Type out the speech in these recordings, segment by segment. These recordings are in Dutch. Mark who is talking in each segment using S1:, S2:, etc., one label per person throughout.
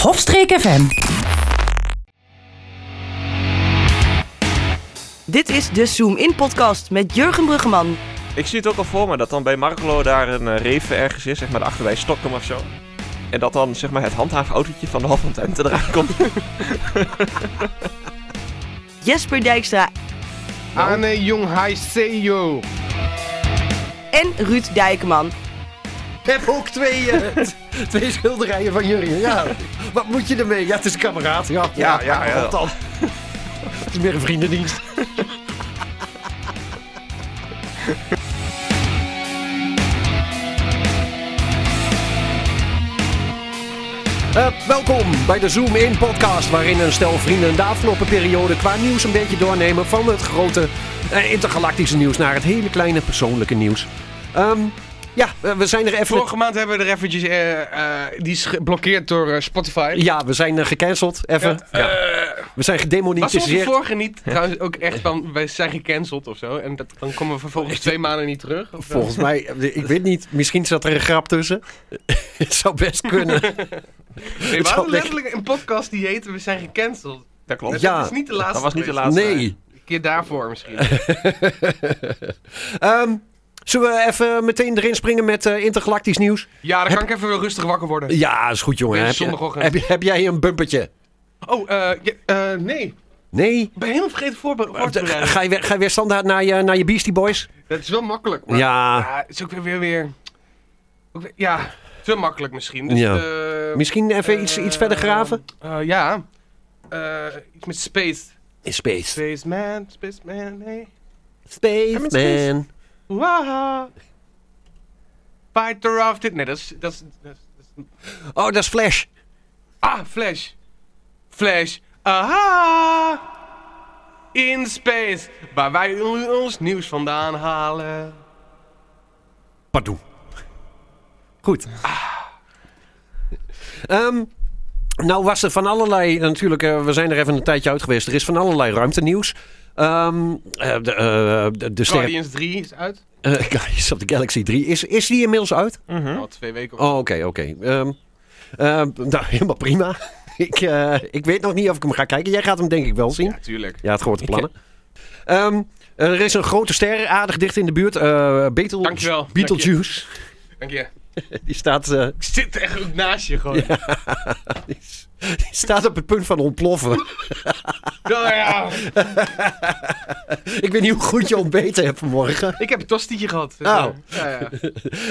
S1: Hofstreek FM.
S2: Dit is de Zoom In Podcast met Jurgen Bruggeman.
S3: Ik zie het ook al voor me dat dan bij Marklo daar een eh, reven ergens is, zeg maar achter bij Stockholm of zo. En dat dan zeg maar het handhaafautootje van de Hof van Twente eraan komt.
S2: Jesper Dijkstra
S4: Ane Jong Hai Seyo.
S2: en Ruud Dijkman.
S5: heb ook twee, eh, twee schilderijen van Jurgen. Ja. Wat moet je ermee? Ja, het is kameraad. Ja,
S3: Ja, ja, ja.
S5: wat dan? Het is meer een vriendendienst. Eh, welkom bij de Zoom In podcast, waarin een stel vrienden de afgelopen periode qua nieuws een beetje doornemen. Van het grote eh, intergalactische nieuws naar het hele kleine persoonlijke nieuws. Ehm, ja, eh, we zijn er even
S4: Vorige maand hebben we er eventjes... eh, eh, die is geblokkeerd door eh, Spotify.
S5: Ja, we zijn eh, gecanceld. Even. Ja.
S4: Eh,
S5: We zijn
S4: was onze
S5: gedemoniseerd.
S4: vorige niet trouwens ook echt van... Wij zijn gecanceld of zo. En dat, dan komen we vervolgens twee maanden niet terug. of zo?
S5: Volgens mij, eh, ik weet niet, misschien zat er een grap tussen. Het zou best kunnen.
S4: Nee, we
S5: zal
S4: hadden
S5: liggen.
S4: letterlijk een podcast die heette We zijn gecanceld.
S3: Dat klopt.
S5: Ja.
S4: Dat is niet de laatste.
S3: Dat was niet de
S4: geweest.
S3: laatste.
S5: Nee.
S4: Een keer daarvoor misschien.
S5: Ehm, zullen we even meteen erin springen met eh, intergalactisch nieuws?
S4: Ja, dan kan ik even weer rustig wakker worden.
S5: Ja, is goed jongen.
S4: Deze
S5: Heb, je-
S4: zondagochtend.
S5: heb, je- heb jij een bumpertje?
S4: Oh, eh, ja, eh, nee.
S5: Nee?
S4: Ik ben helemaal vergeten voorbe-
S5: Eh,
S4: voor te bereiden.
S5: Ga je, weer- ga je weer standaard naar je, naar je Beastie Boys?
S4: Dat is wel makkelijk.
S5: Nou,
S4: Maar
S5: Ja.
S4: Ja, het is ook weer weer... weer ook weer- ja, te makkelijk misschien. Dus,
S5: Ja.
S4: eh,
S5: Misschien even iets,
S4: eh,
S5: iets verder graven?
S4: eh, ja. Eh, iets met space.
S5: In space.
S4: Space man, space man, hey.
S5: Space,
S4: space.
S5: man.
S4: Waha. Fighter of dit. Nee, dat is, dat, is, dat is- dat is-
S5: Oh, dat is Flash.
S4: Ah, Flash. Flash. Aha. In space. Waar wij on- ons nieuws vandaan halen.
S5: Pardon. Goed. Ah. Ehm, nou was er van allerlei, natuurlijk, eh, we zijn er even een tijdje uit geweest. Er is van allerlei ruimtenieuws. Ehm eh, de, eh, de, de ster...
S4: Guardians 3 is uit.
S5: eh, Guardians of the Galaxy 3. Is, is die inmiddels uit?
S4: Al twee weken.
S5: Oh, oké, oké. Ehm, ehm, nou, helemaal prima. ik, eh, ik weet nog niet of ik hem ga kijken. Jij gaat hem denk ik wel zien.
S4: Ja, eh, tuurlijk.
S5: Ja, het grote plannen. Ehm, er is een grote ster aardig dicht in de buurt. eh Beetle...
S4: Dankjewel.
S5: Beetlejuice.
S4: Dank je.
S5: Die staat... eh,
S4: Ik zit echt ook naast je gewoon.
S5: Die s- die staat op het punt van ontploffen.
S4: Nou ja,
S5: Ik weet niet hoe goed je ontbeten hebt vanmorgen.
S4: ik heb een tostietje gehad. Dus,
S5: Oh.
S4: eh, ja, ja.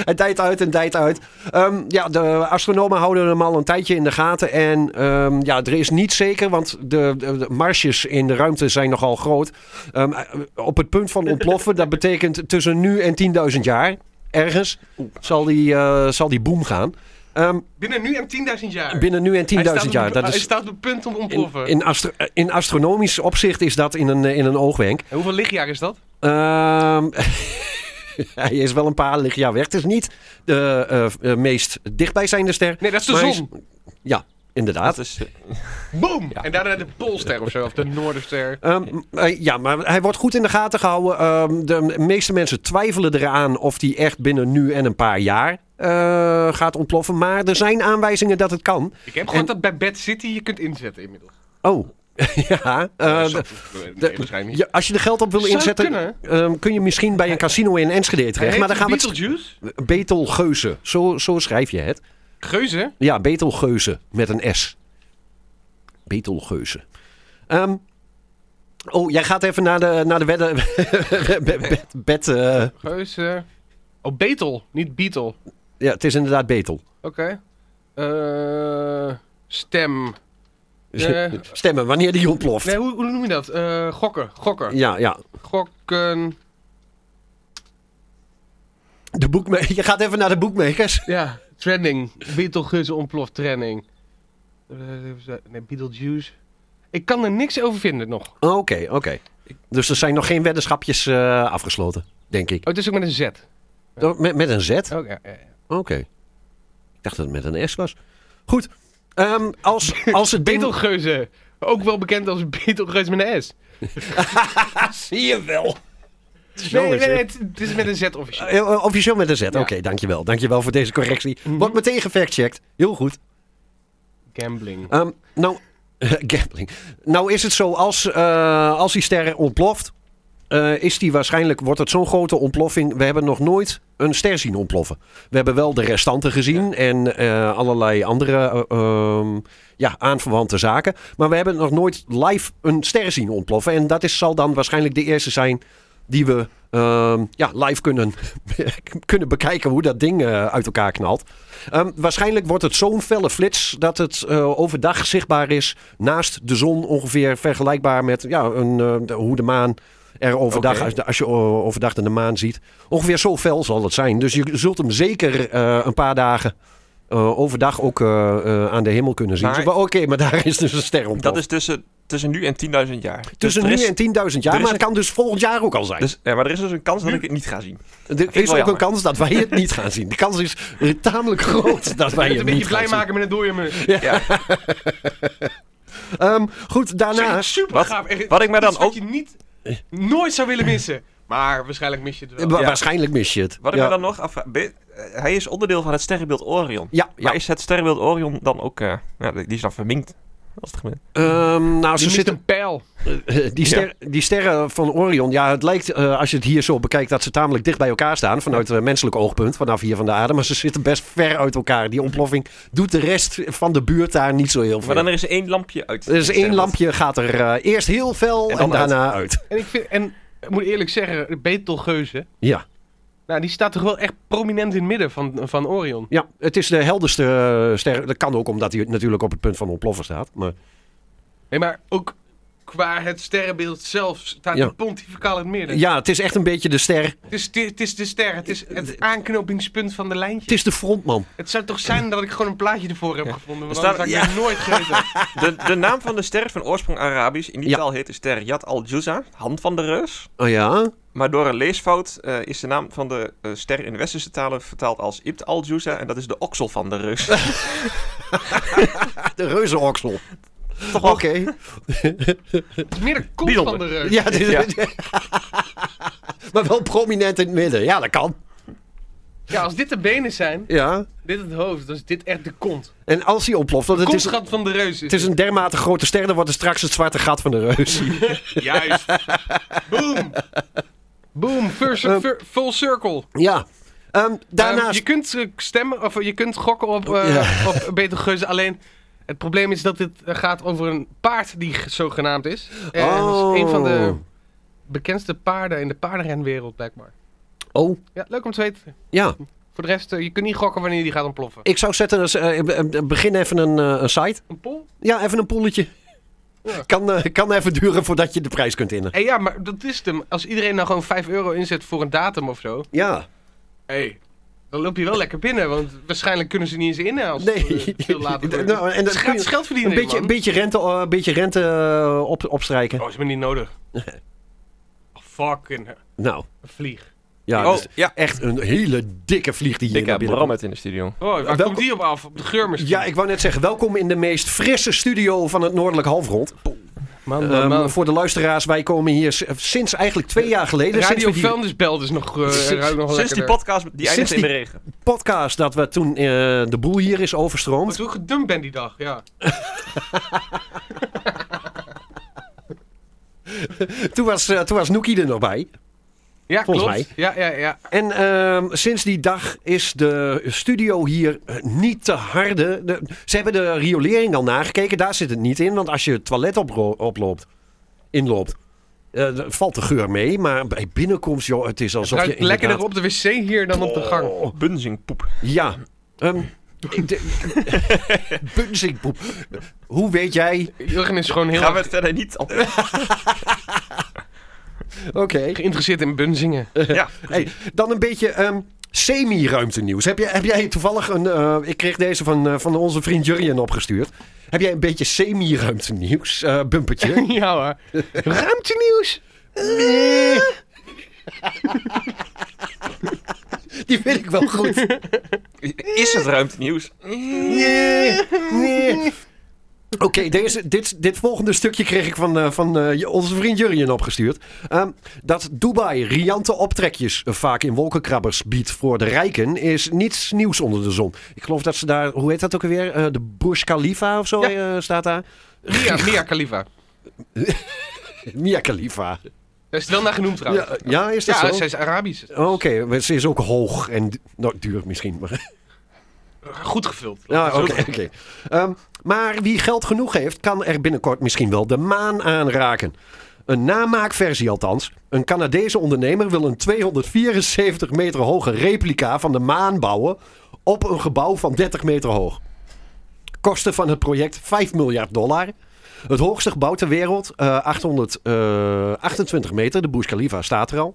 S5: Het dijt uit en dijt uit. Ehm, ja, de astronomen houden hem al een tijdje in de gaten. En ehm, ja, er is niet zeker, want de, de, de marges in de ruimte zijn nogal groot. Ehm, eh, op het punt van ontploffen, dat betekent tussen nu en 10.000 jaar. Ergens zal die, eh, zal die boom gaan. Ehm,
S4: Binnen nu en 10.000 jaar.
S5: binnen nu en
S4: Hij staat
S5: 10.000
S4: op-
S5: jaar. Dat
S4: Hij
S5: is,
S4: staat op het punt om te
S5: in,
S4: ontploffen.
S5: in, astro- in astronomisch opzicht is dat in een, in een oogwenk.
S4: En hoeveel lichtjaar is dat?
S5: Ehm, hij is wel een paar lichtjaar weg. Het is dus niet de eh, eh, meest dichtbijzijnde ster.
S4: Nee, dat is de
S5: Maar hij
S4: zon.
S5: Ja, inderdaad.
S3: Dat is, eh,
S4: Boom! En daarna de Poolster of zo, of de Noorderster.
S5: Ehm, eh, ja, maar hij wordt goed in de gaten gehouden. Ehm, de meeste mensen twijfelen eraan of hij echt binnen nu en een paar jaar eh, gaat ontploffen. Maar er zijn aanwijzingen dat het kan.
S4: Ik heb gehoord dat bij Bad City je kunt inzetten inmiddels.
S5: Oh, ja. eh,
S4: Zo-
S5: d-
S4: nee,
S5: de-
S4: waarschijnlijk niet.
S5: ja, als je er geld op wil
S4: Zou
S5: inzetten,
S4: kunnen.
S5: ehm, kun je misschien bij een casino in Enschede terecht.
S4: Hij
S5: Maar dan
S4: heet
S5: gaan we het
S4: Beetlejuice?
S5: Betelgeuze. Zo, zo schrijf je het.
S4: Geuze?
S5: Ja, Betelgeuze met een S. Betelgeuze. Ehm, oh, jij gaat even naar de, naar de wedden. bed, bed, bed, eh,
S4: Geuze. Oh, Betel, niet Beetle. Oké.
S5: ja, het is inderdaad Betel.
S4: Eh, stem. Eh.
S5: Stemmen, wanneer die ontploft.
S4: Nee, hoe, hoe noem je dat? Eh, gokken, gokken.
S5: Ja, ja.
S4: Gokken.
S5: De boekma- je gaat even naar de boekmakers.
S4: Ja, trending. Beetlejuice ontploft trending. Eh, Nee, Beetlejuice. Ik kan er niks over vinden nog. Oh,
S5: Oké, oké. Dus er zijn nog geen weddenschapjes eh, afgesloten, denk ik.
S4: het is ook met een Z.
S5: Oh, Met, met een Z? Oké.
S4: Oké. ja, ja.
S5: Ik dacht dat het met een S was. Goed. Ehm, als, als het ding...
S4: Betelgeuze. Ook wel bekend als Betelgeuze met een S.
S5: Zie je wel.
S4: Nee, nee, nee, het, het is met een Z officieel.
S5: Eh, eh, Officieel met een Z. Oké,
S4: Ja.
S5: dankjewel. Dankjewel voor deze correctie. Wordt meteen gefactcheckt. Heel goed.
S4: Gambling.
S5: Ehm, nou, gambling. Nou is het zo, als, eh, als die ster ontploft, eh, is die waarschijnlijk, wordt het zo'n grote ontploffing. We hebben nog nooit een ster zien ontploffen. We hebben wel de restanten gezien en eh, allerlei andere eh, ehm, ja, aanverwante zaken. Maar we hebben nog nooit live een ster zien ontploffen. En dat is, zal dan waarschijnlijk de eerste zijn die we ehm, ja, live kunnen, kunnen bekijken hoe dat ding eh, uit elkaar knalt. Ehm, waarschijnlijk wordt het zo'n felle flits dat het eh, overdag zichtbaar is naast de zon ongeveer vergelijkbaar met ja, een, eh, de- hoe de maan er overdag,
S3: Oké.
S5: als, de- als je eh, overdag de maan ziet. Ongeveer zo fel zal het zijn. Dus je zult hem zeker eh, een paar dagen eh, overdag ook eh, eh, aan de hemel kunnen zien.
S3: Maar-
S5: Zo van, Oké, maar daar is dus een ster ontploft.
S3: Dat is tussen, tussen nu en 10.000 jaar. Dus
S5: Tussen
S3: er is-
S5: nu en 10.000 jaar,
S3: er is
S5: maar het kan dus volgend jaar ook al zijn.
S3: Dus, ja, maar er is dus een kans dat ik het niet ga zien.
S5: er
S3: wel
S5: is ook
S3: jammer.
S5: een kans dat wij het niet gaan zien. De kans is eh, tamelijk groot dat wij
S4: het
S5: het
S4: een beetje
S5: niet
S4: blij
S5: gaan zien.
S4: maken met een dode munt.
S5: Ehm, goed, daarnaast...
S4: super
S3: Wat-
S4: gaaf. Echt,
S3: wat ik me dan
S4: iets wat
S3: ook-
S4: je niet, nooit zou willen missen. Maar waarschijnlijk mis je het wel.
S5: Eh, Wa-
S3: Ja.
S5: Waarschijnlijk mis je het.
S3: Wat ik
S5: ja.
S3: me dan nog afvraag... ben- eh, Hij is onderdeel van het sterrenbeeld Orion.
S5: Ja, ja.
S3: Maar is het sterrenbeeld Orion dan ook... eh, ja, die die is dan verminkt. Als het gebeurt.
S5: Ehm, nou,
S4: Je
S5: ze
S4: mist
S5: zitten, eh,
S4: een pijl.
S5: die, ster, die sterren van Orion, ja, het lijkt eh, als je het hier zo bekijkt dat ze tamelijk dicht bij elkaar staan vanuit eh, menselijk oogpunt, vanaf hier van de aarde, maar ze zitten best ver uit elkaar. Die ontploffing doet de rest van de buurt daar niet zo heel veel.
S3: Maar dan is er één lampje uit.
S5: dus één lampje gaat er eh, eerst heel fel en,
S3: En dan uit.
S5: daarna uit.
S4: En ik, vind, en ik moet eerlijk zeggen, Betelgeuze.
S5: Ja.
S4: Nou, die staat toch wel echt prominent in het midden van, van Orion.
S5: ja, het is de helderste eh, ster. Dat kan ook omdat hij natuurlijk op het punt van ontploffen staat. Maar
S4: Nee, maar ook qua het sterrenbeeld zelf staat
S5: Ja.
S4: die pontificaal in het midden.
S5: ja, het is echt een beetje de ster.
S4: Het, is, het is de ster, het is
S5: Eh,
S4: het aanknopingspunt van de lijntje.
S5: Het is de frontman.
S4: Het zou toch zijn dat ik gewoon een plaatje ervoor heb gevonden, want
S3: Er staat-
S4: anders had ik het nooit geweten.
S3: De, de naam van de ster is van oorsprong Arabisch. In die
S5: Ja.
S3: taal heet de ster Yat al-Juza, hand van de reus.
S5: Oh ja.
S3: Maar door een leesfout eh, is de naam van de eh, ster in de westerse talen vertaald als Ibt al-Juza. En dat is de oksel van de reus.
S5: De reuzenoksel. Oké.
S4: Meer de kont
S3: Bijzonder.
S4: van de reus.
S5: Ja, dit is-
S3: Ja.
S5: maar wel prominent in het midden. Ja, dat kan.
S4: Ja, als dit de benen zijn,
S5: Ja.
S4: dit het hoofd, dan is dit echt de kont.
S5: En als hij ontploft, want het is,
S4: Kontgat van de reus is
S5: het is
S4: dit.
S5: een dermate grote ster, dan wordt het straks het zwarte gat van de reus.
S3: dus
S4: Juist. Boom. Boom. First,
S5: Ehm,
S4: fir- full circle.
S5: ja. Ehm,
S4: Ehm,
S5: daarnaast.
S4: je kunt eh, stemmen, of je kunt gokken op, eh op Beter Geuze. Alleen het probleem is dat dit eh, gaat over een paard die g- zogenaamd is. En dat
S5: Oh.
S4: is een van de bekendste paarden in de paardenrenwereld, blijkbaar.
S5: Oh,
S4: Ja, leuk om te weten.
S5: ja.
S4: Voor de rest, eh, je kunt niet gokken wanneer die gaat ontploffen.
S5: Ik zou zetten, als, eh, eh, eh, begin even een, eh, een site.
S4: Een pol?
S5: Ja, even een poelletje.
S4: Ja.
S5: Kan, eh, kan even duren voordat je de prijs kunt innen.
S4: Hé, Eh, ja, maar dat is het hem. Als iedereen nou gewoon 5 euro inzet voor een datum of zo.
S5: Ja.
S4: Hey. Dan loop je wel lekker binnen, want waarschijnlijk kunnen ze niet eens innen als
S5: Nee.
S4: het eh, veel later wordt.
S5: Nou, en dat
S4: Ze
S5: kun
S4: gaat
S5: je-
S4: geld verdienen,
S5: Een beetje, een
S4: man.
S5: beetje rente, eh, een beetje rente eh, op, opstrijken.
S4: Oh, is me niet nodig. oh, fucking hell.
S5: Nou,
S4: Een vlieg.
S5: ja.
S3: oh,
S5: dus
S3: ja.
S5: echt een hele dikke vlieg die hier naar
S3: Dikke
S5: binnen komt.
S3: Brammet in de studio.
S4: Oh, waar
S5: welkom-
S4: komt die op af? Op de geur misschien?
S5: Ja, ik wou net zeggen, welkom in de meest frisse studio van het Noordelijk Halfrond.
S4: Man,
S5: Ehm, voor de luisteraars, wij komen hier s- sinds eigenlijk twee jaar geleden. sinds
S4: Radio
S5: we die
S4: Vuilnis belt is nog, eh,
S5: Sinds-
S4: ruikt nog
S3: Sinds die
S4: lekkerder.
S3: podcast, die eindigt
S5: die-
S3: in de regen.
S5: podcast dat we toen eh, de boel hier is
S4: Want
S5: overstroomd.
S4: hoe gedumpt ben die dag, ja.
S5: Toen was, eh, toen was Noekie er nog bij.
S4: Ja,
S5: Volgens
S4: klopt. Ja, ja, ja.
S5: En ehm, sinds die dag is de studio hier eh, niet te harde. De- ze hebben de riolering al nagekeken. Daar zit het niet in. Want als je het toilet opro- oploopt, inloopt, eh, dan valt de geur mee. Maar bij binnenkomst, joh, het is alsof
S4: Ruikt
S5: je
S4: lekkerder
S5: inderdaad- Oh.
S4: op de wc hier dan op de gang.
S3: Oh, Bunzingpoep.
S5: Ja. Ehm ik de- Bunzingpoep. Hoe weet jij?
S4: Jurgen is gewoon heel
S3: Gaan we
S4: erg
S3: het verder niet op.
S5: Oké.
S4: geïnteresseerd in bunzingen.
S3: Ja,
S5: Hey, dan een beetje ehm semi-ruimtenieuws. Heb jij, heb jij toevallig een... eh, ik kreeg deze van, eh, van onze vriend Jurjen opgestuurd. Heb jij een beetje semi-ruimtenieuws? eh bumpertje?
S4: ja hoor. Ruimtenieuws.
S5: Nee. Die vind ik wel goed.
S3: is het ruimtenieuws?
S5: Nee. Nee. Oké, deze- dit, dit volgende stukje kreeg ik van, eh, van eh, onze vriend Jurjen opgestuurd. Ehm, dat Dubai riante optrekjes vaak in wolkenkrabbers biedt voor de rijken, is niets nieuws onder de zon. Ik geloof dat ze daar, hoe heet dat ook alweer? Eh, de Burj Khalifa of zo eh, staat daar.
S4: Mia, Mia Khalifa.
S5: Mia Khalifa.
S4: Daar is het wel naar genoemd trouwens.
S5: Ja, ja, is dat
S4: Ja,
S5: zo? Oh,
S4: zij is Arabisch.
S5: Oké, maar ze is ook hoog en du- nou, duur misschien. Maar
S4: Goed gevuld.
S5: Ja, oké. oké. Ehm, maar wie geld genoeg heeft, kan er binnenkort misschien wel de maan aanraken. Een namaakversie althans. Een Canadese ondernemer wil een 274 meter hoge replica van de maan bouwen op een gebouw van 30 meter hoog. Kosten van het project 5 miljard dollar. Het hoogste gebouw ter wereld, eh 828 meter, de Burj Khalifa staat er al.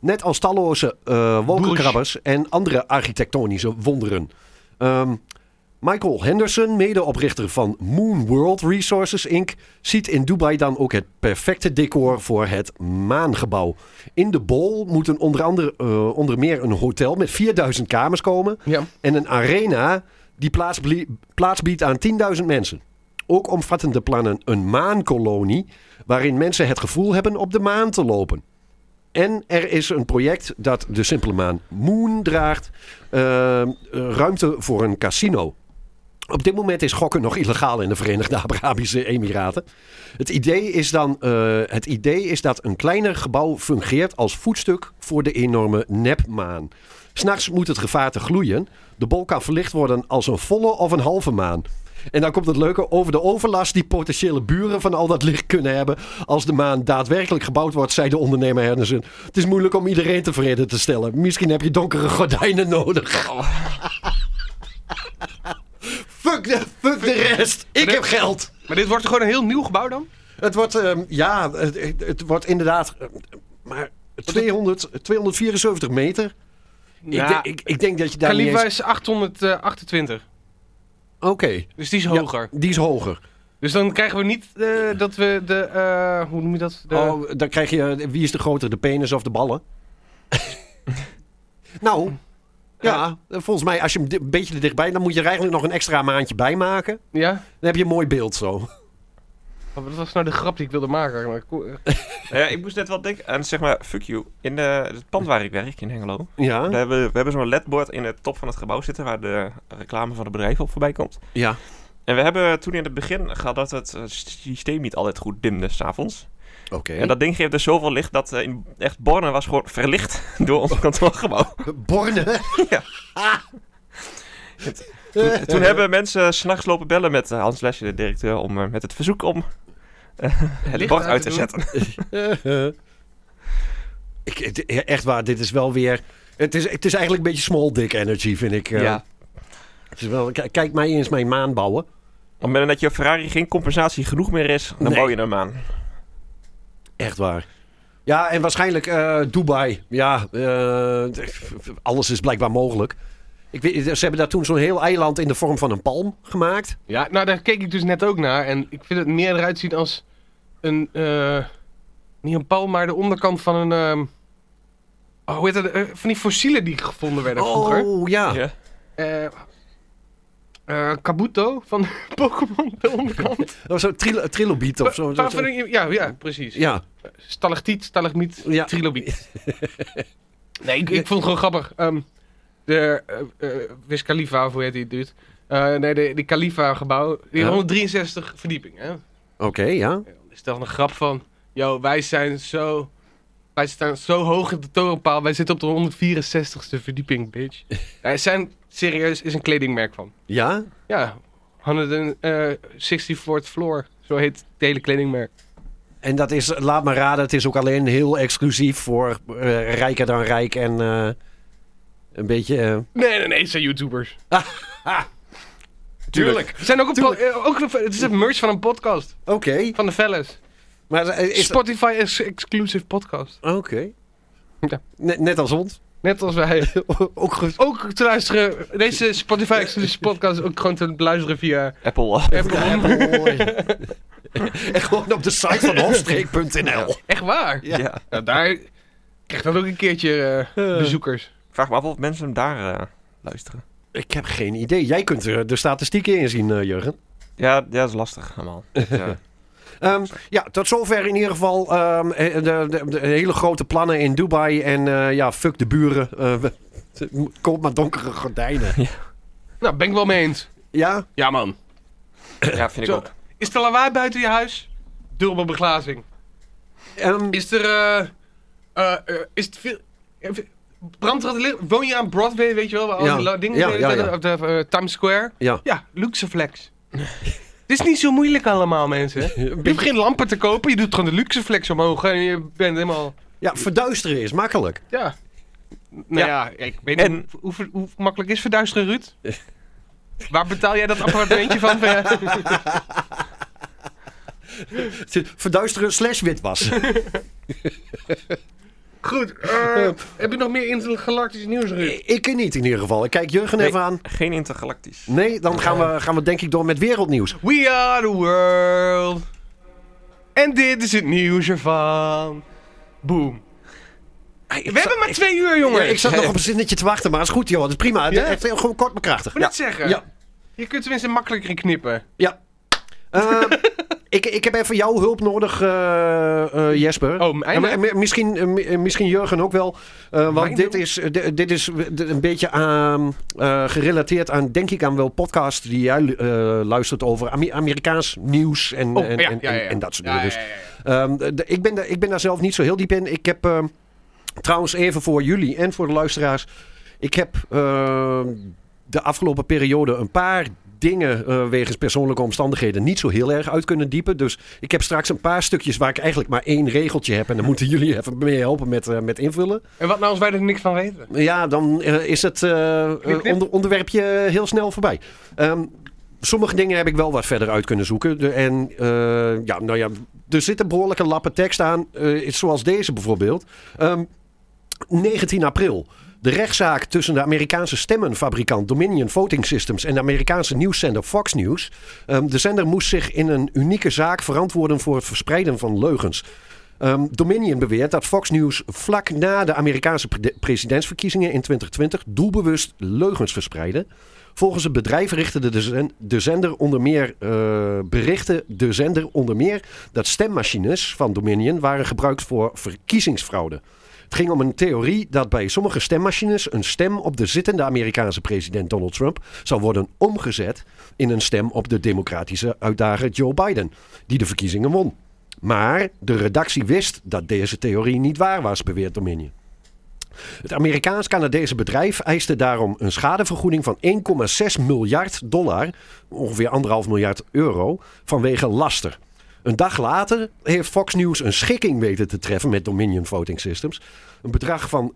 S5: Net als talloze eh wolkenkrabbers en andere architectonische wonderen. Ehm, Michael Henderson, medeoprichter van Moon World Resources Inc., ziet in Dubai dan ook het perfecte decor voor het maangebouw. In de bol moeten onder, andere, eh, onder meer een hotel met 4000 kamers komen
S4: Ja.
S5: en een arena die plaats, blie- plaats biedt aan 10.000 mensen. Ook omvatten de plannen een maankolonie waarin mensen het gevoel hebben op de maan te lopen. En er is een project dat de simpele maan Moon draagt, eh, ruimte voor een casino. Op dit moment is gokken nog illegaal in de Verenigde Arabische Emiraten. Het idee, is dan, eh, het idee is dat een kleiner gebouw fungeert als voetstuk voor de enorme nepmaan. S'nachts moet het gevaar te gloeien. De bol kan verlicht worden als een volle of een halve maan. En dan komt het leuke over de overlast die potentiële buren van al dat licht kunnen hebben. Als de maan daadwerkelijk gebouwd wordt, zei de ondernemer Henderson. Het is moeilijk om iedereen tevreden te stellen. Misschien heb je donkere gordijnen nodig. fuck, de, fuck de rest. Ik heb geld.
S4: Maar dit wordt gewoon een heel nieuw gebouw dan?
S5: Het wordt, ehm, ja, het, het wordt inderdaad. ehm, Maar 200, 274 meter. Ik,
S4: Ja.
S5: denk- ik, ik denk dat je daar. niet
S4: Khalifa
S5: eens-
S4: is 828.
S5: Oké.
S4: Dus die is
S5: Ja,
S4: hoger.
S5: die is hoger.
S4: Dus dan krijgen we niet eh, dat we de... eh, hoe noem je dat? De,
S5: Oh, dan krijg je. eh, Wie is de groter, de penis of de ballen? nou. Ja, volgens mij, als je hem di- een beetje er dichtbij, dan moet je er eigenlijk nog een extra maandje bij maken.
S4: Ja?
S5: Dan heb je een mooi beeld zo.
S4: Oh, wat was nou de grap die ik wilde maken? Maar ko- eh,
S3: Nou ja, ik moest net wel denken aan, zeg maar, fuck you. In eh, het pand waar ik werk, in Hengelo, daar
S4: Oh.
S5: Ja.
S3: hebben, we hebben zo'n ledbord in de top van het gebouw zitten... waar de reclame van het bedrijf op voorbij komt.
S5: Ja.
S3: En we hebben toen in het begin gehad dat het eh, systeem niet altijd goed dimde s'avonds.
S5: Oké.
S3: En dat ding geeft dus zoveel licht dat eh, in echt Borne was gewoon verlicht door ons kantoorgebouw.
S5: Borne.
S3: Ja. Toen,
S5: Eh,
S3: toen hebben mensen s'nachts lopen bellen met eh, Hans Lesje, de directeur, om eh, met het verzoek om eh, het
S4: Licht
S3: bord
S4: uit
S3: uit
S4: te
S3: te
S4: doen.
S3: zetten.
S5: Ik, het- echt waar, dit is wel weer. Het is, het is eigenlijk een beetje small dick energy, vind ik. eh.
S3: Ja.
S5: Het is wel, k- kijk mij eens mijn maan bouwen.
S3: Op het moment dat je Ferrari geen compensatie genoeg meer is, dan
S5: Nee.
S3: bouw je hem aan.
S5: Echt waar. Ja, en waarschijnlijk eh, Dubai. Ja, eh, alles is blijkbaar mogelijk. Ik weet, ze hebben daar toen zo'n heel eiland in de vorm van een palm gemaakt.
S4: ja, nou daar keek ik dus net ook naar. En ik vind het meer eruit zien als een... eh, niet een palm, maar de onderkant van een... ehm, oh, hoe heet dat? Eh, van die fossielen die gevonden werden vroeger.
S5: Oh ja.
S3: Ja.
S4: Eh eh, Kabuto van Pokémon, de onderkant.
S5: Of zo'n trilo- trilobiet of zo.
S4: Waarvan ik- ja, ja, precies.
S5: Ja,
S4: Stalactiet, stalagmiet,
S5: Ja.
S4: trilobiet. nee, ik, ik vond het gewoon grappig. Ehm, de eh eh, Wiz Khalifa, of hoe heet die dude? Eh, nee, de, die Khalifa-gebouw. Die heeft
S5: Ja.
S4: 163 verdieping. Hè?
S5: oké, ja.
S4: Is dan een grap van... Yo, wij zijn zo... Wij staan zo hoog op de torenpaal. Wij zitten op de 164ste verdieping, bitch. Hij zijn serieus is een kledingmerk van.
S5: Ja,
S4: Ja, 164th Floor. Zo heet het hele kledingmerk.
S5: en dat is, laat me raden, het is ook alleen heel exclusief voor eh, rijker dan rijk en eh, een beetje... eh,
S4: Nee, nee, nee, het zijn YouTubers.
S5: Tuurlijk.
S4: Het, zijn ook een po- eh, ook een- het is een merch van een podcast.
S5: Oké,
S4: Van de fellas.
S5: maar eh, is... Ah,
S4: Spotify is exclusive podcast.
S5: Oké.
S4: Ja.
S5: Net, net als ons.
S4: Net als wij.
S5: ook goed.
S4: Ook te luisteren. Deze Spotify exclusive podcast is ook gewoon te beluisteren via
S3: Apple. eh,
S4: Apple.
S5: en gewoon op de site van hofstreek.nl.
S4: Echt waar.
S5: Ja.
S3: Ja.
S4: Nou, daar krijgt dat ook een keertje eh, bezoekers.
S3: Ik vraag me af of mensen hem daar eh, luisteren.
S5: Ik heb geen idee. Jij kunt er de statistieken in zien, eh, Jurgen.
S3: Ja, ja, dat is lastig allemaal. Dus, eh,
S5: Ehm, ja, tot zover in ieder geval ehm, eh, de, de, de hele grote plannen in Dubai. En eh, ja, fuck de buren. Eh, we- we- koop maar donkere gordijnen.
S4: Nou, ben ik wel mee eens.
S5: Ja?
S4: Ja, man.
S3: ja, vind ik
S4: Zo.
S3: ook.
S4: Is er lawaai buiten je huis? Dubbele beglazing.
S5: ehm,
S4: Is er. eh, eh, eh, is het veel. eh, Brandt er wat licht? Woon je aan Broadway, weet je wel, waar al
S5: Ja.
S4: die la- dingen
S5: Ja,
S4: de hele
S5: ja,
S4: tijd
S5: ja.
S4: op de eh, Times Square?
S5: ja.
S4: Ja, luxe flex. Het is niet zo moeilijk allemaal, mensen. Je hoeft geen lampen te kopen, je doet gewoon de luxe flex omhoog en je bent helemaal...
S5: ja, verduisteren is makkelijk.
S4: Ja. Nou ja, ik weet
S3: En-
S4: niet hoe, hoe, ver- hoe makkelijk is verduisteren, Ruud? Waar betaal jij dat appartementje van? Van je-
S5: Verduisteren slash witwassen.
S4: Goed, eh, heb je nog meer intergalactisch nieuws, Ruud?
S5: ik niet in ieder geval. Ik kijk Jurgen
S3: Nee.
S5: even aan.
S3: Geen intergalactisch.
S5: Nee, dan gaan we, gaan we denk ik door met wereldnieuws.
S4: We are the world. En dit is het nieuws ervan. Boom. We hebben maar twee uur, jongen.
S5: ik zat nog op een zinnetje te wachten, maar is goed joh. Dat is prima.
S4: Ja?
S5: Echt heel- gewoon kort maar krachtig.
S4: Moet
S5: Ja.
S4: het zeggen.
S5: Ja.
S4: Je kunt tenminste makkelijker in knippen.
S5: ja. Eh, ik, ik heb even jouw hulp nodig, eh, eh, Jesper.
S4: Oh, mijn-
S5: En mi- mi- misschien, eh, mi- eh, misschien Jurgen ook wel. eh, want
S4: Mijn
S5: dit
S4: hulp?
S5: is, eh, di- dit is eh, een beetje aan, eh, gerelateerd aan, denk ik, aan wel podcasts die jij eh, luistert over Ami- Amerikaans nieuws en,
S4: Oh,
S5: en,
S4: ja,
S5: en,
S4: ja, ja, ja.
S5: en- en dat soort
S4: Ja,
S5: dingen.
S4: ja,
S5: Dus,
S4: ja, ja.
S5: Ehm, de- ik, ben daar- ik ben daar zelf niet zo heel diep in. Ik heb ehm, trouwens even voor jullie en voor de luisteraars. Ik heb ehm, de afgelopen periode een paar dingen eh, wegens persoonlijke omstandigheden niet zo heel erg uit kunnen diepen. Dus ik heb straks een paar stukjes waar ik eigenlijk maar één regeltje heb. En dan moeten jullie even mee helpen met, eh, met invullen.
S4: En wat nou als wij er niks van weten?
S5: Ja, dan eh, is het eh, eh,
S4: Knip, knip.
S5: onder- onderwerpje eh, heel snel voorbij. Ehm, sommige dingen heb ik wel wat verder uit kunnen zoeken. De- en eh, ja, nou ja, er zitten behoorlijke lappen tekst aan. eh, zoals deze bijvoorbeeld. Ehm, 19 april. De rechtszaak tussen de Amerikaanse stemmenfabrikant Dominion Voting Systems en de Amerikaanse nieuwszender Fox News. Ehm, de zender moest zich in een unieke zaak verantwoorden voor het verspreiden van leugens. Ehm, Dominion beweert dat Fox News vlak na de Amerikaanse pre- presidentsverkiezingen in 2020 doelbewust leugens verspreidde. Volgens het bedrijf richtte de, zen- de zender onder meer, eh, berichten de zender onder meer dat stemmachines van Dominion waren gebruikt voor verkiezingsfraude. Het ging om een theorie dat bij sommige stemmachines een stem op de zittende Amerikaanse president Donald Trump zou worden omgezet in een stem op de democratische uitdager Joe Biden, die de verkiezingen won. Maar de redactie wist dat deze theorie niet waar was, beweert Dominion. Het Amerikaans-Canadese bedrijf eiste daarom een schadevergoeding van 1,6 miljard dollar, ongeveer 1,5 miljard euro, vanwege laster. Een dag later heeft Fox News een schikking weten te treffen met Dominion Voting Systems. Een bedrag van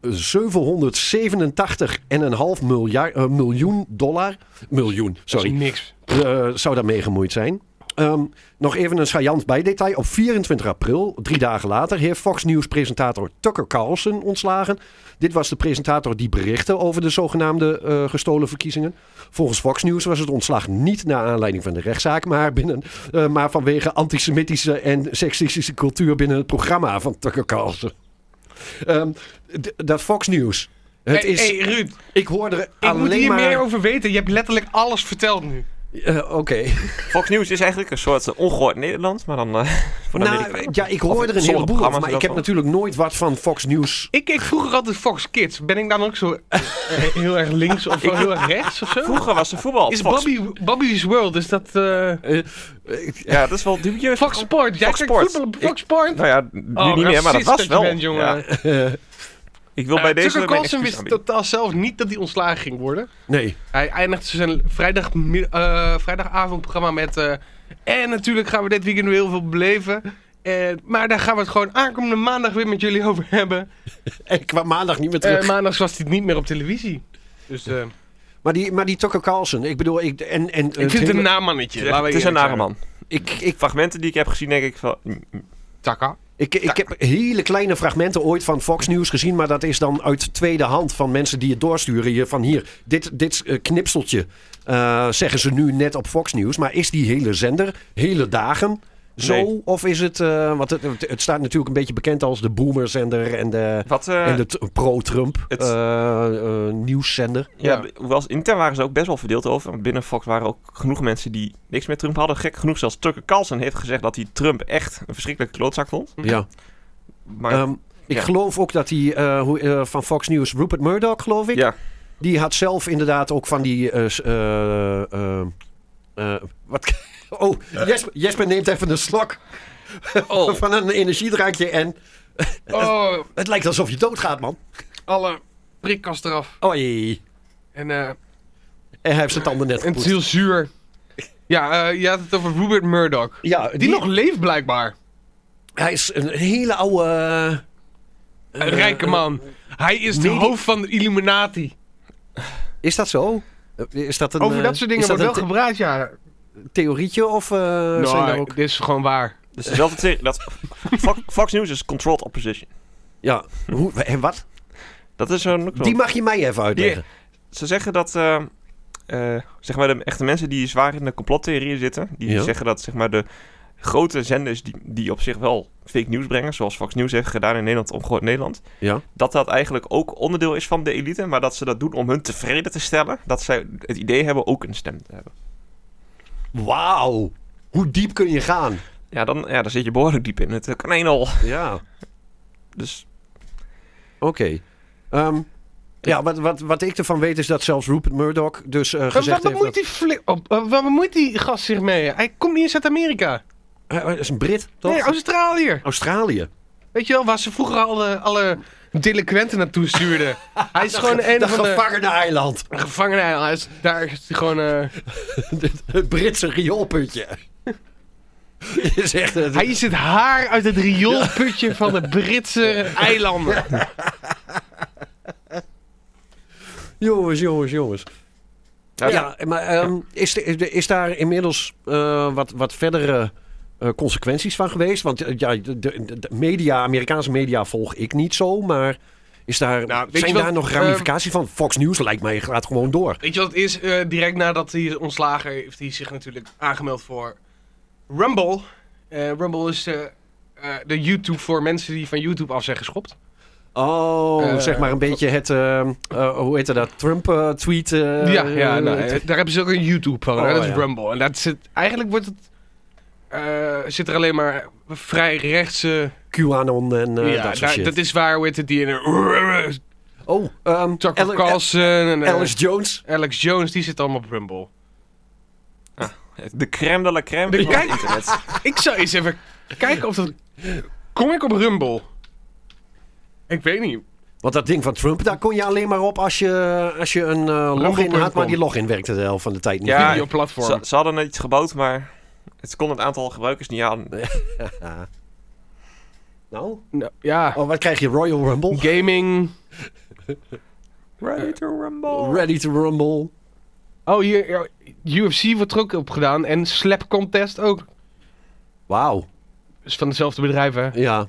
S5: 787,5 miljard, eh, miljoen dollar. Miljoen,
S4: Dat
S5: sorry.
S4: is niks.
S5: Eh, zou daarmee gemoeid zijn. Ehm, nog even een schajant bijdetail. Op 24 april, drie dagen later, heeft Fox News presentator Tucker Carlson ontslagen. Dit was de presentator die berichtte over de zogenaamde eh, gestolen verkiezingen. Volgens Fox News was het ontslag niet naar aanleiding van de rechtszaak, maar, binnen, eh, maar vanwege antisemitische en seksistische cultuur binnen het programma van Tucker Carlson. Ehm, d- dat Fox News. Het
S4: hey,
S5: is,
S4: hey, Ruud, ik
S5: ik hoorde er alleen
S4: moet hier
S5: maar...
S4: meer over weten. Je hebt letterlijk alles verteld nu.
S5: Eh, Oké.
S3: Fox News is eigenlijk een soort eh, ongehoord Nederland, maar dan eh voor de
S5: Nou,
S3: Amerikanen.
S5: ja, ik
S3: Of
S5: hoor er een
S3: sommige
S5: heleboel
S3: programma's
S5: over, maar
S3: wel
S5: ik heb
S3: van.
S5: natuurlijk nooit wat van Fox News.
S4: Ik keek vroeger altijd Fox Kids. Ben ik dan ook zo eh, heel erg links of heel erg rechts of zo?
S3: Vroeger was er voetbal. op
S4: Is
S3: Fox.
S4: Bobby, Bobby's World, is dat... eh,
S3: Ja, dat is wel dubieus.
S4: Fox Sport, jij
S3: Fox
S4: kijkt
S3: Sport.
S4: voetbal op Fox Sport?
S3: Nou ja, nu niet meer, maar dat
S4: Oh, racist
S3: was
S4: je
S3: wel.
S4: bent, jongen.
S3: Ja, ik wil
S4: Eh,
S3: bij deze
S4: Tucker
S3: mijn
S4: Carlson
S3: excuus
S4: wist
S3: aanbieden.
S4: totaal zelf niet dat hij ontslagen ging worden.
S5: Nee.
S4: Hij eindigt zijn vrijdag, eh, vrijdagavondprogramma met... eh, en natuurlijk gaan we dit weekend weer heel veel beleven. En- maar daar gaan we het gewoon aankomende maandag weer met jullie over hebben.
S5: Ik kwam maandag niet meer
S4: Eh,
S5: terug. maar...
S4: maandags was hij niet meer op televisie. Dus eh,
S5: die, maar die Tucker Carlson, ik bedoel, ik, en, en,
S4: ik vind het een
S5: hele-
S4: namannetje.
S3: Het is echt- Het is een nare man.
S5: ik, ik,
S3: Fragmenten die ik heb gezien, denk ik van... mm, mm.
S4: Takka.
S5: ik, ik heb hele kleine fragmenten ooit van Fox News gezien, maar dat is dan uit tweede hand van mensen die het doorsturen. Hier, van hier, dit, dit eh, knipseltje eh, zeggen ze nu net op Fox News, maar is die hele zender, hele dagen... Zo?
S3: Nee.
S5: Of is het... eh, want het, het- het staat natuurlijk een beetje bekend als de boomerzender en de,
S3: Wat, eh,
S5: en de t- pro-Trump
S3: het-
S5: eh, eh, nieuwszender.
S3: ja,
S4: ja.
S3: de- hoewel ze- intern waren ze ook best wel verdeeld over. Want binnen Fox waren ook genoeg mensen die niks met Trump hadden. Gek genoeg zelfs Tucker Carlson heeft gezegd dat hij Trump echt een verschrikkelijke klootzak vond.
S4: Hm.
S5: Ja.
S3: Mhm. Maar
S5: Ehm, ik
S3: ja.
S5: geloof ook dat die eh, hoe- eh, van Fox News, Rupert Murdoch, geloof ik.
S3: ja,
S5: Die had zelf inderdaad ook van die. eh, s- eh, eh, eh, wat? Oh, Jesper, Jesper neemt even een slok
S3: Oh.
S5: van een energiedrankje en
S4: Oh,
S5: het lijkt alsof je doodgaat, man.
S4: alle prikkast eraf.
S5: Oei.
S4: En, eh,
S5: En hij heeft zijn tanden net
S4: en het is
S5: gepoetst.
S4: heel zuur. Ja, eh, je had het over Rupert Murdoch.
S5: Ja,
S4: Die, nog leeft blijkbaar.
S5: Hij is een hele oude. eh,
S4: Een rijke
S5: eh,
S4: man. Hij is de
S5: nee, die-
S4: hoofd van de Illuminati.
S5: Is dat zo? Eh, Is dat een,
S4: Over
S5: eh,
S4: dat soort dingen
S5: is dat
S4: wordt wel
S5: een
S4: gepraat, ja.
S5: the- theorietje of eh, zijn daar
S4: Nou,
S5: ook? Eh,
S4: dit is gewoon waar.
S3: dus dezelfde theorie. Dat, Fox, Fox News is controlled opposition.
S5: Ja. Hoe, en wat?
S3: Dat is zo'n... ook zo'n-
S5: Die mag je mij even uitleggen.
S3: Ze zeggen dat, eh, eh, zeg maar, de echte mensen die zwaar in de complottheorieën zitten, die
S5: Ja.
S3: zeggen dat, zeg maar, de grote zenders die, die op zich wel fake nieuws brengen, zoals Fox News heeft gedaan in Nederland, omgooid Nederland,
S5: Ja.
S3: dat dat eigenlijk ook onderdeel is van de elite, maar dat ze dat doen om hun tevreden te stellen, dat zij het idee hebben ook een stem te hebben.
S5: Wauw. Hoe diep kun je gaan?
S3: Ja, dan, ja, daar zit je behoorlijk diep in. Het eh, kan één al.
S5: Ja.
S3: Dus
S5: Oké. Ehm, ja, wat, wat, wat ik ervan weet is dat zelfs Rupert Murdoch dus eh,
S4: Waar
S5: gezegd heeft...
S4: bemoeit
S5: Dat,
S4: die fli- op- eh, waar bemoeit die gast zich mee? Hij komt niet eens uit Amerika.
S5: Hij- hij is een Brit, toch?
S4: Nee, Australië.
S5: Australië.
S4: Weet je wel, waar ze vroeger alle, alle delinquenten naartoe stuurden. hij is gewoon een
S5: Dat
S4: van de
S5: gevangene eiland.
S4: gevangenen. Hij is, daar is hij gewoon... eh,
S5: Het Britse rioolputje. is echt... een-
S4: hij is het haar uit het rioolputje van de Britse eilanden.
S5: Jongens, jongens, jongens. Ja,
S3: Ja,
S5: maar ehm, Is, de- is daar inmiddels eh, wat, wat verdere eh, consequenties van geweest? Want eh, ja, de, de- de media, Amerikaanse media volg ik niet zo, maar is daar,
S4: Nou, weet
S5: zijn
S4: je wel,
S5: daar nog ramificaties van? Fox News lijkt mij gaat gewoon door.
S4: Weet je wat het is? Eh, direct nadat hij is ontslagen heeft hij zich natuurlijk aangemeld voor Rumble. Eh, Rumble is eh, eh, de YouTube voor mensen die van YouTube af zijn geschopt.
S5: Oh,
S4: Eh,
S5: zeg maar een beetje het, ehm, eh, hoe heette dat, eh, Trump-tweet?
S4: ja, ja nou, eh, daar hebben ze ook een YouTube van.
S5: Oh,
S4: hè, dat is
S5: ja.
S4: Rumble. En dat zit, eigenlijk wordt het, eh, zit er alleen maar vrij rechtse...
S5: QAnon en eh,
S4: ja,
S5: dat soort
S4: daar-
S5: shit.
S4: dat is waar, hoe heet het, die ene...
S5: Oh, ehm,
S4: Tucker
S5: Ale-
S4: Carlson en eh,
S5: Alice Jones.
S4: Alex Jones, die zit allemaal op Rumble.
S3: de crème de la crème
S4: De
S3: van het
S4: kijk-
S3: internet.
S4: Ik zou eens even kijken of dat... Kom ik op Rumble? Ik weet niet.
S5: Want dat ding van Trump, daar kon je alleen maar op als je, als je een eh, login had, maar
S4: Rumble.com.
S5: die login werkte de helft van de tijd niet.
S3: Ja,
S5: meer.
S4: Videoplatform.
S3: Ze, ze hadden iets gebouwd, maar het kon het aantal gebruikers niet aan.
S5: Nou,
S4: Nou, ja.
S5: oh, wat krijg je? Royal Rumble?
S4: Gaming.
S3: Ready to rumble.
S5: Ready to Rumble.
S4: Oh, hier. ja, UFC wordt er ook op gedaan. En Slap Contest ook.
S5: Wauw,
S4: Is van dezelfde bedrijven.
S5: ja.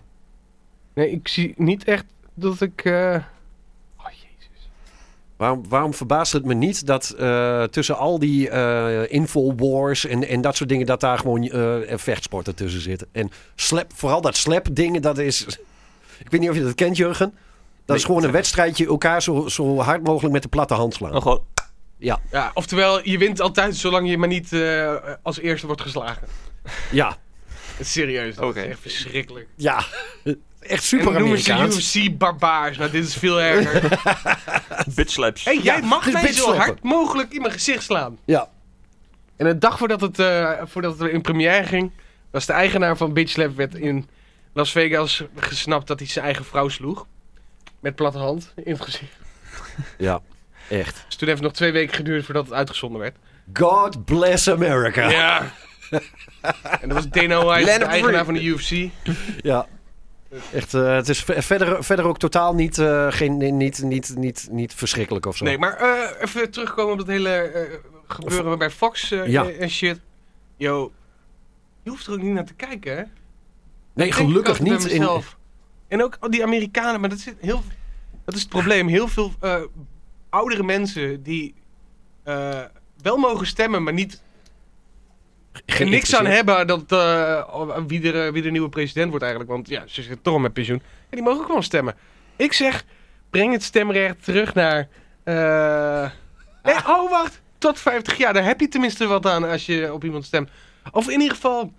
S4: Nee, ik zie niet echt dat ik. eh, Oh jezus.
S5: Waarom, waarom verbaast het me niet dat eh, tussen al die eh infowars en, en dat soort dingen, dat daar gewoon eh vechtsporten tussen zitten. En slap, vooral dat slap dingen, dat is... Ik weet niet of je dat kent, Jurgen. Dat is gewoon een wedstrijdje elkaar zo, zo hard mogelijk met de platte hand slaan.
S3: Oh, gewoon-
S4: Ja, oftewel, je wint altijd zolang je maar niet eh, als eerste wordt geslagen.
S5: Ja,
S4: Serieus. Dat
S3: Oké.
S4: is echt verschrikkelijk.
S5: ja. Echt
S4: En
S5: super
S4: dan noemen ze
S5: Amerikaans.
S4: UFC barbaars. Nou, dit is veel erger. Hé,
S3: bitch slaps.
S4: hey, jij
S5: Ja,
S4: mag
S5: dus
S4: mij zo
S5: bitchslappen.
S4: hard mogelijk in mijn gezicht slaan.
S5: Ja.
S4: En een dag voordat het, eh, voordat het in première ging, was de eigenaar van Bitch Lab werd in Las Vegas gesnapt dat hij zijn eigen vrouw sloeg. Met platte hand in het gezicht.
S5: Ja, echt.
S4: Dus toen heeft het nog twee weken geduurd voordat het uitgezonden werd.
S5: God bless America. Ja.
S4: en dat was Dana White,
S3: Let
S4: de
S3: him free.
S4: eigenaar van de UFC.
S5: Echt, eh, het is ve- verder, verder ook totaal niet, eh, geen, niet, niet, niet, niet, niet verschrikkelijk of zo.
S4: Nee, maar eh, even terugkomen op dat hele eh, gebeuren bij Fox eh,
S5: Ja.
S4: en shit. Yo, je hoeft er ook niet naar te kijken, hè?
S5: nee
S4: Ik denk
S5: gelukkig
S4: altijd bij
S5: niet. In,
S4: mezelf. En ook al die Amerikanen, maar dat is, heel, dat is het probleem. Heel veel eh, oudere mensen die eh, wel mogen stemmen, maar niet niks aan hebben dat, eh, wie, er, eh, wie de nieuwe president wordt eigenlijk. Want ja, ze zitten toch al met pensioen. En die mogen ook gewoon stemmen. Ik zeg, breng het stemrecht terug naar... eh, Nee, oh wacht. Tot 50 jaar. Daar heb je tenminste wat aan als je op iemand stemt. Of in ieder geval...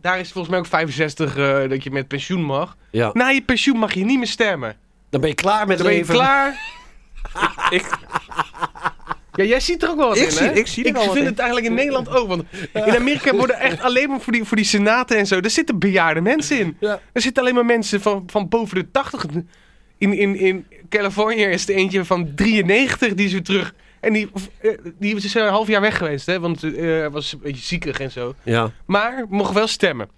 S4: Daar is volgens mij ook 65 eh, dat je met pensioen mag.
S5: Ja.
S4: Na je pensioen mag je niet meer stemmen.
S5: Dan ben je klaar met
S4: Dan ben je
S5: leven.
S4: klaar.
S3: Ik,
S4: Ja, jij ziet er ook wel wat
S3: ik,
S4: in,
S3: zie,
S4: hè?
S3: ik zie er
S4: Ik
S3: wel wat
S4: vind
S3: in.
S4: het eigenlijk in Nederland ook. Want in Amerika worden echt alleen maar voor die, voor die senaten en zo. Daar zitten bejaarde mensen in.
S5: Ja.
S4: Er zitten alleen maar mensen van, van boven de 80. In, in, in Californië is er eentje van 93 die is weer terug. En die, eh, die is een half jaar weg geweest, hè? Want eh, hij was een beetje ziekig en zo.
S5: Ja.
S4: Maar mocht wel stemmen.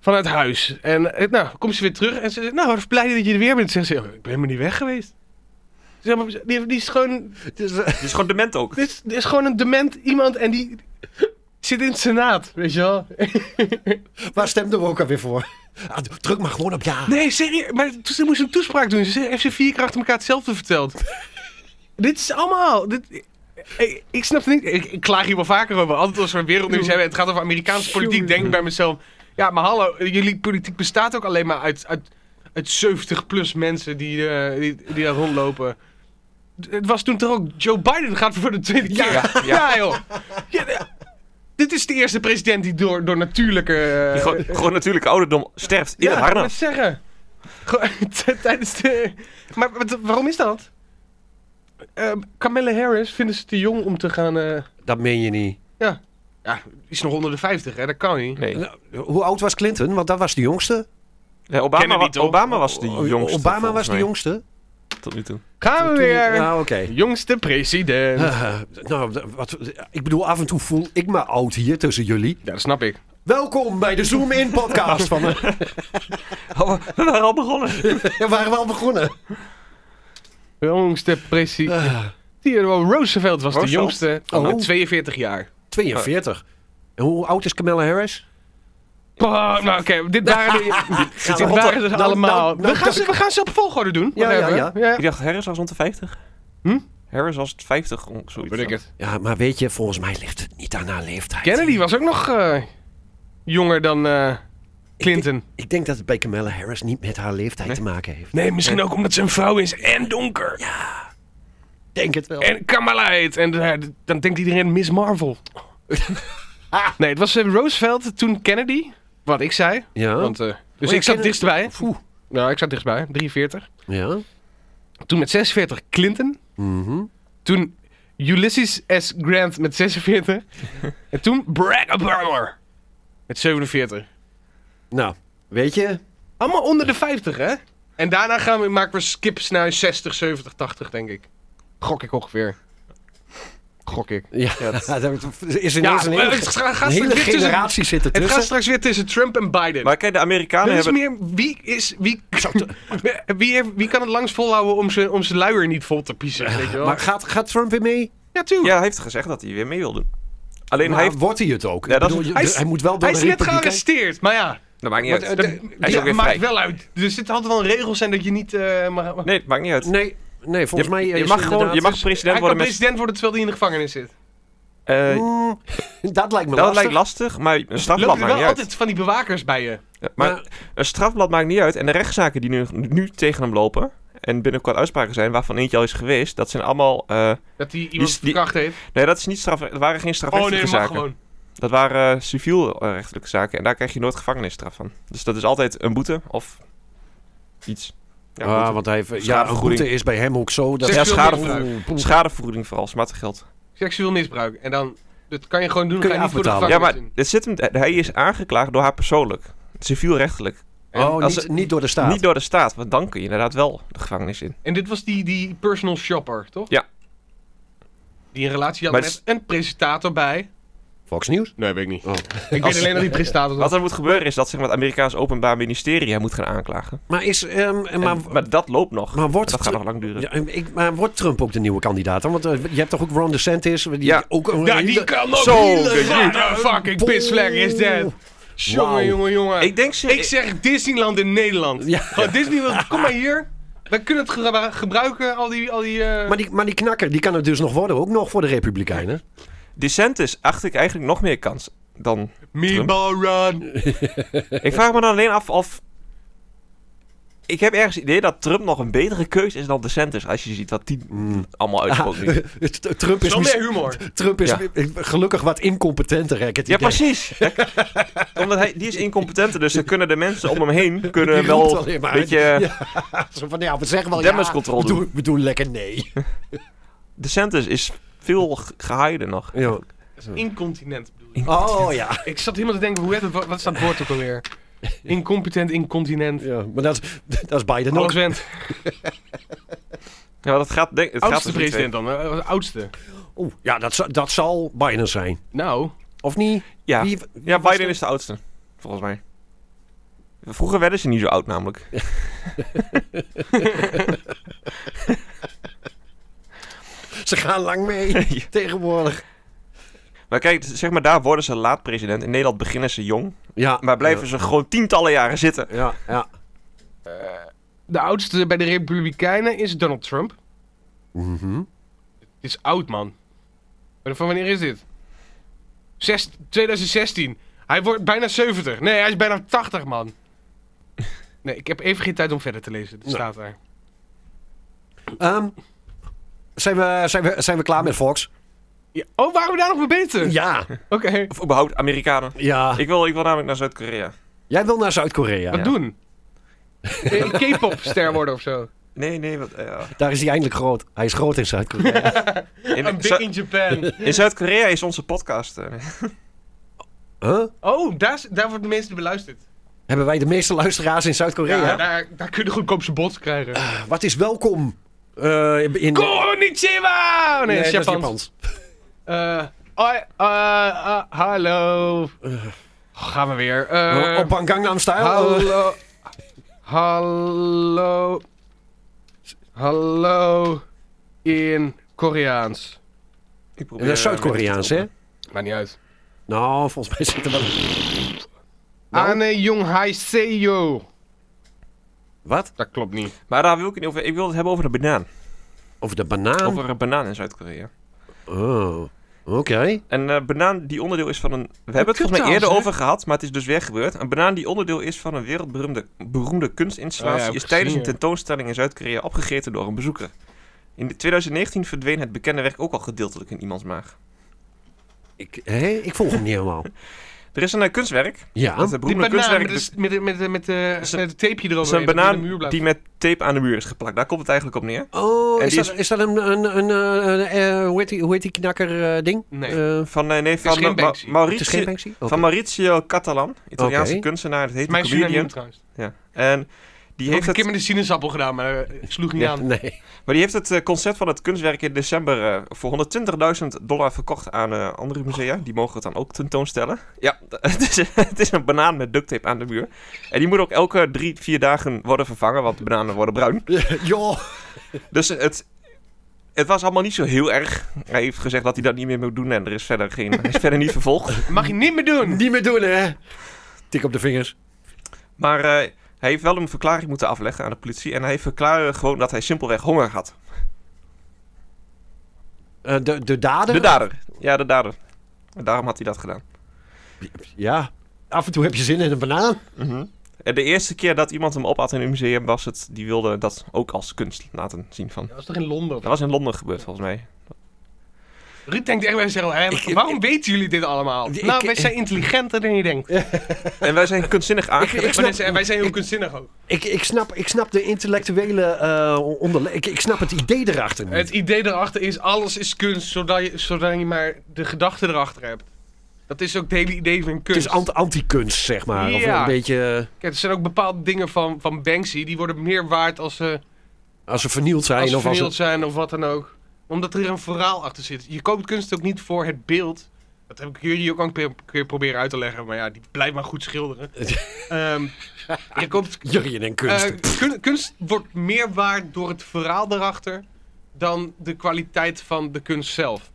S4: Vanuit huis. En eh, nou, komt ze weer terug en ze zegt, nou, wat blij dat je er weer bent. Zegt ze, "Ja, ik ben helemaal niet weg geweest. Ze is helemaal- Die, die is gewoon
S3: Het is eh, gewoon dement ook.
S4: dit is, dit is gewoon een dement iemand en die zit in het senaat, weet je wel.
S5: Waar stemden we ook alweer voor? Ah, druk maar gewoon op ja.
S4: Nee, serieus, maar toen ze moest een toespraak doen. Ze zei- heeft ze vier keer achter elkaar hetzelfde verteld. dit is allemaal... Dit, ik, ik snap het niet. Ik, ik klaag hier wel vaker over. Altijd als we een wereldnieuws hebben en het gaat over Amerikaanse politiek, denk ik bij mezelf... Ja, maar hallo, jullie politiek bestaat ook alleen maar uit, uit, uit 70 plus mensen die, eh, die, die daar rondlopen. Het was toen toch ook Joe Biden gaat voor de tweede keer. Ja, joh. Ja, de- dit is de eerste president die door, door natuurlijke... eh,
S3: Die gewoon, gewoon natuurlijk ouderdom sterft in
S4: ja,
S3: het
S4: ik wou
S3: harnas.
S4: het zeggen. Gewoon t- Tijdens de... Maar wat- waarom is dat? Eh Kamala Harris vinden ze te jong om te gaan... eh,
S5: Dat meen je niet.
S4: Ja, die is nog onder de 50, hè? Dat kan niet.
S3: Nee.
S5: Nou, Hoe oud was Clinton? Want dat was de jongste.
S3: Ja, Obama,
S4: Kennedy
S3: wa-
S4: toch?
S3: Obama was de
S5: O-
S3: jongste.
S5: Obama
S3: volgens
S5: was de
S3: mij,
S5: jongste.
S3: Tot nu toe.
S4: Gaan we weer!
S5: Nou, oké.
S4: Jongste president.
S5: Eh, nou, d- wat, ik bedoel, af en toe voel ik me oud hier tussen jullie.
S4: Ja, dat snap ik.
S5: Welkom bij de Zoom In podcast. Van, eh,
S3: Oh, we waren al begonnen.
S5: we waren wel begonnen.
S4: Jongste president. Theodore Roosevelt was de
S3: Roosevelt?
S4: jongste.
S5: Oh.
S4: Nou, 42 jaar.
S5: 42.
S4: Oh.
S5: En hoe oud is Kamala Harris?
S4: Bah, nou, oké. Dit waren, de, dit
S5: nou,
S4: waren ze
S5: nou,
S4: allemaal.
S5: nou, nou,
S4: we, gaan ze, we gaan ze op volgorde doen.
S5: Ja, ja,
S4: Whatever.
S5: ja.
S4: ja.
S3: Ik dacht, Harris was rond de 50.
S4: Hm?
S3: Harris was 50, on- zoiets.
S4: Weet ik het.
S5: Ja, maar weet je, volgens mij ligt het niet aan haar leeftijd.
S4: Kennedy was ook nog eh, jonger dan eh, Clinton.
S5: Ik denk dat het bij Kamala Harris niet met haar leeftijd te maken heeft.
S4: Nee, misschien ook omdat ze een vrouw is en donker.
S5: Ik denk het wel.
S4: En Kamala heet. En eh, d- dan denkt iedereen Miss Marvel. nee, het was eh, Roosevelt, toen Kennedy. Wat ik zei.
S5: Ja?
S4: Want, eh, dus
S5: Oh,
S4: ik zat
S5: Kennedy-
S4: dichtstbij.
S5: Oeh.
S4: Nou, ik zat dichtstbij. 43.
S5: Ja?
S4: Toen met 46 Clinton.
S5: Mhm.
S4: Toen Ulysses S. Grant met 46. en toen Barack Obama met 47.
S5: Nou, weet je...
S4: Allemaal onder de 50, hè? En daarna gaan we, maken we skips naar 60, 70, 80, denk ik. Gok ik ongeveer. Gok ik.
S5: Ja, dat is ineens een
S4: maar
S5: hele,
S4: het gaat
S5: een
S4: straks
S5: hele
S4: weer tussen-
S5: generatie zit
S4: Het
S5: ertussen.
S4: gaat straks weer tussen Trump en Biden.
S3: Maar kijk, de Amerikanen
S4: er is
S3: hebben...
S4: meer, wie is, wie, wie, heeft- wie kan het langst volhouden om zijn om zijn luier niet vol te piezen, weet je wel?
S5: Maar gaat, gaat Trump weer mee?
S4: ja, tuurlijk.
S3: Ja, hij heeft gezegd dat hij weer mee wil doen. Alleen
S5: Maar
S3: hij heeft...
S5: wordt hij het ook?
S3: Ja,
S5: Ik
S3: dat is-
S5: je-
S4: hij
S5: de-
S4: is-
S5: hij moet wel door
S4: Hij is
S5: de
S4: net
S5: Republikein-
S4: gearresteerd, maar ja.
S3: Dat maakt niet
S4: Want,
S3: uit.
S4: eh,
S3: hij is
S4: ja,
S3: ook weer
S4: maakt
S3: vrij.
S4: wel uit. Er zitten altijd wel regels zijn dat je niet... eh, mag, Dus
S3: Nee, het maakt niet uit.
S5: Nee, nee volgens mij
S3: je,
S5: is
S3: je mag gewoon, je
S5: inderdaad-
S3: mag president
S4: hij kan
S3: worden met...
S4: president worden terwijl hij in de gevangenis zit.
S3: eh,
S5: Mm, dat lijkt me
S3: dat
S5: lastig.
S3: lijkt lastig, maar een strafblad
S4: Lopen er
S3: maakt niet
S4: wel
S3: uit.
S4: altijd van die bewakers bij je.
S3: Ja, Maar een strafblad maakt niet uit. En de rechtszaken die nu, nu tegen hem lopen... en binnenkort uitspraken zijn, waarvan eentje al is geweest... dat zijn allemaal... eh,
S4: Dat hij
S3: is
S4: iemand
S3: die-
S4: verkracht heeft.
S3: nee, dat, is niet straf, dat waren geen
S4: Oh
S3: strafrechtelijke
S4: nee, mag
S3: zaken.
S4: gewoon.
S3: Dat waren civielrechtelijke zaken en daar krijg je nooit gevangenisstraf van. Dus dat is altijd een boete of iets. Ja,
S5: Ja,
S3: boete.
S5: Ah, want hij heeft, ja, een
S3: Schadevergoeding.
S5: boete is bij hem ook zo. Dat
S4: Zeg,
S3: Ja,
S4: veel
S3: schadevergoeding. Schadevergoeding vooral, smartengeld.
S4: Seksueel misbruik. En dan, dat kan je gewoon doen.
S5: Kun
S4: ga
S5: je
S4: je niet voor de
S5: afbetalen.
S3: Ja,
S4: gevangenis
S3: maar
S4: in.
S3: dit zit hem, hij is aangeklaagd door haar persoonlijk. Civielrechtelijk. als
S5: oh, niet,
S3: het-
S5: niet door de staat.
S3: Niet door de staat, want dan kun je inderdaad wel de gevangenis in.
S4: En dit was die, die personal shopper, toch?
S3: Ja.
S4: Die een relatie had
S3: Maar
S4: met
S3: het
S4: een presentator bij.
S5: Fox News?
S4: Nee, weet ik niet.
S5: Oh.
S4: Ik weet alleen dat die presentator
S3: Wat
S4: was.
S3: er moet gebeuren is dat zeg maar, het Amerikaans Openbaar Ministerie hem moet gaan aanklagen.
S5: Maar, is, ehm, en
S3: En-
S5: maar,
S3: maar, dat loopt nog.
S5: maar wordt
S3: dat gaat
S5: Tru-
S3: nog lang duren.
S5: ja, ik, maar wordt Trump ook de nieuwe kandidaat? dan? Want eh, je hebt toch ook Ron DeSantis? Die
S3: Ja.
S5: ook een
S4: Ja,
S5: hele-
S4: die kan nog
S3: Zo,
S4: niet.
S3: dat is niet.
S4: What the nou, fucking pisvlek is dat? Jongen,
S5: Wauw.
S4: jongen, jongen.
S3: Ik denk ze...
S4: Ik zeg Disneyland in Nederland.
S5: Ja.
S4: Gewoon Disneyland, kom maar hier. We kunnen het gebru- gebruiken, al die... Al die eh,
S5: Maar die, maar die knakker, die kan het dus nog worden, ook nog voor de Republikeinen.
S3: DeSantis acht ik eigenlijk nog meer kans dan...
S4: Meatball run.
S3: Ik vraag me dan alleen af of... Ik heb ergens het idee dat Trump nog een betere keuze is dan DeSantis. Als je ziet wat die
S5: Hmm.
S3: allemaal uitspot nu.
S5: Trump is,
S4: Zo meer
S5: mis-
S4: humor.
S5: Trump is
S3: Ja.
S5: gelukkig wat incompetenter, heb ik het
S3: Ja,
S5: idee.
S3: precies. Omdat hij, die is incompetent, dus dan kunnen de mensen om hem heen kunnen
S5: Die roept
S3: wel
S5: alleen
S3: een
S5: maar.
S3: beetje...
S5: Zo van, ja, we zeggen wel
S3: Damage
S5: ja,
S3: control
S5: we doen, we doen lekker nee.
S3: DeSantis is veel ge- geheider nog.
S5: Ja.
S4: Incontinent bedoel ik.
S5: Oh ja.
S4: Ik zat helemaal te denken, hoe heet het, wat, wat is dat woord ook alweer? Incompetent, incontinent.
S5: ja, maar dat, is- dat is Biden ook.
S4: Alles went.
S3: Ja, maar dat gaat... Denk, het
S4: Oudste
S3: gaat dus niet
S4: president dan, hè? oudste.
S5: Oeh, ja, dat, zal- dat zal Biden zijn.
S4: Nou,
S5: Of niet?
S3: twee. Ja,
S5: Wie-
S3: ja
S5: was
S3: Biden
S5: er-
S3: is de oudste, volgens mij. Vroeger werden ze niet zo oud namelijk.
S5: Ze gaan lang mee. tegenwoordig.
S3: Maar kijk, zeg maar, daar worden ze laat president. In Nederland beginnen ze jong.
S5: Ja.
S3: Maar blijven ze gewoon tientallen jaren zitten.
S5: Ja, ja.
S4: de oudste bij de Republikeinen is Donald Trump.
S5: Mhm.
S4: Dit is oud, man. Maar Van wanneer is dit? Zes- 2016. Hij wordt bijna 70. Nee, hij is bijna 80, man. Nee, ik heb even geen tijd om verder te lezen. Het
S5: Nee.
S4: staat daar.
S5: Ehm, zijn, we, zijn, we, zijn we klaar met Fox?
S4: Ja. Oh, waren we daar nog mee beter?
S5: Ja.
S4: Oké.
S3: Of überhaupt Amerikanen.
S5: ja.
S3: Ik wil, ik wil namelijk naar Zuid-Korea.
S5: Jij wil naar Zuid-Korea.
S4: Wat doen? Eh, K-pop-ster worden of zo.
S3: Nee, nee. Wat, eh, ja.
S5: Daar is hij eindelijk groot. Hij is groot in Zuid-Korea.
S4: I'm
S3: in,
S4: big
S3: Zu-
S4: in Japan.
S3: in Zuid-Korea is onze podcast. eh,
S5: huh?
S4: Oh, daar, is- daar wordt de meeste beluisterd.
S5: Hebben wij de meeste luisteraars in Zuid-Korea?
S4: Ja, daar, daar kun je goedkoop zijn bots krijgen.
S5: Wat is welkom? Eh, in...
S4: Konnichiwa! Oh, nee, dat is
S5: dat
S4: Japans. Eh, oi, eh, eh, hallo. Oh, gaan we weer. Eh,
S5: Japans. Oh, Op een Gangnam Style? eh,
S4: hallo. Hallo. Hallo. In Koreaans.
S3: ik probeer,
S5: Dat is
S3: eh,
S5: Zuid-Koreaans, hè?
S4: Maakt niet uit.
S5: Nou, volgens mij zit er wel... Nou.
S4: Ane Jong Haiseyo.
S5: Wat?
S4: Dat klopt niet.
S3: Maar daar wil ik het niet over. Ik wil het hebben over de banaan.
S5: Over de banaan?
S3: Over een banaan in Zuid-Korea.
S5: Oh, oké.
S3: Een eh, banaan die onderdeel is van een. We hebben het volgens mij
S4: kuttaal,
S3: eerder
S4: zeg.
S3: over gehad, maar het is dus weer gebeurd. Een banaan die onderdeel is van een wereldberoemde beroemde kunstinstallatie.
S4: Oh ja, heb
S3: is
S4: ik
S3: tijdens
S4: gezien,
S3: een
S4: ja.
S3: tentoonstelling in Zuid-Korea opgegeten door een bezoeker. In de- 2019 verdween het bekende werk ook al gedeeltelijk in iemands maag.
S5: Ik, hé, ik volg hem niet helemaal.
S3: Er is een eh, kunstwerk.
S5: Ja.
S3: Dat is een
S4: Die
S3: beroemde
S4: banaan dus
S3: kunstwerk.
S4: met, de s- met, de- met, de- met, de-
S3: Is een-
S4: met het tapeje erover.
S3: Het is een banaan die met tape aan de muur is geplakt. Daar komt het eigenlijk op neer.
S5: Oh,
S3: En
S5: is
S3: die
S5: dat, is... dat een... een, een, eh, eh, hoe, heet die, hoe heet die knakker eh, ding?
S4: Nee.
S5: Eh,
S3: Van, eh, nee,
S4: is
S3: van,
S4: geen
S3: eh, Ma-
S4: Banksy.
S5: het is
S3: Mauricio,
S5: geen pensie? Oké.
S3: van Maurizio Catalan, Italiaanse
S5: Oké.
S3: kunstenaar. Dat heet
S4: Mijn
S3: een comedian.
S4: synoniem trouwens.
S3: Ja. En die
S4: Ik heb
S3: heeft
S4: een
S3: het
S4: keer met een sinaasappel gedaan, maar eh, ik sloeg niet
S5: Ja,
S4: aan.
S5: nee.
S3: Maar die heeft het eh, concept van het kunstwerk in december eh, voor 120.000 dollar verkocht aan eh, andere musea. Die mogen het dan ook tentoonstellen. Ja, het is, het is een banaan met duct tape aan de muur. En die moet ook elke drie, vier dagen worden vervangen, want de bananen worden bruin.
S5: Joh.
S3: Dus het, het was allemaal niet zo heel erg. Hij heeft gezegd dat hij dat niet meer moet doen en er is verder, geen, hij is verder niet vervolgd.
S4: Mag je niet meer doen.
S5: Niet meer doen, hè? Tik op de vingers.
S3: Maar eh, hij heeft wel een verklaring moeten afleggen aan de politie. En hij verklaarde gewoon dat hij simpelweg honger had.
S5: Eh, de, de dader?
S3: De dader. Ja, de dader. En daarom had hij dat gedaan.
S5: Ja. Af en toe heb je zin in een banaan.
S3: Mhm. En de eerste keer dat iemand hem opat in een museum was het, die wilde dat ook als kunst laten zien van.
S4: Dat was toch in Londen?
S3: Dat was in Londen gebeurd volgens mij.
S4: Ruud denkt echt bij zichzelf, hè,
S5: Ik-
S4: waarom weten jullie dit allemaal?
S5: Ik-
S4: nou,
S5: ik-
S4: wij zijn intelligenter dan je denkt.
S3: En wij zijn kunstzinnig aangegeven.
S5: Ik
S4: Maar
S5: snap,
S4: dit- en wij zijn heel kunstzinnig ook.
S5: ik, ik snap, ik snap de intellectuele eh onderle... Ik, ik snap het idee erachter niet.
S4: Het idee erachter is, alles is kunst, zodat je, zodat je maar de gedachte erachter hebt. Dat is ook het hele idee van
S5: Het
S4: kunst.
S5: is ant- anti-kunst, zeg maar. Of
S4: Ja.
S5: een beetje...
S4: Kijk, er zijn ook bepaalde dingen van, van Banksy, die worden meer waard als eh, ze,
S5: eh, Als ze vernield zijn
S4: als ze
S5: of als
S4: vernield
S5: ze...
S4: zijn of wat dan ook. Omdat er een verhaal achter zit. Je koopt kunst ook niet voor het beeld. Dat heb ik jullie ook al een keer- keer proberen uit te leggen, maar ja, die blijft maar goed schilderen. Ehm, je koopt
S5: Jurjen en kunst.
S4: Eh, kun- kunst wordt meer waard door het verhaal daarachter dan de kwaliteit van de kunst zelf.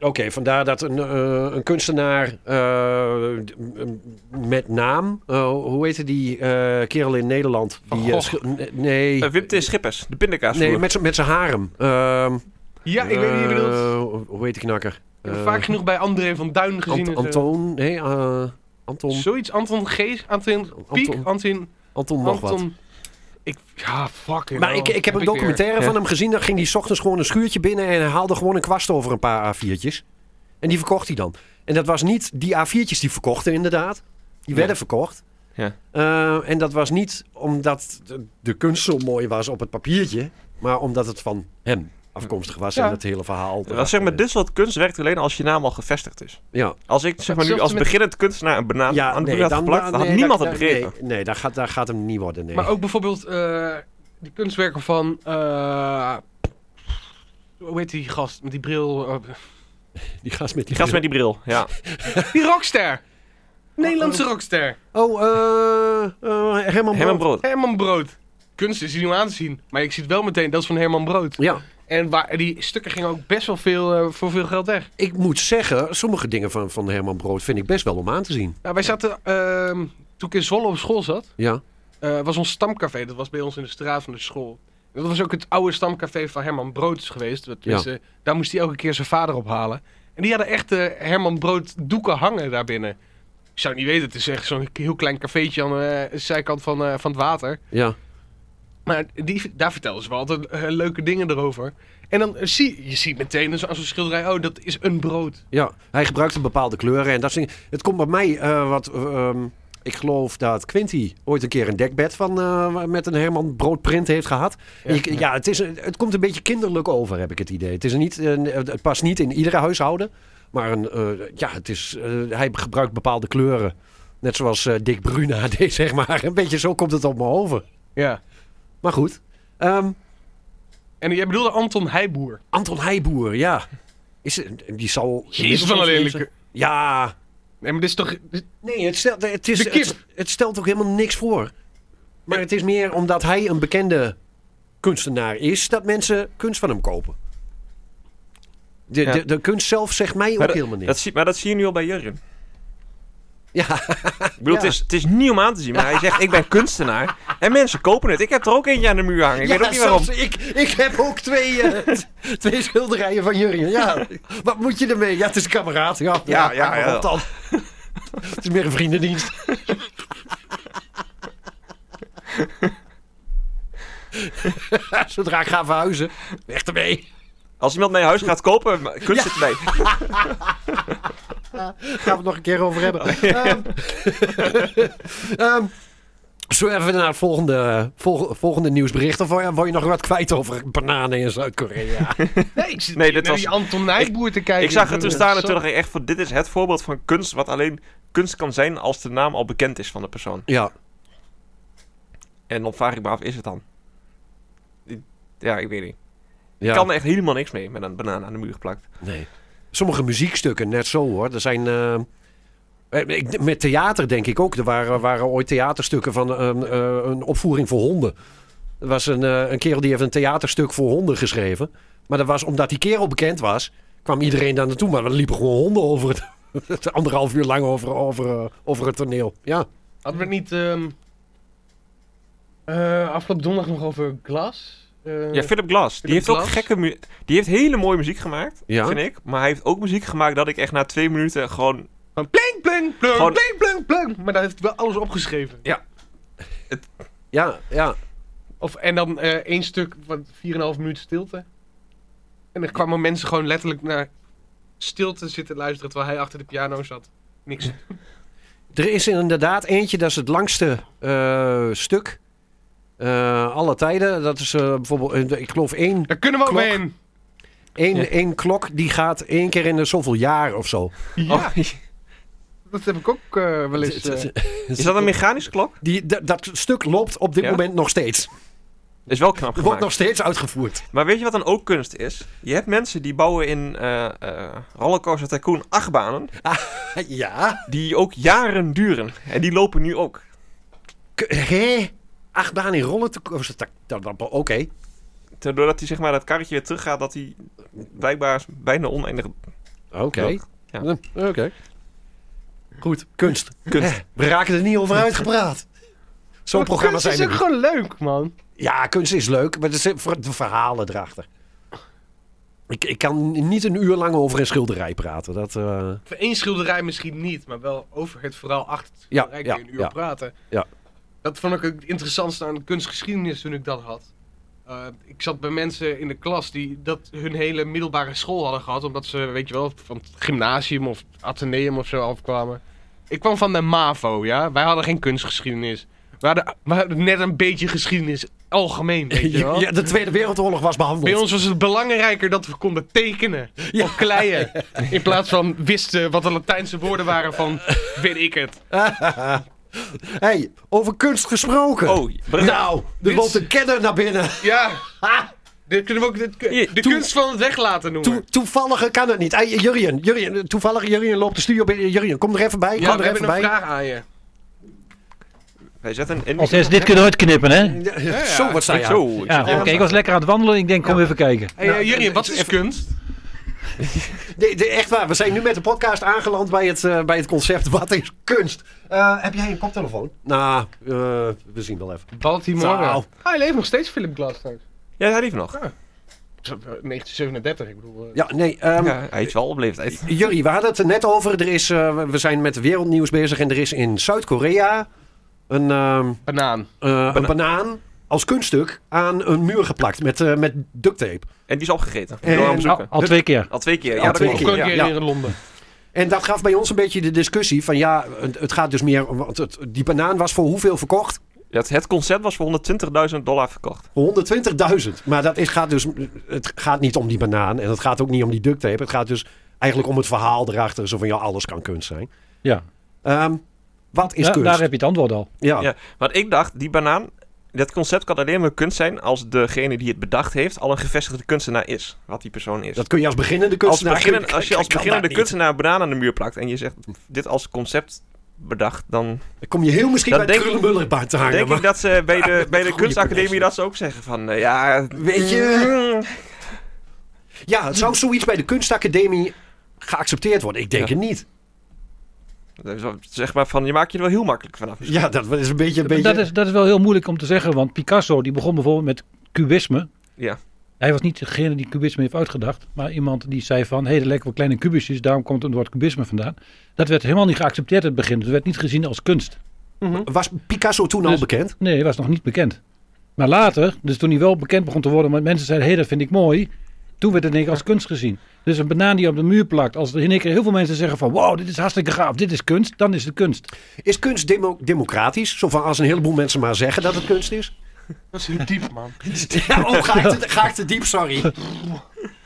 S5: Oké, vandaar dat een, eh, een kunstenaar eh, d- m- met naam... eh, hoe heette die eh, kerel in Nederland?
S4: Van
S5: Die, eh,
S4: Gogh.
S5: schil- n- nee,
S3: Eh, Wim T. Schippers, de pindakaas.
S5: nee met zijn harem. Ehm,
S4: Ja, ik weet niet wie je bedoelt.
S5: eh, hoe heet die knakker?
S4: Ik heb
S5: Eh,
S4: vaak genoeg bij André van Duin gezien. eh,
S5: Ant-
S4: en zo.
S5: Anton, nee, eh, Anton,
S4: Zoiets, Anton Gees, Anton Piek,
S5: Anton-
S4: Anton... Anton,
S5: Anton nog wat.
S4: Ik, ja, fucking
S5: Maar
S4: hell.
S5: ik, ik heb een
S4: weer.
S5: documentaire
S4: Ja.
S5: van hem gezien. Dan ging hij 's ochtends gewoon een schuurtje binnen en hij haalde gewoon een kwast over een paar A4'tjes. En die verkocht hij dan. En dat was niet die A4'tjes die verkochten, inderdaad.
S3: Ja.
S5: Die werden verkocht.
S3: Ja.
S5: Eh, en dat was niet omdat de, de kunst zo mooi was op het papiertje, maar omdat het van hem afkomstig was
S4: Ja.
S5: en het hele verhaal.
S3: Dat zeg maar, dus dit soort kunst werkt alleen als je naam al gevestigd is.
S5: Ja,
S3: Als ik zeg maar, nu
S4: Hetzelfde
S3: als
S4: met-
S3: beginnend kunstenaar een banaan
S5: ja
S3: aan de muur had geplakt, dan had
S5: nee,
S3: niemand
S5: daar-
S3: het
S5: daar-
S3: begrepen.
S5: Nee, nee daar, gaat, daar gaat hem niet worden. Nee.
S4: Maar ook bijvoorbeeld eh, die kunstwerken van... eh, hoe heet die gast met die bril? eh,
S5: die gast met die.
S3: Die gast met die bril, ja.
S4: die rockster! Nederlandse rockster.
S5: Oh, eh eh Herman,
S3: Herman
S5: Brood.
S3: Brood.
S4: Herman Brood. Kunst is niet om aan te zien. Maar ik zie het wel meteen, dat is van Herman Brood.
S5: Ja,
S4: En waar, die stukken gingen ook best wel veel, eh, voor veel geld weg.
S5: Ik moet zeggen, sommige dingen van, van Herman Brood vind ik best wel om aan te zien.
S4: Nou, wij zaten, ehm, toen ik in Zwolle op school zat,
S5: Ja.
S4: eh, was ons stamcafé. Dat was bij ons in de straat van de school. En dat was ook het oude stamcafé van Herman Brood geweest. Wat- Tenminste, daar moest hij elke keer zijn vader ophalen. En die hadden echt eh, Herman Brood doeken hangen daarbinnen. Ik zou het niet weten, het is echt zo'n heel klein cafeetje aan eh, de zijkant van, eh, van het water.
S5: Ja.
S4: Maar die, daar vertelden ze wel altijd eh, leuke dingen erover. En dan eh, zie je ziet meteen dus aan zo'n schilderij, oh, dat is een brood.
S5: ja. Hij gebruikt een bepaalde kleuren en dat soort dingen. Het komt bij mij eh, wat... eh, ehm, ik geloof dat Quinty ooit een keer een dekbed van, eh, met een Herman Brood print heeft gehad. Ja, ik, ja het, is, een- het komt een beetje kinderlijk over, heb ik het idee. Het, is niet, een- het past niet in iedere huishouden. Maar een, eh, ja, het is, eh, hij gebruikt bepaalde kleuren. Net zoals eh, Dick Bruna deed, zeg maar. Een beetje zo komt het op me over.
S4: Ja.
S5: Maar goed. Ehm,
S4: En jij bedoelde Anton Heijboer.
S5: Anton Heijboer, ja. Is, het- die zal...
S4: Jezus, wel een lelijke.
S5: Ja.
S4: Nee, maar dit is toch... dit-
S5: Nee, het stelt, het, is,
S4: De kip.
S5: het, het stelt ook helemaal niks voor. Maar het is meer omdat hij een bekende kunstenaar is... dat mensen kunst van hem kopen. De,
S3: Ja.
S5: de, de kunst zelf zegt mij ook
S3: Maar, dat-
S5: helemaal niks.
S3: dat zie, maar dat zie je nu al bij Jurgen.
S5: Ja.
S3: Ik bedoel,
S5: Ja.
S3: het, is, het is niet om aan te zien, maar hij zegt, ik ben kunstenaar. En mensen kopen het. Ik heb er ook eentje aan de muur hangen. Ik weet ook niet waarom.
S5: zelfs Ik, ik heb ook twee, eh, twee schilderijen van Jurgen. Ja. Wat moet je ermee? Ja, het is een kameraad. Ja,
S3: Ja, ja,
S5: maar
S3: ja.
S5: wat dan? het is meer een vriendendienst. Zodra ik ga verhuizen, weg ermee.
S3: Als iemand mijn huis gaat kopen, ma- kunst het mee.
S5: Daar gaan we het nog een keer over hebben. Ehm, ehm, zo even naar het volgende, volg- volgende nieuwsbericht. Of wil je- wil je nog wat kwijt over bananen in Zuid-Korea?
S4: Nee, ik
S3: Nee,
S4: zit nee,
S3: dit
S4: naar
S3: was-
S4: die Anton Nijboer te kijken.
S3: Ik zag het toen staan en
S4: Zo-
S3: toen dacht ik echt van, dit is het voorbeeld van kunst wat alleen kunst kan zijn als de naam al bekend is van de persoon.
S5: ja,
S3: En dan vraag ik me af, is het dan? Ja, ik weet niet.
S5: ja.
S3: Ik kan er echt helemaal niks mee met een banaan aan de muur geplakt.
S5: Nee. Sommige muziekstukken net zo hoor. Er zijn. eh, eh, ik- met theater denk ik ook. Er waren, waren ooit theaterstukken van ehm, eh, een opvoering voor honden. Er was een, eh, een kerel die heeft een theaterstuk voor honden geschreven. Maar dat was omdat die kerel bekend was, kwam iedereen daar naartoe. Maar er liepen gewoon honden over het. het Anderhalf uur lang over, over, eh, over het toneel. Ja.
S4: Hadden we het niet ehm, eh, afgelopen donderdag nog over Glas? Eh,
S3: Ja, Philip Glass. die
S4: Philip
S3: heeft ook
S4: Glass?
S3: gekke mu- Die heeft hele mooie muziek gemaakt,
S5: Ja.
S3: vind ik. Maar hij heeft ook muziek gemaakt dat ik echt na twee minuten gewoon...
S4: Van pling, pling, pling,
S3: Gewoon-
S4: pling, pling, pling. Maar daar heeft hij wel alles opgeschreven.
S5: Ja, ja.
S4: Of, en dan eh, één stuk van 4,5 minuten stilte. En dan kwamen mensen gewoon letterlijk naar stilte zitten luisteren terwijl hij achter de piano zat. Niks.
S5: Er is inderdaad eentje, dat is het langste eh, stuk. eh alle tijden. Dat is eh, bijvoorbeeld, eh, ik geloof één
S4: Daar kunnen we ook
S5: Klok.
S4: mee in.
S5: Eén,
S3: Ja.
S5: één klok die gaat één keer in de zoveel jaar of zo.
S4: Ja,
S3: Oh,
S4: dat heb ik ook eh, wel eens. eh,
S3: is dat een mechanische klok?
S5: Die, dat- dat stuk loopt op dit
S3: Ja?
S5: moment nog steeds.
S3: Is wel knap
S5: Wordt
S3: gemaakt.
S5: nog steeds uitgevoerd.
S3: Maar weet je wat dan ook kunst is? Je hebt mensen die bouwen in eh, eh, Rollercoaster Tycoon achtbanen...
S5: Ja.
S3: die ook jaren duren. En die lopen nu ook.
S5: K- Hé? Acht baan in rollen te oh, dat- dat- dat- Oké.
S3: Te- Doordat hij zeg maar dat karretje weer teruggaat, dat hij blijkbaar bijna oneindig
S5: Oké.
S3: Ja.
S5: Hm, Oké. Goed. Kunst.
S3: kunst.
S5: We raken er niet over uitgepraat. Zo'n
S4: maar
S5: programma
S4: kunst
S5: zijn
S4: is
S5: er
S4: ook
S5: niet.
S4: gewoon leuk, man.
S5: Ja, kunst is leuk, maar er zitten ver- de verhalen erachter. Ik, ik kan niet een uur lang over een schilderij praten. Dat, eh,
S4: Voor één schilderij misschien niet, maar wel over het verhaal achter het
S5: Ja,
S4: schilderij kun je
S5: ja,
S4: een uur
S5: ja.
S4: praten.
S5: Ja.
S4: Dat vond ik ook het interessantste aan de kunstgeschiedenis toen ik dat had. Eh, ik zat bij mensen in de klas die dat hun hele middelbare school hadden gehad, omdat ze, weet je wel, van het gymnasium of het atheneum of zo afkwamen. Ik kwam van de MAVO, ja. Wij hadden geen kunstgeschiedenis. We hadden, we hadden net een beetje geschiedenis, algemeen, weet je wel.
S5: ja, de Tweede Wereldoorlog was behandeld.
S4: Bij ons was het belangrijker dat we konden tekenen of kleien. In plaats van wisten wat de Latijnse woorden waren van weet ik het.
S5: hey, over kunst gesproken.
S3: Oh, Breda.
S5: nou, er
S4: dit-
S5: loopt een kenner naar binnen.
S4: Ja, dit kunnen we ook dit- de,
S5: Toen-
S4: kunst van het weg laten noemen.
S5: Toe, toevallige kan het niet. Hey, Jurjen, Jurjen, toevallig Jurjen loopt de studio binnen. Jurjen, kom er even bij.
S4: ja,
S5: kom
S4: we
S5: er
S4: hebben
S5: even
S4: een
S5: bij.
S4: vraag aan je.
S3: Wij zetten in.
S1: Als eerst, dit kunnen we uitknippen, hè?
S5: Ja,
S4: ja.
S5: Zo, wat zei je? Nou,
S3: Zo. ik
S1: Ja,
S3: zeg,
S1: oké, ik was lekker aan het wandelen. Ik denk, kom even kijken.
S4: Hey, eh, Jurjen, wat is kunst?
S5: Nee, nee, echt waar, we zijn nu met de podcast aangeland bij het, eh, bij het concept Wat is kunst? Eh, heb jij een koptelefoon? Nou, eh, we zien wel even. Nou.
S4: Baltimore. Hij leeft nog steeds Philip Glass thuis.
S3: Ja, hij lief nog.
S4: eh, 1937, ik bedoel. eh.
S5: Ja, nee. ehm
S3: Ja, hij is wel op leeftijd.
S5: Jurrie, we hadden het er net over. Er is, eh, we zijn met wereldnieuws bezig en er is in Zuid-Korea een, ehm,
S4: Banaan.
S5: eh, een banaan als kunststuk aan een muur geplakt met, eh, met duct tape.
S3: En die is opgegeten.
S5: En-
S3: Door hem
S1: Al,
S3: zoeken.
S1: al twee keer.
S3: Al twee keer. Ja,
S5: al
S3: dat
S5: twee
S3: klopt.
S5: keer.
S4: Ook een
S5: ja,
S4: keer
S5: ja.
S4: weer in Londen.
S5: En dat gaf bij ons een beetje de discussie van ja, het, het gaat dus meer, want het, die banaan was voor hoeveel verkocht?
S3: Ja, het- Het concert was voor 120.000 dollar verkocht.
S5: 120.000. Maar dat is, gaat dus, het gaat niet om die banaan en het gaat ook niet om die duct tape. Het gaat dus eigenlijk om het verhaal erachter, zo van ja, alles kan kunst zijn.
S1: Ja.
S5: Ehm, wat is
S1: Ja,
S5: kunst?
S1: daar heb je het antwoord al.
S5: ja.
S3: Ja, want ik dacht, die banaan, dat concept kan alleen maar kunst zijn als degene die het bedacht heeft al een gevestigde kunstenaar is. Wat die persoon is.
S5: Dat kun je als beginnende
S3: als,
S5: kunstenaar...
S3: beginnen-
S5: kun-
S3: als je als
S5: kan
S3: beginnende
S5: dat niet.
S3: kunstenaar een banaan aan de muur plakt en je zegt dit als concept bedacht, dan
S5: Dan kom je heel misschien
S3: Dan
S5: bij
S3: denk ik-
S5: Krullenbulligbaard te hangen.
S3: denk
S5: maar-
S3: ik dat ze bij de, bij de
S5: goede
S3: kunstacademie
S5: connectie.
S3: dat ze ook zeggen van eh, ja... mm,
S5: Weet je- Ja, het zou zoiets bij de kunstacademie geaccepteerd worden? Ik denk
S3: Ja.
S5: het niet.
S3: mm, Zeg maar van, je maakt je er wel heel makkelijk vanaf.
S5: Ja, dat is een beetje... Een beetje...
S1: Dat, is, dat is wel heel moeilijk om te zeggen, want Picasso die begon bijvoorbeeld met cubisme.
S3: Ja.
S1: Hij was niet degene die cubisme heeft uitgedacht, maar iemand die zei van, hé, hey, er lijken wel kleine kubusjes, daarom komt het woord cubisme vandaan. Dat werd helemaal niet geaccepteerd in het begin. Dat werd niet gezien als kunst.
S5: Was Picasso toen al
S1: Dus-
S5: bekend?
S1: Nee, hij was nog niet bekend. Maar later, dus toen hij wel bekend begon te worden, maar mensen zeiden, hé, dat vind ik mooi. Toen werd het in één keer als kunst gezien. Dus een banaan die op de muur plakt, als er in één keer heel veel mensen zeggen van, wauw, dit is hartstikke gaaf, dit is kunst, dan is het kunst.
S5: Is kunst demo- democratisch? Zo van als een heleboel mensen maar zeggen dat het kunst is?
S4: Dat is heel diep, man.
S5: Ja, oh, ga ik te, ga ik te diep, sorry.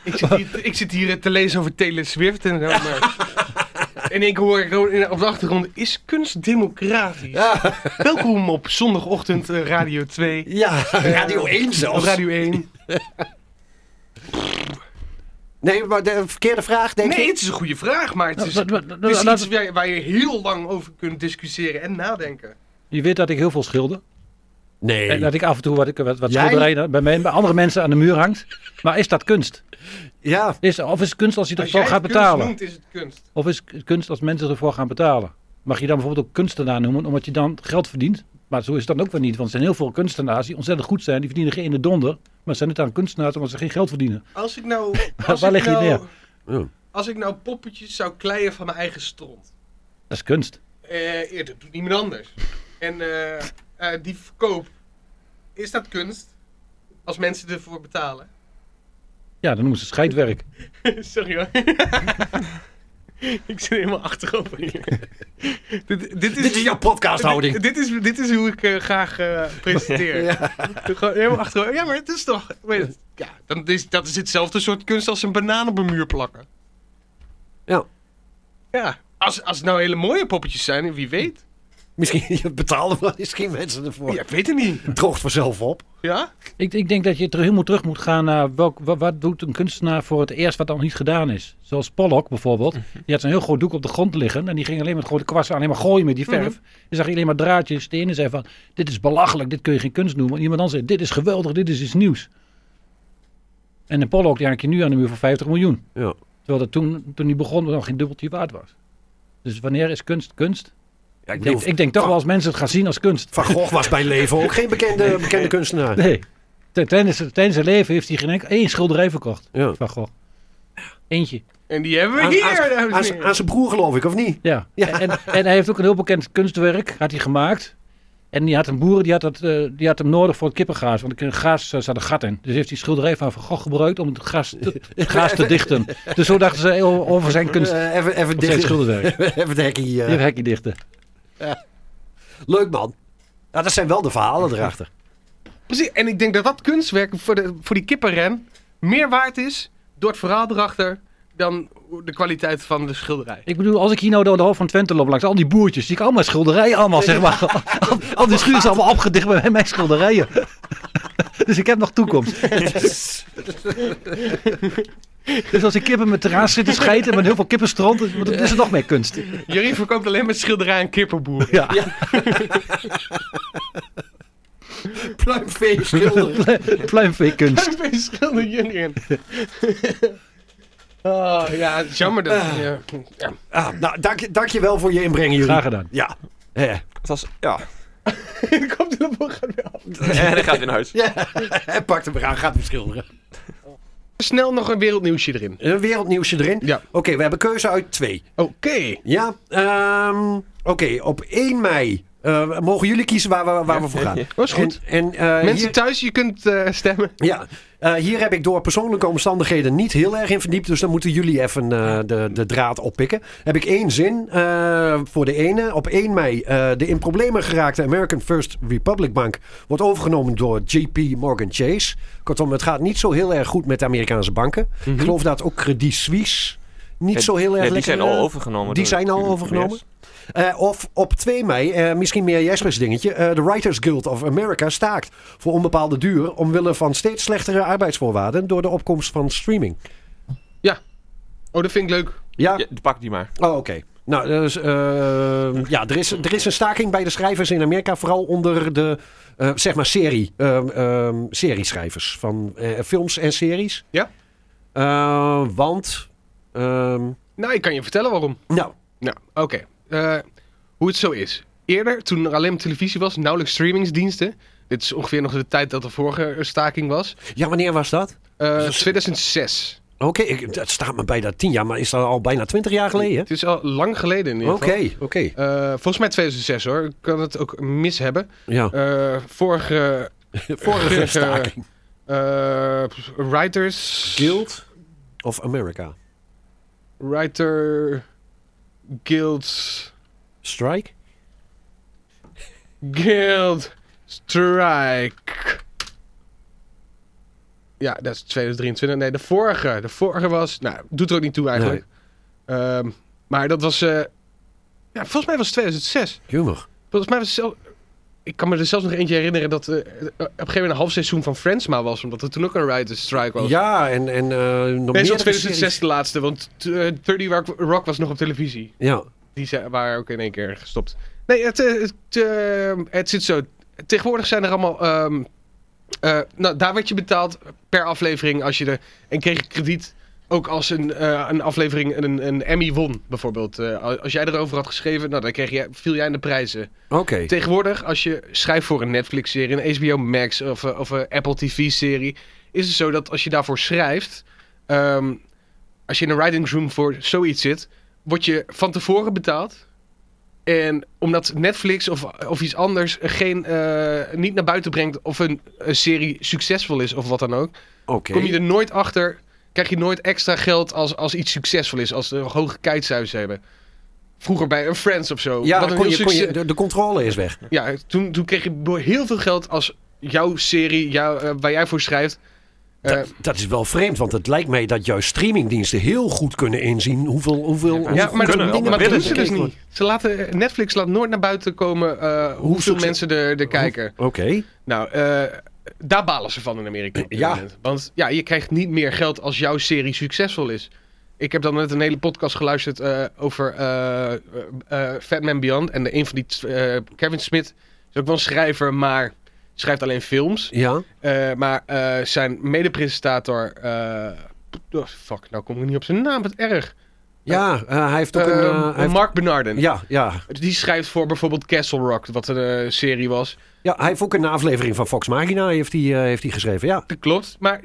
S4: Ik zit, hier, ik zit hier te lezen over Taylor Swift en zo. Maar... En ik hoor gewoon in- op de achtergrond, is kunst democratisch?
S5: Ja,
S4: Welkom op zondagochtend eh, Radio 2.
S5: ja Radio 1
S4: Of
S5: zelfs.
S4: Radio 1.
S5: Nee, maar de verkeerde vraag, denk
S4: Nee,
S5: ik.
S4: het is een goede vraag, maar het is,
S1: Nou, dat- dat-
S4: het is
S1: dat-
S4: iets waar je, waar je heel lang over kunt discussiëren en nadenken.
S1: Je weet dat ik heel veel schilder.
S5: Nee.
S1: En dat ik af en toe wat, ik- wat, wat
S5: Jij?
S1: schilderijen bij, mij, bij andere mensen aan de muur hangt. Maar is dat kunst?
S5: Ja,
S1: Is, of is het kunst als je
S4: Als
S1: ervoor
S4: jij
S1: gaat
S4: het
S1: betalen?
S4: kunst noemt, is het kunst.
S1: Of is het kunst als mensen ervoor gaan betalen? Mag je dan bijvoorbeeld ook kunstenaar noemen, omdat je dan geld verdient? Maar zo is het dan ook weer niet, want er zijn heel veel kunstenaars die ontzettend goed zijn. Die verdienen geen ene donder, maar zijn het aan kunstenaars omdat ze geen geld verdienen.
S4: Als ik nou... Als
S1: Waar
S4: ik
S1: leg je het
S4: nou,
S5: neer? Ja.
S4: Als ik nou poppetjes zou kleien van mijn eigen stront.
S1: Dat is kunst.
S4: Eh, ja, dat doet niemand anders. En eh, eh, die verkoop. Is dat kunst? Als mensen ervoor betalen.
S1: Ja, dan noemen ze scheidwerk.
S4: Sorry hoor. ik zit helemaal achterover hier. dit, dit is...
S5: dit is jouw podcasthouding.
S4: Dit, dit is, dit is hoe ik eh, graag eh, presenteer. Gewoon helemaal achterover. Ja, maar het is toch... weet het- Ja, dan is, dat is hetzelfde soort kunst als een banaan op een muur plakken.
S5: Ja.
S4: Ja. Als, als het nou hele mooie poppetjes zijn, wie weet.
S5: Misschien je betaalde wel misschien mensen ervoor.
S4: Ja, ik weet het niet.
S5: Het droogt vanzelf op.
S4: Ja?
S1: Ik, ik denk dat je terug, helemaal terug moet gaan naar welk, wat, wat doet een kunstenaar voor het eerst wat dan niet gedaan is. Zoals Pollock bijvoorbeeld. Die had zo'n heel groot doek op de grond liggen. En die ging alleen met grote kwasten aan, alleen maar gooien met die verf. Dan zag je alleen maar draadjes. De ene zei van, dit is belachelijk, dit kun je geen kunst noemen. En iemand anders zei, dit is geweldig, dit is iets nieuws. En een Pollock die hangt je nu aan de muur voor 50 miljoen.
S5: Ja.
S1: Terwijl dat toen, toen hij begon nog geen dubbeltje waard was. Dus wanneer is kunst kunst?
S5: Ja, ik
S1: Ik
S5: bedoel,
S1: denk, ik denk toch wel als mensen het gaan zien als kunst.
S5: Van Gogh was bij leven ook geen bekende, bekende kunstenaar.
S1: Nee. Tijdens, tijdens zijn leven heeft hij geen enkel één schilderij verkocht.
S5: Ja.
S1: Van Gogh. Eentje.
S4: En die hebben we
S5: Aan-
S4: hier,
S5: aan-
S4: dames en
S5: aan
S4: heren.
S5: z'n- Aan zijn broer geloof ik, of niet?
S1: Ja. En, en hij heeft ook een heel bekend kunstwerk, had hij gemaakt. En die had een boer, die had, dat, eh, die had hem nodig voor het kippengaas. Want in het gaas eh, zat een gat in. Dus heeft hij schilderij van Van Gogh gebruikt om het gaas te, het gaas te dichten. Dus zo dachten ze heel over zijn kunst,
S5: Eh, even, even,
S1: op zijn
S5: dicht,
S1: schilderwerk.
S5: even het hekje. eh,
S1: Die heeft hekje dichten.
S5: Leuk man. Ja, dat zijn wel de verhalen erachter.
S4: Precies, en ik denk dat dat kunstwerk voor, de, voor die kippenren meer waard is door het verhaal erachter dan de kwaliteit van de schilderij.
S1: Ik bedoel, als ik hier nou door de hoofd van Twente loop langs al die boertjes, zie ik allemaal schilderijen allemaal, zeg maar. Al, al die schuur is allemaal opgedicht bij mijn schilderijen. Dus ik heb nog toekomst. Dus als ik kippen met terras zitten schijten met heel veel kippenstront, dan is er nog meer kunst.
S4: Jullie verkoopt alleen maar schilderij aan kippenboeren.
S1: Ja.
S5: Pluimvee schilderen.
S1: Pluimveekunst.
S4: Daar schilder jullie in. Oh, ja, jammer dat. ja. Ja.
S5: Ah, nou, dank, je- dank je wel voor je inbreng, jullie.
S1: Graag gedaan.
S5: Ja. Eh,
S3: Het was, ja.
S4: De koptelefoon gaat weer af.
S3: en dan gaat hij naar huis.
S5: Hij pakt hem eraan, gaat hem schilderen.
S4: Snel nog een wereldnieuwsje erin.
S5: Een wereldnieuwsje erin.
S4: Ja.
S5: Oké, we hebben keuze uit twee.
S4: Oké.
S5: Ja. ehm, Oké, op 1 mei eh, mogen jullie kiezen waar we, waar we voor gaan.
S4: Dat is goed.
S5: En, en, eh,
S4: Mensen
S5: hier-
S4: thuis, je kunt eh, stemmen.
S5: Ja, eh, hier heb ik door persoonlijke omstandigheden niet heel erg in verdiept. Dus dan moeten jullie even eh, de, de draad oppikken. Heb ik één zin eh, voor de ene. Op 1 mei eh, de in problemen geraakte American First Republic Bank wordt overgenomen door JP Morgan Chase. Kortom, het gaat niet zo heel erg goed met de Amerikaanse banken. Ik geloof dat ook Credit Suisse niet
S3: Mhm. Ja,
S5: zo heel erg
S3: ja,
S5: lekker...
S3: die zijn al
S5: eh,
S3: overgenomen.
S5: die
S3: door
S5: zijn al
S3: de
S5: overgenomen.
S3: US.
S5: Eh, of op 2 mei, eh, misschien meer Jespers dingetje, eh, de Writers Guild of America staakt voor onbepaalde duur omwille van steeds slechtere arbeidsvoorwaarden door de opkomst van streaming.
S4: Oh, dat vind ik leuk.
S5: Ja,
S3: Ja, pak die maar.
S5: oh, oké. Nou, dus, eh, ja, er, is, er is een staking bij de schrijvers in Amerika, vooral onder de eh, zeg maar serie, ehm, ehm, serieschrijvers van eh, films en series.
S4: Ja.
S5: Eh, want, ehm,
S4: Nou, ik kan je vertellen waarom.
S5: nou,
S4: Nou, oké. Eh, hoe het zo is. Eerder, toen er alleen maar televisie was, nauwelijks streamingsdiensten. Dit is ongeveer nog de tijd dat de vorige staking was.
S5: ja, wanneer was dat?
S4: Eh,
S5: Dus-
S4: 2006.
S5: Oké, ik- dat staat me bijna tien jaar, maar is dat al bijna twintig jaar geleden?
S4: Het is al lang geleden in
S5: Oké,
S4: ieder
S5: oké.
S4: geval. Eh, volgens mij 2006 hoor. Ik kan het ook mis hebben.
S5: Ja.
S4: Eh, vorige
S5: Vorige staking.
S4: eh, Writers...
S5: Guild of America.
S4: Writer... Guilds...
S5: Strike?
S4: Guild Strike. Ja, dat is 2023. Nee, de vorige. De vorige was... Nou, doet er ook niet toe eigenlijk. Ehm, maar dat was... eh, ja, volgens mij was het 2006.
S5: Humor.
S4: Volgens mij was het zelf... Ik kan me er zelfs nog eentje herinneren dat eh, op een gegeven moment een half seizoen van Friends maar was. Omdat er toen ook een writer's strike was.
S5: Ja, en... en eh, nog
S4: nee,
S5: meerdere
S4: zo'n 2006
S5: series.
S4: de laatste. Want eh, 30 Rock, Rock was nog op televisie.
S5: Ja.
S4: Die zijn, waren ook in één keer gestopt. Nee, het, eh, het, eh, het zit zo. Tegenwoordig zijn er allemaal. ehm, eh, nou, daar werd je betaald per aflevering als je de. En kreeg je krediet. Ook als een, eh, een aflevering een, een Emmy won, bijvoorbeeld. Eh, als jij erover had geschreven, nou, dan kreeg jij, viel jij in de prijzen.
S5: Oké.
S4: Tegenwoordig, als je schrijft voor een Netflix-serie, een HBO Max of, eh, of een Apple TV-serie, is het zo dat als je daarvoor schrijft, ehm, als je in een writing room voor zoiets zit, word je van tevoren betaald. En omdat Netflix of, of iets anders geen, eh, niet naar buiten brengt of een, een serie succesvol is of wat dan ook,
S5: Oké.
S4: kom je er nooit achter, krijg je nooit extra geld als, als iets succesvol is, als ze een hoge kijkcijfers hebben. Vroeger bij een Friends of zo.
S5: Ja,
S4: Wat een
S5: kon
S4: heel
S5: je, kon je,
S4: succes-
S5: de, de controle is weg.
S4: ja, toen, toen kreeg je door heel veel geld als jouw serie, jouw, eh, waar jij voor schrijft. eh,
S5: dat, dat is wel vreemd, want het lijkt mij dat juist streamingdiensten heel goed kunnen inzien hoeveel, hoeveel, hoeveel
S4: ja, maar,
S5: goed
S3: kunnen wel,
S5: dingen
S4: maar dat
S5: er
S4: doen ze dus
S5: bekeken
S4: niet.
S5: worden.
S4: Ze laten, eh, Netflix laat nooit naar buiten komen eh, hoeveel
S5: succes-
S4: mensen er, er kijken.
S5: Oké.
S4: Nou, eh, daar balen ze van in Amerika. op dit
S5: Ja.
S4: moment. Want ja, je krijgt niet meer geld als jouw serie succesvol is. Ik heb dan net een hele podcast geluisterd eh, over eh eh, eh, Fat Man Beyond. En de, een van die, eh, Kevin Smith, is ook wel een schrijver, maar schrijft alleen films.
S5: Ja.
S4: Eh, maar eh, zijn medepresentator. eh, oh, fuck, nou kom ik niet op zijn naam, wat erg.
S5: Ja, eh, hij heeft ook een...
S4: Ehm,
S5: eh, hij heeft-
S4: Mark Benarden.
S5: ja, ja.
S4: Die schrijft voor bijvoorbeeld Castle Rock, wat een eh, serie was.
S5: ja, hij heeft ook een aflevering van Fox Magina heeft hij, eh, heeft hij geschreven. Ja,
S4: Dat klopt, maar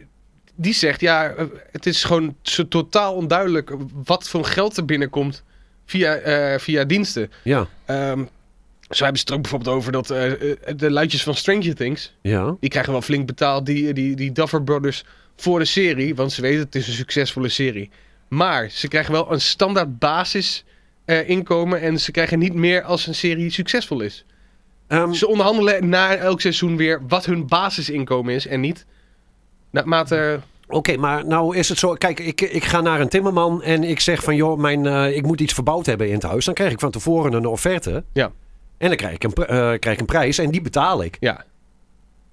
S4: die zegt, ja, eh, het is gewoon zo totaal onduidelijk wat voor geld er binnenkomt via, eh, via diensten.
S5: Ja,
S4: Ehm, zo hebben ze het er ook bijvoorbeeld over dat eh, eh, de luidjes van Stranger Things,
S5: ja.
S4: die krijgen wel flink betaald, die, die, die Duffer Brothers, voor de serie. Want ze weten, het is een succesvolle serie. Maar ze krijgen wel een standaard basis eh, inkomen en ze krijgen niet meer als een serie succesvol is.
S5: Ehm,
S4: Ze onderhandelen na elk seizoen weer wat hun basisinkomen is en niet naarmate...
S5: Oké, maar nou is het zo. Kijk, ik, ik ga naar een timmerman en ik zeg van joh, mijn, eh, ik moet iets verbouwd hebben in het huis. Dan krijg ik van tevoren een offerte.
S4: Ja.
S5: En dan krijg ik een, pr- eh, krijg ik een prijs en die betaal ik.
S4: Ja,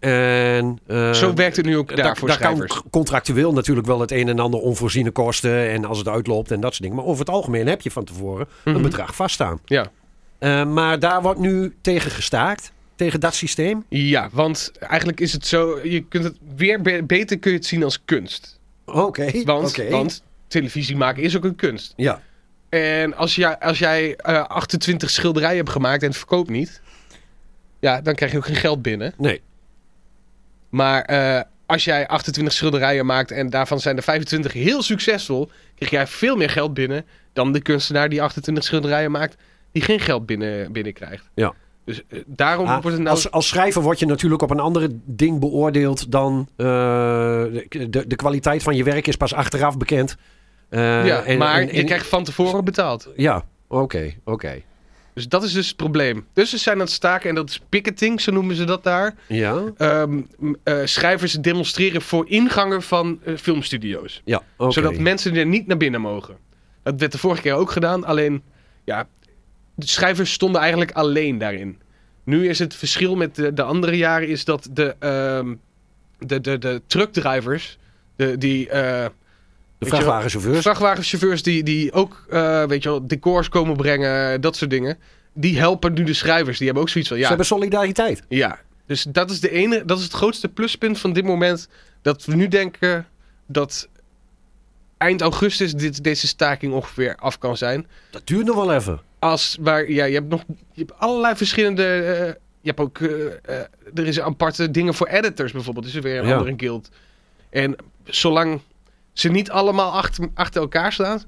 S5: En, eh,
S4: zo werkt het nu ook
S5: daar-
S4: daarvoor
S5: daar kan
S4: schrijvers.
S5: c- contractueel natuurlijk wel het een en ander onvoorziene kosten. En als het uitloopt en dat soort dingen. Maar over het algemeen heb je van tevoren
S4: Mhm.
S5: een bedrag vaststaan.
S4: Ja.
S5: Eh, maar daar wordt nu tegen gestaakt. Tegen dat systeem.
S4: Ja, want eigenlijk is het zo, je kunt het weer be- beter kun je het zien als kunst.
S5: Oké.
S4: Want,
S5: oké.
S4: want televisie maken is ook een kunst.
S5: Ja.
S4: En als, jij als jij eh, 28 schilderijen hebt gemaakt en het verkoopt niet, ja, dan krijg je ook geen geld binnen.
S5: Nee.
S4: Maar eh, als jij 28 schilderijen maakt en daarvan zijn er 25 heel succesvol, krijg jij veel meer geld binnen dan de kunstenaar die 28 schilderijen maakt, die geen geld binnen, binnenkrijgt.
S5: Ja.
S4: Dus eh, daarom
S5: Ah,
S4: wordt het nou.
S5: als, als schrijver word je natuurlijk op een ander ding beoordeeld dan eh, de, de, de kwaliteit van je werk is pas achteraf bekend. Eh,
S4: ja,
S5: en-
S4: maar
S5: en-
S4: je
S5: en-
S4: krijgt van tevoren betaald.
S5: Ja, oké, oké.
S4: Dus dat is dus het probleem. Dus ze zijn aan het staken en dat is picketing, zo noemen ze dat daar.
S5: Ja,
S4: Ehm, m- eh, schrijvers demonstreren voor ingangen van eh, filmstudio's.
S5: ja, oké.
S4: Zodat mensen er niet naar binnen mogen. Dat werd de vorige keer ook gedaan, alleen ja, de schrijvers stonden eigenlijk alleen daarin. Nu is het verschil met de, de andere jaren is dat de, ehm, de, de, de truckdrivers, de, die eh,
S5: De
S4: weet je wel,
S5: vrachtwagenchauffeurs.
S4: vrachtwagenchauffeurs die, die ook eh, weet je wel, decors komen brengen, dat soort dingen, die helpen nu de schrijvers. Die hebben ook zoiets van,
S5: Ze
S4: ja,
S5: hebben solidariteit.
S4: ja, dus dat is, de ene, dat is het grootste pluspunt van dit moment. Dat we nu denken dat eind augustus dit, deze staking ongeveer af kan zijn.
S5: Dat duurt nog wel even.
S4: Als waar, ja, je hebt nog je hebt allerlei verschillende. eh, je hebt ook. eh, eh, er is aparte dingen voor editors bijvoorbeeld. Is er weer een
S5: Ja.
S4: andere guild. En zolang ze niet allemaal achter, achter elkaar staan.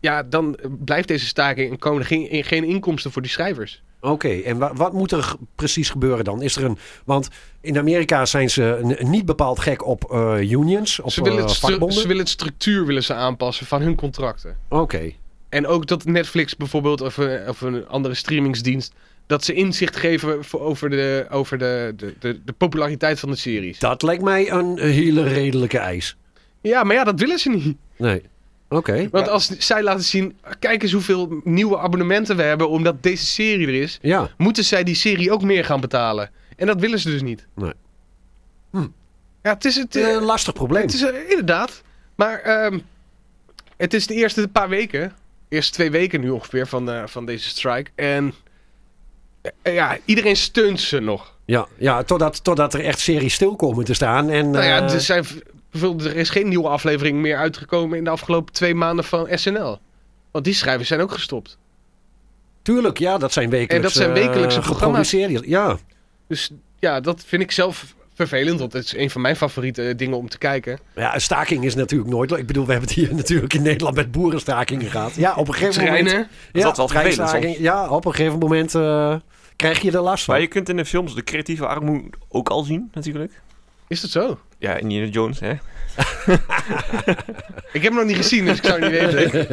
S4: Ja, dan blijft deze staking en komen er geen, geen inkomsten voor die schrijvers.
S5: Oké, en wa- wat moet er g- precies gebeuren dan? Is er een, want in Amerika zijn ze n- niet bepaald gek op eh, unions, op
S4: Ze willen,
S5: eh,
S4: het stru-
S5: vakbonden.
S4: ze willen het structuur willen ze aanpassen van hun contracten.
S5: Oké,
S4: En ook dat Netflix bijvoorbeeld of een, of een andere streamingsdienst... dat ze inzicht geven voor- over, de, over de, de, de, de populariteit van de series.
S5: dat lijkt mij een hele redelijke eis.
S4: Ja, maar ja, dat willen ze niet.
S5: Nee, oké.
S4: Want als zij laten zien... kijk eens hoeveel nieuwe abonnementen we hebben omdat deze serie er is...
S5: Ja,
S4: moeten zij die serie ook meer gaan betalen. En dat willen ze dus niet.
S5: Nee. Hm.
S4: Ja, het is het...
S5: het is
S4: eh,
S5: een lastig probleem.
S4: Het is eh, inderdaad. Maar ehm, het is de eerste paar weken. Eerste twee weken nu ongeveer van, eh, van deze strike. En eh, ja, iedereen steunt ze nog.
S5: Ja, ja totdat, totdat er echt series stil komen te staan. En,
S4: nou ja,
S5: eh,
S4: er, zijn, v- bijvoorbeeld, er is geen nieuwe aflevering meer uitgekomen in de afgelopen twee maanden van SNL. Want die schrijvers zijn ook gestopt.
S5: Tuurlijk, ja, dat zijn wekelijkse,
S4: En dat zijn wekelijkse
S5: eh,
S4: programma's.
S5: geproduceerde- Ja,
S4: Dus ja, dat vind ik zelf vervelend. Want het is een van mijn favoriete eh, dingen om te kijken.
S5: ja, een staking is natuurlijk nooit... Ik bedoel, we hebben het hier natuurlijk in Nederland met boerenstakingen gehad. Ja, op een gegeven moment...
S4: Treinen.
S5: Ja,
S3: dat wel vervelend
S5: treinstaking, Ja, op een gegeven moment eh, krijg je er last van.
S3: Maar je kunt in de films de creatieve armoede ook al zien, natuurlijk.
S4: Is dat zo?
S3: Ja, Indiana Jones, hè.
S4: Ik heb hem nog niet gezien, dus ik zou het niet weten.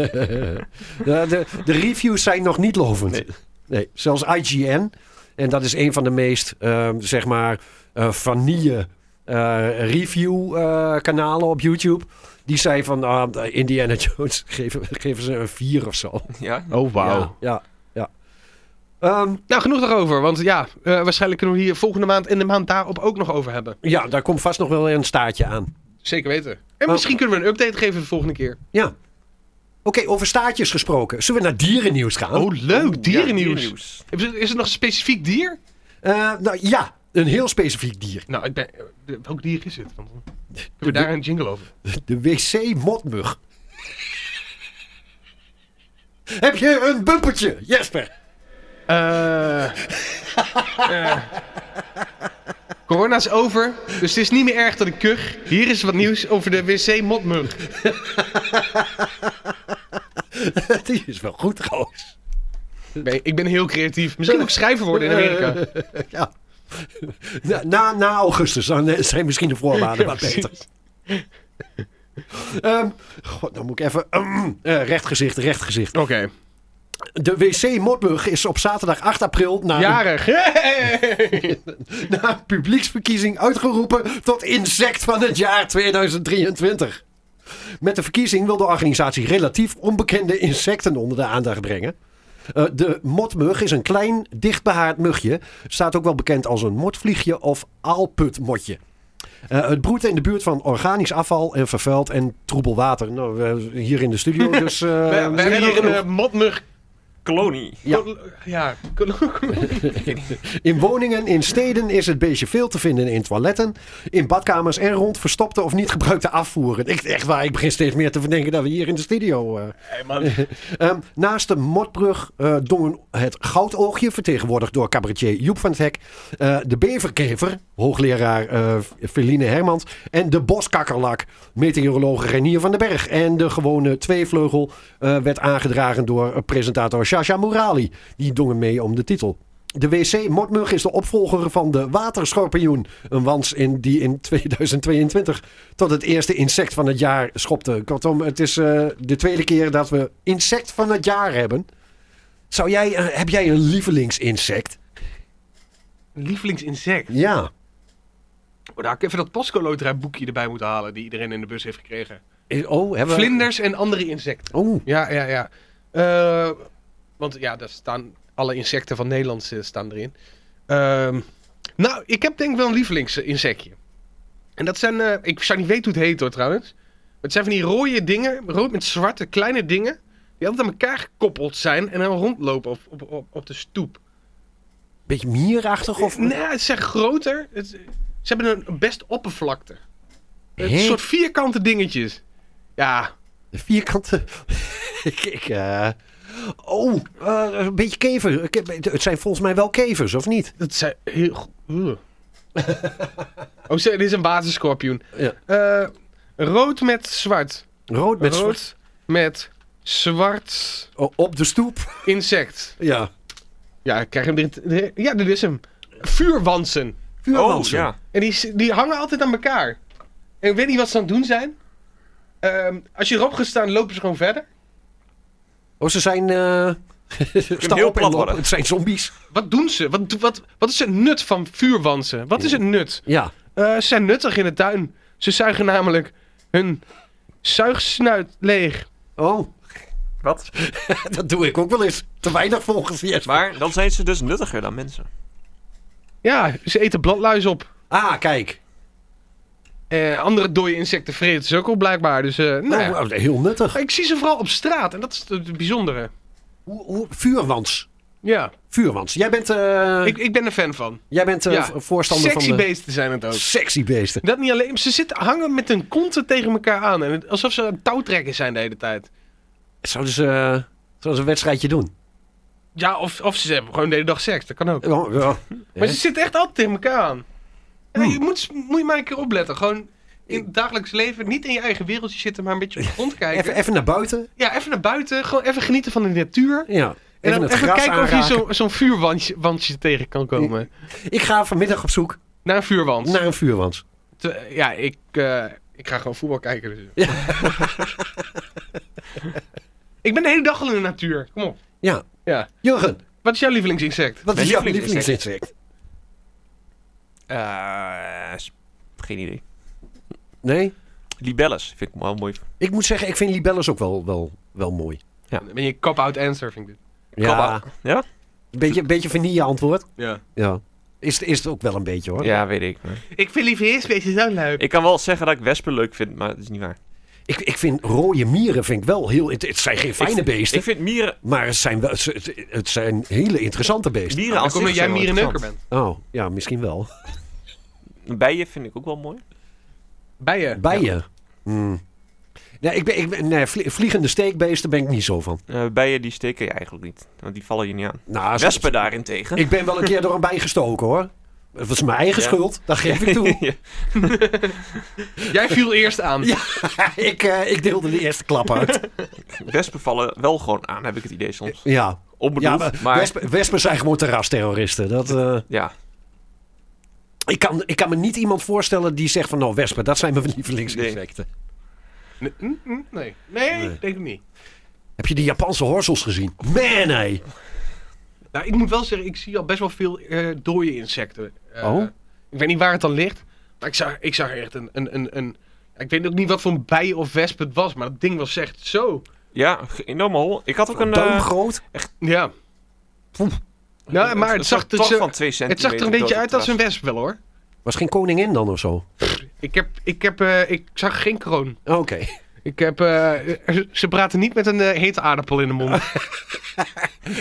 S5: De, de, de reviews zijn nog niet lovend. Nee.
S3: Nee.
S5: zelfs IGN. En dat is een van de meest, ehm, zeg maar, eh vanille eh, review eh, kanalen op YouTube. Die zei van, ah, Indiana Jones, geven, geven ze een 4 of zo.
S3: Ja.
S4: Oh,
S5: Ja, ja. ja. Ehm,
S4: Nou, genoeg daarover. Want ja, eh, waarschijnlijk kunnen we hier volgende maand en de maand daarop ook nog over hebben.
S5: ja, daar komt vast nog wel een staartje aan.
S4: Zeker weten. En
S5: Oh.
S4: misschien kunnen we een update geven de volgende keer.
S5: Ja. Oké, over staartjes gesproken. Zullen we naar dierennieuws gaan?
S4: Oh, leuk.
S3: Ja,
S4: Dierennieuws.
S3: dierennieuws.
S4: Is er- Is er nog een specifiek dier?
S5: Eh, nou ja, een heel specifiek dier.
S4: Nou, ik ben... eh, Welk dier is het? Want dan kunnen we daar een jingle over.
S5: De wc-motmug. Heb je een bumpertje, Jesper?
S4: Eh, eh. Corona is over, dus het is niet meer erg dat ik kuch. Hier is wat nieuws over de wc-motmug.
S5: Die is wel goed, goos.
S4: Nee, ik ben heel creatief. Misschien moet ik schrijver worden in Amerika.
S5: Ja. Na, na, na augustus dan eh, zijn misschien de voorwaarden wat beter. Ehm, god, dan moet ik even... eh, recht gezicht, recht gezicht.
S4: Oké.
S5: De WC Motburg is op zaterdag 8 april... Na een
S4: Jarig. Hey!
S5: na een publieksverkiezing uitgeroepen tot insect van het jaar 2023. Met de verkiezing wil de organisatie relatief onbekende insecten onder de aandacht brengen. Eh, de motmug is een klein, dichtbehaard mugje. Staat ook wel bekend als een motvliegje of aalputmotje. Eh, het broedt in de buurt van organisch afval en vervuild en troebel water. Nou, we- hier in de studio, dus... eh,
S4: We, we hebben
S5: hier
S4: hier een
S5: genoeg.
S4: eh, motmug.
S3: Kolonie.
S5: Ja.
S4: Ja, ja.
S5: In woningen, in steden is het beestje veel te vinden in toiletten, in badkamers en rond verstopte of niet gebruikte afvoeren. Ik, echt waar, ik begin steeds meer te verdenken dat we hier in de studio. eh,
S4: Hey, man.
S5: Ehm, naast de Motbrug eh dongen het Goudoogje, vertegenwoordigd door cabaretier Joep van het Hek, eh, de Beverkever, hoogleraar eh Feline Hermans, en de Boskakkerlak, meteoroloog Renier van den Berg. En de gewone tweevleugel eh, werd aangedragen door eh, presentator Shasha Morali. Die dongen mee om de titel. De WC Motmug is de opvolger van de waterschorpioen. Een wans in, die in 2022 tot het eerste insect van het jaar schopte. Kortom, het is eh, de tweede keer dat we insect van het jaar hebben. Zou jij, eh, heb jij een lievelingsinsect?
S4: Lievelingsinsect.
S5: Ja.
S4: Oh, daar had ik even dat Pasco loterij boekje erbij moeten halen die iedereen in de bus heeft gekregen.
S5: Eh, Oh, hebben we...
S4: Vlinders en andere insecten.
S5: Oh,
S4: Ja, ja, ja. Eh, want ja, daar staan alle insecten van Nederland eh, staan erin. Ehm, nou, ik heb denk ik wel een lievelingsinsectje. En dat zijn, eh, ik zou niet weten hoe het heet hoor trouwens. Maar het zijn van die rode dingen, rood met zwarte kleine dingen. Die altijd aan elkaar gekoppeld zijn en dan rondlopen op, op, op, op de stoep.
S5: beetje mierachtig of...
S4: Nee, het zijn groter. Het, ze hebben een best oppervlakte. Een
S5: Hè?
S4: soort vierkante dingetjes. Ja,
S5: Vierkante... ik... ik, eh, Oh, eh, een beetje kever. Ik heb- Het zijn volgens mij wel kevers, of niet?
S4: dat zijn heel... go- Ugh. oh, ze- dit is een waterscorpioen.
S5: Ja.
S4: Eh, rood met zwart.
S5: Rood met
S4: rood
S5: zwart.
S4: met zwart
S5: O- Op de stoep.
S4: insect.
S5: Ja.
S4: Ja, ik krijg hem erin. Ja, dit is hem. Vuurwansen.
S3: Oh,
S5: Vuurwansen.
S3: ja.
S4: En die, s- die hangen altijd aan elkaar. En ik weet niet wat ze aan het doen zijn. Ehm, als je erop gaat staan, lopen ze gewoon verder.
S5: Oh, ze zijn... eh staan
S3: heel
S5: op en
S3: plat
S5: lopen.
S3: worden.
S5: Het zijn zombies.
S4: Wat doen ze? Wat, do- wat, wat is het nut van vuurwansen? Wat is het nut?
S5: Ja.
S4: Eh, ze zijn nuttig in de tuin. Ze zuigen namelijk hun zuigsnuit leeg.
S5: Oh,
S3: Wat?
S5: dat doe ik ook wel eens. Te weinig volgens Jesper.
S3: Maar dan zijn ze dus nuttiger dan mensen.
S4: Ja, ze eten bladluis op.
S5: Ah, kijk.
S4: Eh, andere dode insecten vreten ze ook al blijkbaar. Dus, eh, nou, ja.
S5: Nou, heel nuttig.
S4: Maar Ik zie ze vooral op straat en dat is het bijzondere.
S5: Hoe, hoe, vuurwans.
S4: Ja,
S5: Vuurwans. Jij bent, eh,
S4: ik, ik ben er fan van.
S5: jij bent eh,
S4: ja.
S5: v- voorstander
S4: Sexy
S5: van de...
S4: beesten zijn het ook.
S5: Sexy beesten.
S4: Dat niet alleen, ze zitten hangen met hun konten tegen elkaar aan. En het- alsof ze aan het touwtrekken zijn de hele tijd.
S5: Zouden ze, eh, zouden ze een wedstrijdje doen?
S4: Ja, of, of ze hebben gewoon de hele dag seks, dat kan ook.
S5: Oh, ja.
S4: Maar
S5: Hè? Hmm.
S4: ze zitten echt altijd tegen elkaar aan. Ja, je moet, moet je maar een keer opletten. Gewoon in het dagelijks leven niet in je eigen wereldje zitten, maar een beetje op de grond kijken.
S5: Even, even naar buiten.
S4: Ja, even naar buiten, gewoon even genieten van de natuur.
S5: Ja. Even,
S4: En dan
S5: het
S4: even
S5: gras
S4: kijken of je
S5: aanraken.
S4: zo- zo'n vuurwandje wandje tegen kan komen.
S5: Ik Nou- ga vanmiddag op zoek
S4: Naar een vuurwand.
S5: naar een vuurwans.
S4: Te- ja, ik, eh, ik ga gewoon voetbal kijken. Dus. ik ben de hele dag al in de natuur. Kom op.
S5: Ja.
S4: Ja.
S5: Jurgen,
S4: Wat is jouw lievelingsinsect?
S5: wat
S3: Mijn
S5: is jouw
S3: lievelingsinsect.
S5: lievelingsinsect?
S3: Eh, s- geen idee.
S5: Nee?
S3: Libelles vind ik wel mooi.
S5: Ik moet zeggen, ik vind libelles ook wel, wel, wel mooi.
S4: Dan Eh, ben je cop-out answer, vind ik dit.
S5: Ja.
S3: Kabba. Ja?
S5: Beetje, beetje vanille antwoord.
S4: Ja.
S5: Ja. Is, is het ook wel een beetje hoor.
S3: Ja, weet ik.
S4: Ik vind lieveheersbeestjes zo leuk.
S3: Ik kan wel zeggen dat ik wespen leuk vind, maar dat is niet waar.
S5: Ik, ik vind rode mieren vind ik wel heel... Het, het zijn geen fijne
S3: ik,
S5: beesten.
S3: Ik vind mieren,
S5: Maar het zijn, wel, het, het zijn hele interessante beesten.
S3: mieren
S4: Nou, Dan
S3: als
S4: kom dat
S3: zich
S4: jij
S3: zijn wel
S4: mierenneuker
S3: interessant.
S4: bent.
S5: Oh, ja, misschien wel.
S3: Bijen vind ik ook wel mooi.
S4: Bijen.
S5: Bijen. Hmm. Nee, ik ben, ik ben, nee, vlie- vliegende steekbeesten ben ik niet zo van.
S3: Eh, bijen die steken je eigenlijk niet, want die vallen je niet aan.
S5: Nou, zo-
S3: Wespen daarentegen.
S5: Ik ben wel een keer door een bij gestoken hoor. Het was mijn eigen
S3: Ja.
S5: schuld, dat geef ik toe.
S3: Ja.
S4: Jij viel eerst aan.
S5: Ja. ik, eh, ik deelde de eerste klap uit.
S3: Wespen vallen wel gewoon aan, heb ik het idee soms.
S5: Ja, ja
S3: Onbedoeld,
S5: maar
S3: maar...
S5: Wespen, wespen zijn gewoon terrasterroristen. Dat, eh,
S3: Ja,
S5: ik, kan, ik kan me niet iemand voorstellen die zegt van... nou, wespen, dat zijn mijn lievelingsinsecten.
S4: Nee, mm, mm, nee. Nee,
S5: Nee.
S4: denk ik niet.
S5: Heb je die Japanse horsels gezien? Man, nee.
S4: Nou, ik moet wel zeggen, ik zie al best wel veel eh dode insecten. Eh,
S5: Oh.
S4: Ik weet niet waar het dan ligt. Maar ik zag, ik zag echt een, een, een, een... Ik weet ook niet wat voor een bij of wesp het was, maar dat ding was echt zo.
S3: ja enorm hol. Ik had ook een... eh,
S5: Doomgroot.
S4: Ja. Nou, maar het zag, er,
S3: toch
S4: zo-
S3: van twee centimeter.
S4: het zag er een beetje
S3: dood
S4: uit als een
S3: terras.
S4: wesp wel hoor.
S5: Was geen koningin dan of zo?
S4: Ik, heb, ik, heb, eh, ik zag geen kroon.
S5: Oké.
S4: Ik heb, eh, ze praten niet met een eh, hete aardappel in de mond.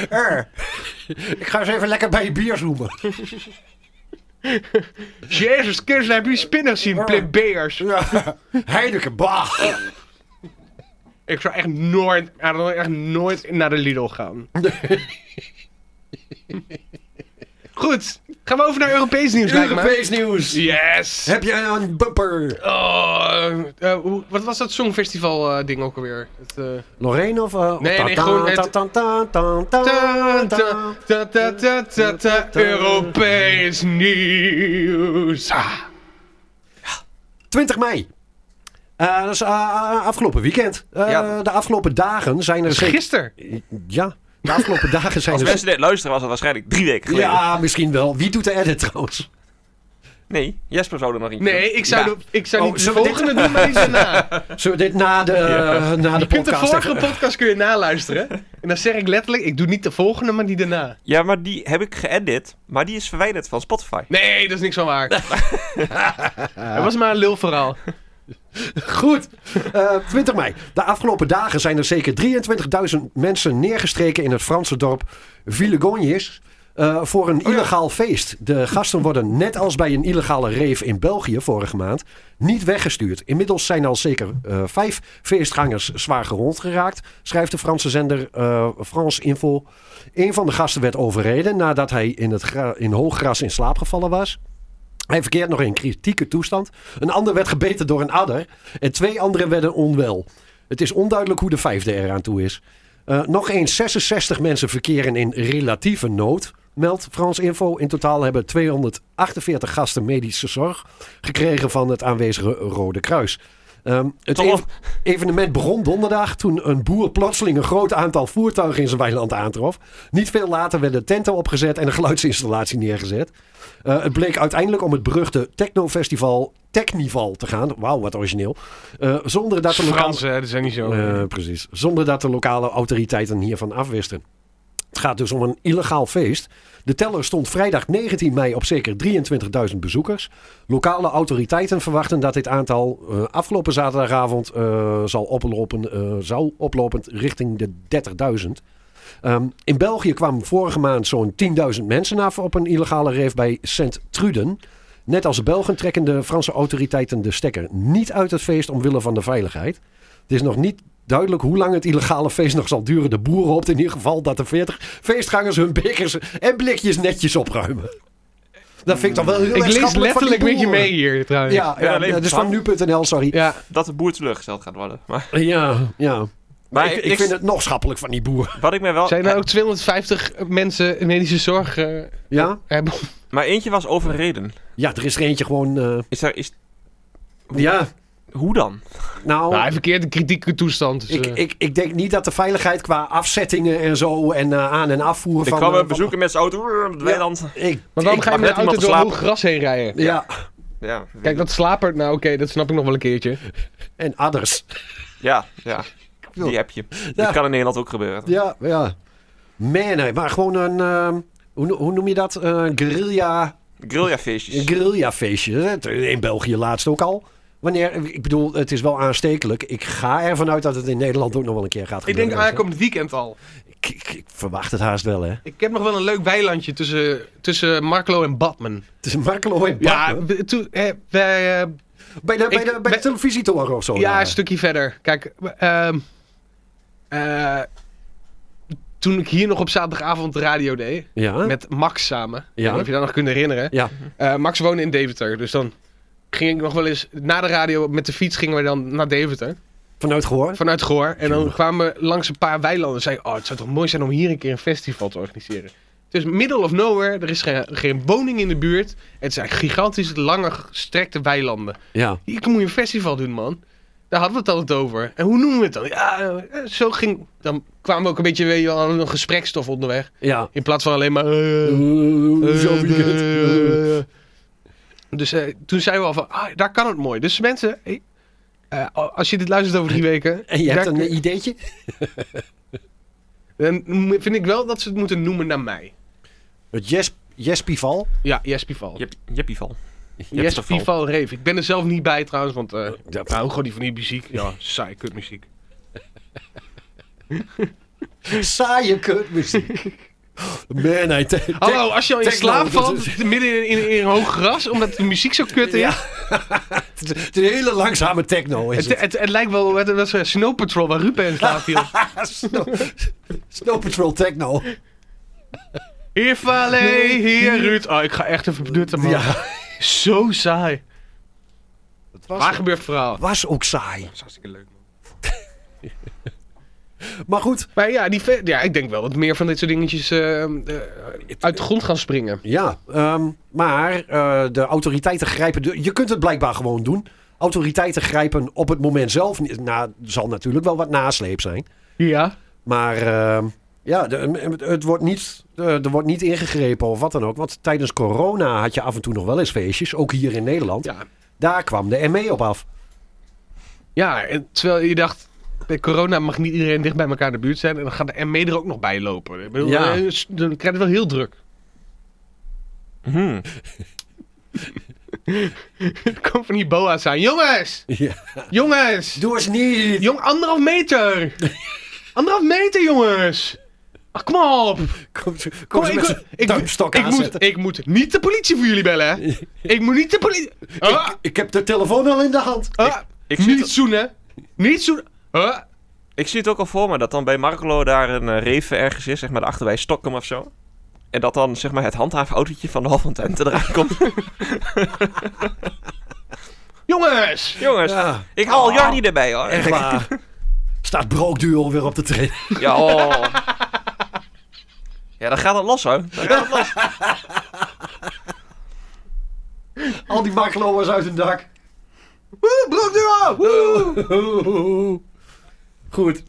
S5: Er. ik ga eens even lekker bij je bier zoeken.
S4: Jezus Christus, heb je spinnen zien, plebeers?
S5: Ja. Heineken, bah.
S4: Eh, Ik zou echt nooit, ja, dan zou ik echt nooit naar de Lidl gaan. Goed, gaan we over naar Europees nieuws, lijkt me.
S5: Europees nieuws.
S4: Yes!
S5: Heb je een bumper?
S4: Oh, eh, hoe- wat was dat songfestival eh, ding ook alweer? Het, eh,
S5: Lorraine of... eh,
S4: Nee,
S5: ta-
S4: nee,
S5: ta-
S4: gewoon het-
S5: ta- ta- ta- ta- ta-
S4: ta,
S5: ta.
S4: ta, ta, ta, ta, ta, ta, Europees nieuws. Ah,
S5: 20 mei. Eh, dat is eh, afgelopen weekend. Eh,
S3: Ja.
S5: De afgelopen dagen zijn er zeker...
S4: gisteren.
S5: Ja, de afgelopen dagen zijn
S3: Als
S5: er...
S3: mensen dit luisteren was het waarschijnlijk drie weken geleden.
S5: Ja, misschien wel. Wie doet de edit trouwens?
S3: Nee, Jesper zou er nog in.
S4: Nee, ik zou,
S5: Ja.
S4: de- ik zou
S5: Oh,
S4: niet de
S5: zullen we dit-
S4: volgende doen, maar die daarna.
S5: Zullen we dit na de, na de
S4: Je kunt de
S5: podcast
S4: vorige
S5: even-
S4: podcast kun je naluisteren. En dan zeg ik letterlijk, ik doe niet de volgende, maar die daarna.
S3: Ja, maar die heb ik geëdit, maar die is verwijderd van Spotify.
S4: Nee, dat is niks van waar. Het was maar een lul verhaal.
S5: Goed, Eh, 20 mei. De afgelopen dagen zijn er zeker 23.000 mensen neergestreken in het Franse dorp Villegognes. eh, voor een illegaal feest. De gasten worden, net als bij een illegale rave in België vorige maand, niet weggestuurd. Inmiddels zijn al zeker eh, vijf feestgangers zwaar gewond geraakt, schrijft de Franse zender eh France Info. Een van de gasten werd overreden nadat hij in, het gra- in hoog gras in slaap gevallen was. Hij verkeert nog in kritieke toestand. Een ander werd gebeten door een adder. En twee anderen werden onwel. Het is onduidelijk hoe de vijfde eraan toe is. Eh, nog eens 66 mensen verkeren in relatieve nood. Meldt Frans Info. In totaal hebben 248 gasten medische zorg gekregen van het aanwezige Rode Kruis. Ehm, het
S3: Toch?
S5: ev- evenement begon donderdag toen een boer plotseling een groot aantal voertuigen in zijn weiland aantrof. Niet veel later werden tenten opgezet en een geluidsinstallatie neergezet. Eh, het bleek uiteindelijk om het beruchte technofestival Technival te gaan. Wauw, wat origineel. Eh, zonder dat de lokale...
S4: Fransen, hè, dat zijn niet zo.
S5: Eh, precies. Zonder dat de lokale autoriteiten hiervan afwisten. Het gaat dus om een illegaal feest. De teller stond vrijdag 19 mei op zeker 23.000 bezoekers. Lokale autoriteiten verwachten dat dit aantal eh, afgelopen zaterdagavond eh, zal oplopen, eh, zou oplopen richting de 30.000. Ehm, in België kwamen vorige maand zo'n 10.000 mensen af op een illegale reef bij Sint-Truden. Net als de Belgen trekken de Franse autoriteiten de stekker niet uit het feest omwille van de veiligheid. Het is nog niet duidelijk hoe lang het illegale feest nog zal duren. De boer hoopt in ieder geval dat de 40 feestgangers hun bekers en blikjes netjes opruimen. Dat vind ik toch wel heel
S4: ik lees
S5: maatschappelijk van die
S4: letterlijk met je
S5: boeren.
S4: mee hier trouwens.
S5: Ja, ja,
S3: Ja, alleen
S5: ja, dat is van nu.nl, sorry.
S4: Ja.
S3: Dat de boer teleurgesteld gaat worden. Maar,
S5: Ja, ja.
S3: maar
S5: ik, ik vind het nog schappelijk van die boer.
S3: Wat ik mij wel...
S4: Zijn er ook 250 mensen medische zorg eh,
S5: Ja?
S4: hebben?
S3: Maar eentje was overreden.
S5: Ja, er is er eentje gewoon... eh,
S3: Is er, is,
S5: ja,
S3: hoe dan?
S5: nou...
S4: Nou, hij verkeert in kritieke toestand. Dus,
S5: ik,
S4: eh,
S5: ik, ik denk niet dat de veiligheid qua afzettingen en zo en eh, aan- en afvoeren
S3: Ik
S5: van...
S3: kwam
S5: eh,
S3: een
S5: van-
S3: bezoeken met zijn auto. Het weiland.
S5: Ik,
S4: maar waarom
S3: ik-
S4: ga je
S3: maar
S4: met
S3: net
S4: de
S3: iemand
S4: auto door
S3: geslapen.
S4: hoog gras heen rijden?
S5: ja,
S3: Ja, weet
S4: Kijk,
S3: ik.
S4: dat slapert, nou oké, dat snap ik nog wel een keertje.
S5: en adders.
S3: Ja, ja.
S5: wil-
S3: Die heb je.
S5: Ja.
S3: Dat kan in Nederland ook gebeuren.
S5: Ja, ja. Man, hè, maar gewoon een... ehm, hoe, no- hoe noem je dat? Eh guerrilla,
S3: Grillja-feestjes.
S5: guerrilla feestje. eh, In België laatst ook al. Wanneer, ik bedoel, het is wel aanstekelijk. Ik ga ervan uit dat het in Nederland ook nog wel een keer gaat
S4: Ik
S5: gebeuren.
S4: denk aankomend weekend al.
S5: Ik, ik- ik verwacht het haast wel, hè.
S4: Ik heb nog wel een leuk weilandje tussen, tussen Marklo en Batman.
S5: Het is Markelo en
S4: Ja,
S5: Bakken.
S4: we- toen, eh, wij, eh,
S5: bij de, bij
S4: ik-
S5: de, bij de
S4: bij-
S5: televisietoren of zo.
S4: ja,
S5: daar.
S4: een stukje verder. Kijk, ehm, eh, toen ik hier nog op zaterdagavond radio deed,
S5: Ja.
S4: met Max samen.
S5: Ja.
S4: Ja. Of je dat nog kunt herinneren.
S5: Ja.
S4: Eh, Max woonde in Deventer, dus dan ging ik nog wel eens... Na de radio met de fiets gingen we dan naar Deventer,
S5: Vanuit gehoord.
S4: vanuit Goor. En dan kwamen we langs een paar weilanden en zeiden... Oh, het zou toch mooi zijn om hier een keer een festival te organiseren. Dus middle of nowhere, er is geen, geen woning in de buurt. Het zijn gigantisch lange gestrekte weilanden.
S5: Ja.
S4: Hier moet je een festival doen, man. Daar hadden we het altijd over. En hoe noemen we het dan? Ja, eh, zo ging... Dan kwamen we ook een beetje weet je wel, aan een gesprekstof onderweg.
S5: Ja.
S4: In plaats van alleen maar... eh, eh,
S5: Zo weekend.
S4: eh, eh. Dus eh, toen zeiden we al van, ah, daar kan het mooi. Dus mensen, eh, eh, als je dit luistert over drie weken...
S5: En je hebt
S4: daar-
S5: een ideetje?
S4: dan mo- vind ik wel dat ze het moeten noemen naar mij.
S5: Het Jes, Jespival.
S4: Ja, Jespival.
S3: Jep, Jeppieval.
S4: Jespival Reef. Ik ben er zelf niet bij trouwens, want eh
S5: Ja.
S4: nou, gewoon die van die muziek. Ja, saai kutmuziek.
S5: Saaie kutmuziek. Man, hij te-
S4: Hallo, als je al in
S5: Techno,
S4: slaap
S5: dat
S4: valt
S5: is-
S4: midden in, in, in hoog gras, omdat de muziek zo kut is.
S5: Ja, Het is- het is een hele langzame techno. Is
S4: het,
S5: het.
S4: het, het lijkt wel het was een Snow Patrol waar Ruben in slaap viel.
S5: Snow, Snow Patrol techno.
S4: Hier Valet, hier Ruud. Oh, ik ga echt even bedutten, man.
S5: Ja,
S4: Zo saai.
S5: het
S4: Waar
S5: was,
S4: gebeurt het verhaal?
S5: was ook saai.
S4: is hartstikke leuk, man.
S5: Maar goed,
S4: Maar ja, die, ve- ja, ik denk wel dat meer van dit soort dingetjes eh, eh, uit de grond gaan springen.
S5: ja. ehm, maar eh, de autoriteiten grijpen... de- je kunt het blijkbaar gewoon doen. Autoriteiten grijpen op het moment zelf. niet- Nou, er zal natuurlijk wel wat nasleep zijn.
S4: Ja.
S5: Maar ehm, ja, de- het wordt niet, eh, er wordt niet ingegrepen of wat dan ook. Want tijdens corona had je af en toe nog wel eens feestjes. Ook hier in Nederland.
S4: Ja,
S5: Daar kwam de ME op af.
S4: ja en terwijl je dacht, bij corona mag niet iedereen dicht bij elkaar in de buurt zijn. En dan gaat de ME er ook nog bij lopen. Ik bedoel,
S5: Ja.
S4: eh, s- Dan krijg je het wel heel druk.
S5: Hmm.
S3: Mhm.
S4: Er komen van die boa's aan. Jongens!
S5: Ja.
S4: Jongens!
S5: Doe eens niet!
S4: Jong, anderhalf meter! anderhalf meter, jongens! Ach, kom op!
S5: Kom, ze- kom,
S4: Kom,
S5: ze
S4: ik,
S5: met
S4: wil-
S5: zo'n
S4: ik,
S5: duimstok
S4: ik,
S5: aanzetten.
S4: moet, ik moet niet de politie voor jullie bellen, hè? ik moet niet de politie... Ah,
S5: ik, ik heb de telefoon al in de hand.
S4: ah,
S3: Ik zie,
S4: niet
S3: het,
S4: zoenen! Niet zoenen! Ah,
S3: ik zie het ook al voor me, dat dan bij Markelo daar een eh, reven ergens is, zeg maar, daarachter bij Stockholm of zo. En dat dan, zeg maar, het handhaafautootje van de Hal van Twente eraan komt.
S4: jongens!
S3: Jongens,
S5: Ja,
S3: ik haal
S5: Oh.
S3: Jarny erbij, hoor.
S5: echt waar. Staat broodduo weer op de trein.
S3: Ja, oh. ja, dan gaat het los, hoor. Dan gaat het los.
S5: Al die makkeloers uit hun dak.
S4: Woe, broodduo! Woe!
S5: Goed.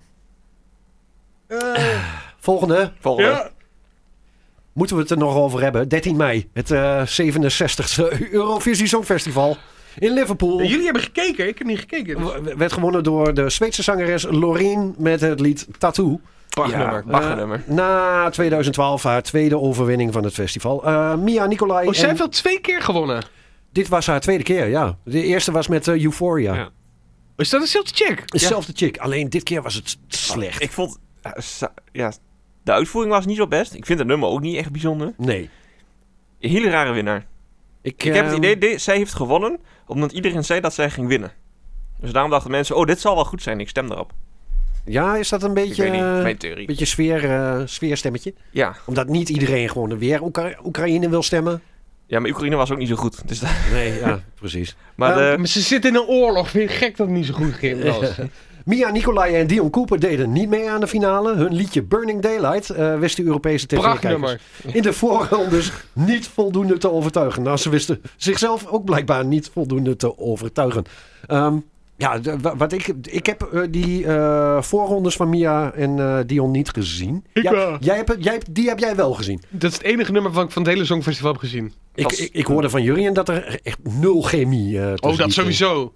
S5: Eh. Volgende.
S3: Volgende.
S4: Ja.
S5: Moeten we het er nog over hebben? 13 mei. Het eh 67e Eurovisie Songfestival in Liverpool.
S4: Jullie hebben gekeken, ik heb niet gekeken. Dus-
S5: W- Werd gewonnen door de Zweedse zangeres Loreen met het lied Tattoo.
S4: Prachtnummer.
S3: Baggenummer.
S5: Eh, na 2012 haar tweede overwinning van het festival. Eh, Mia Nicolai.
S4: Oh, zij
S5: en-
S4: heeft al twee keer gewonnen.
S5: Dit was haar tweede keer, ja. De eerste was met eh, Euphoria.
S3: Ja.
S4: Is dat eenzelfde chick?
S5: Hetzelfde chick, alleen dit keer was het slecht.
S3: Ik vond... ja, sa- Ja, de uitvoering was niet zo best. Ik vind het nummer ook niet echt bijzonder.
S5: Nee.
S3: Een hele rare winnaar. Ik heb het
S5: ehm,
S3: idee, de- zij heeft gewonnen omdat iedereen zei dat zij ging winnen. Dus daarom dachten mensen, oh, dit zal wel goed zijn, ik stem erop.
S5: Ja, is dat een
S3: Ik
S5: beetje,
S3: weet niet,
S5: een
S3: mijn theorie.
S5: beetje sfeer, eh, sfeerstemmetje?
S3: Ja.
S5: Omdat niet iedereen gewoon weer Oekra- Oekraïne wil stemmen.
S3: ja, maar Oekraïne was ook niet zo goed. Dus da-
S5: Nee, ja, precies.
S3: maar
S5: Ja,
S3: de-
S4: Maar ze zit in een oorlog. Vind je gek dat het niet zo goed ging? Lars?
S5: Mia Nicolai en Dion Cooper deden niet mee aan de finale. Hun liedje Burning Daylight eh wist de Europese tv-kijkers
S4: Prachtnummer.
S5: in de voorrondes niet voldoende te overtuigen. Nou, ze wisten zichzelf ook blijkbaar niet voldoende te overtuigen. Ehm, ja, de- wa- wat ik, ik heb eh, die eh, voorrondes van Mia en eh, Dion niet gezien.
S4: Ik eh.
S5: Ja,
S4: wel.
S5: Jij hebt, het- jij, hebt- die heb jij wel gezien.
S4: Dat is het enige nummer van, van het hele Songfestival heb gezien.
S5: Ik,
S3: Als-
S5: ik, ik hoorde van Jurien dat er echt nul chemie eh tussen
S4: Oh, dat
S5: die twee-
S4: sowieso.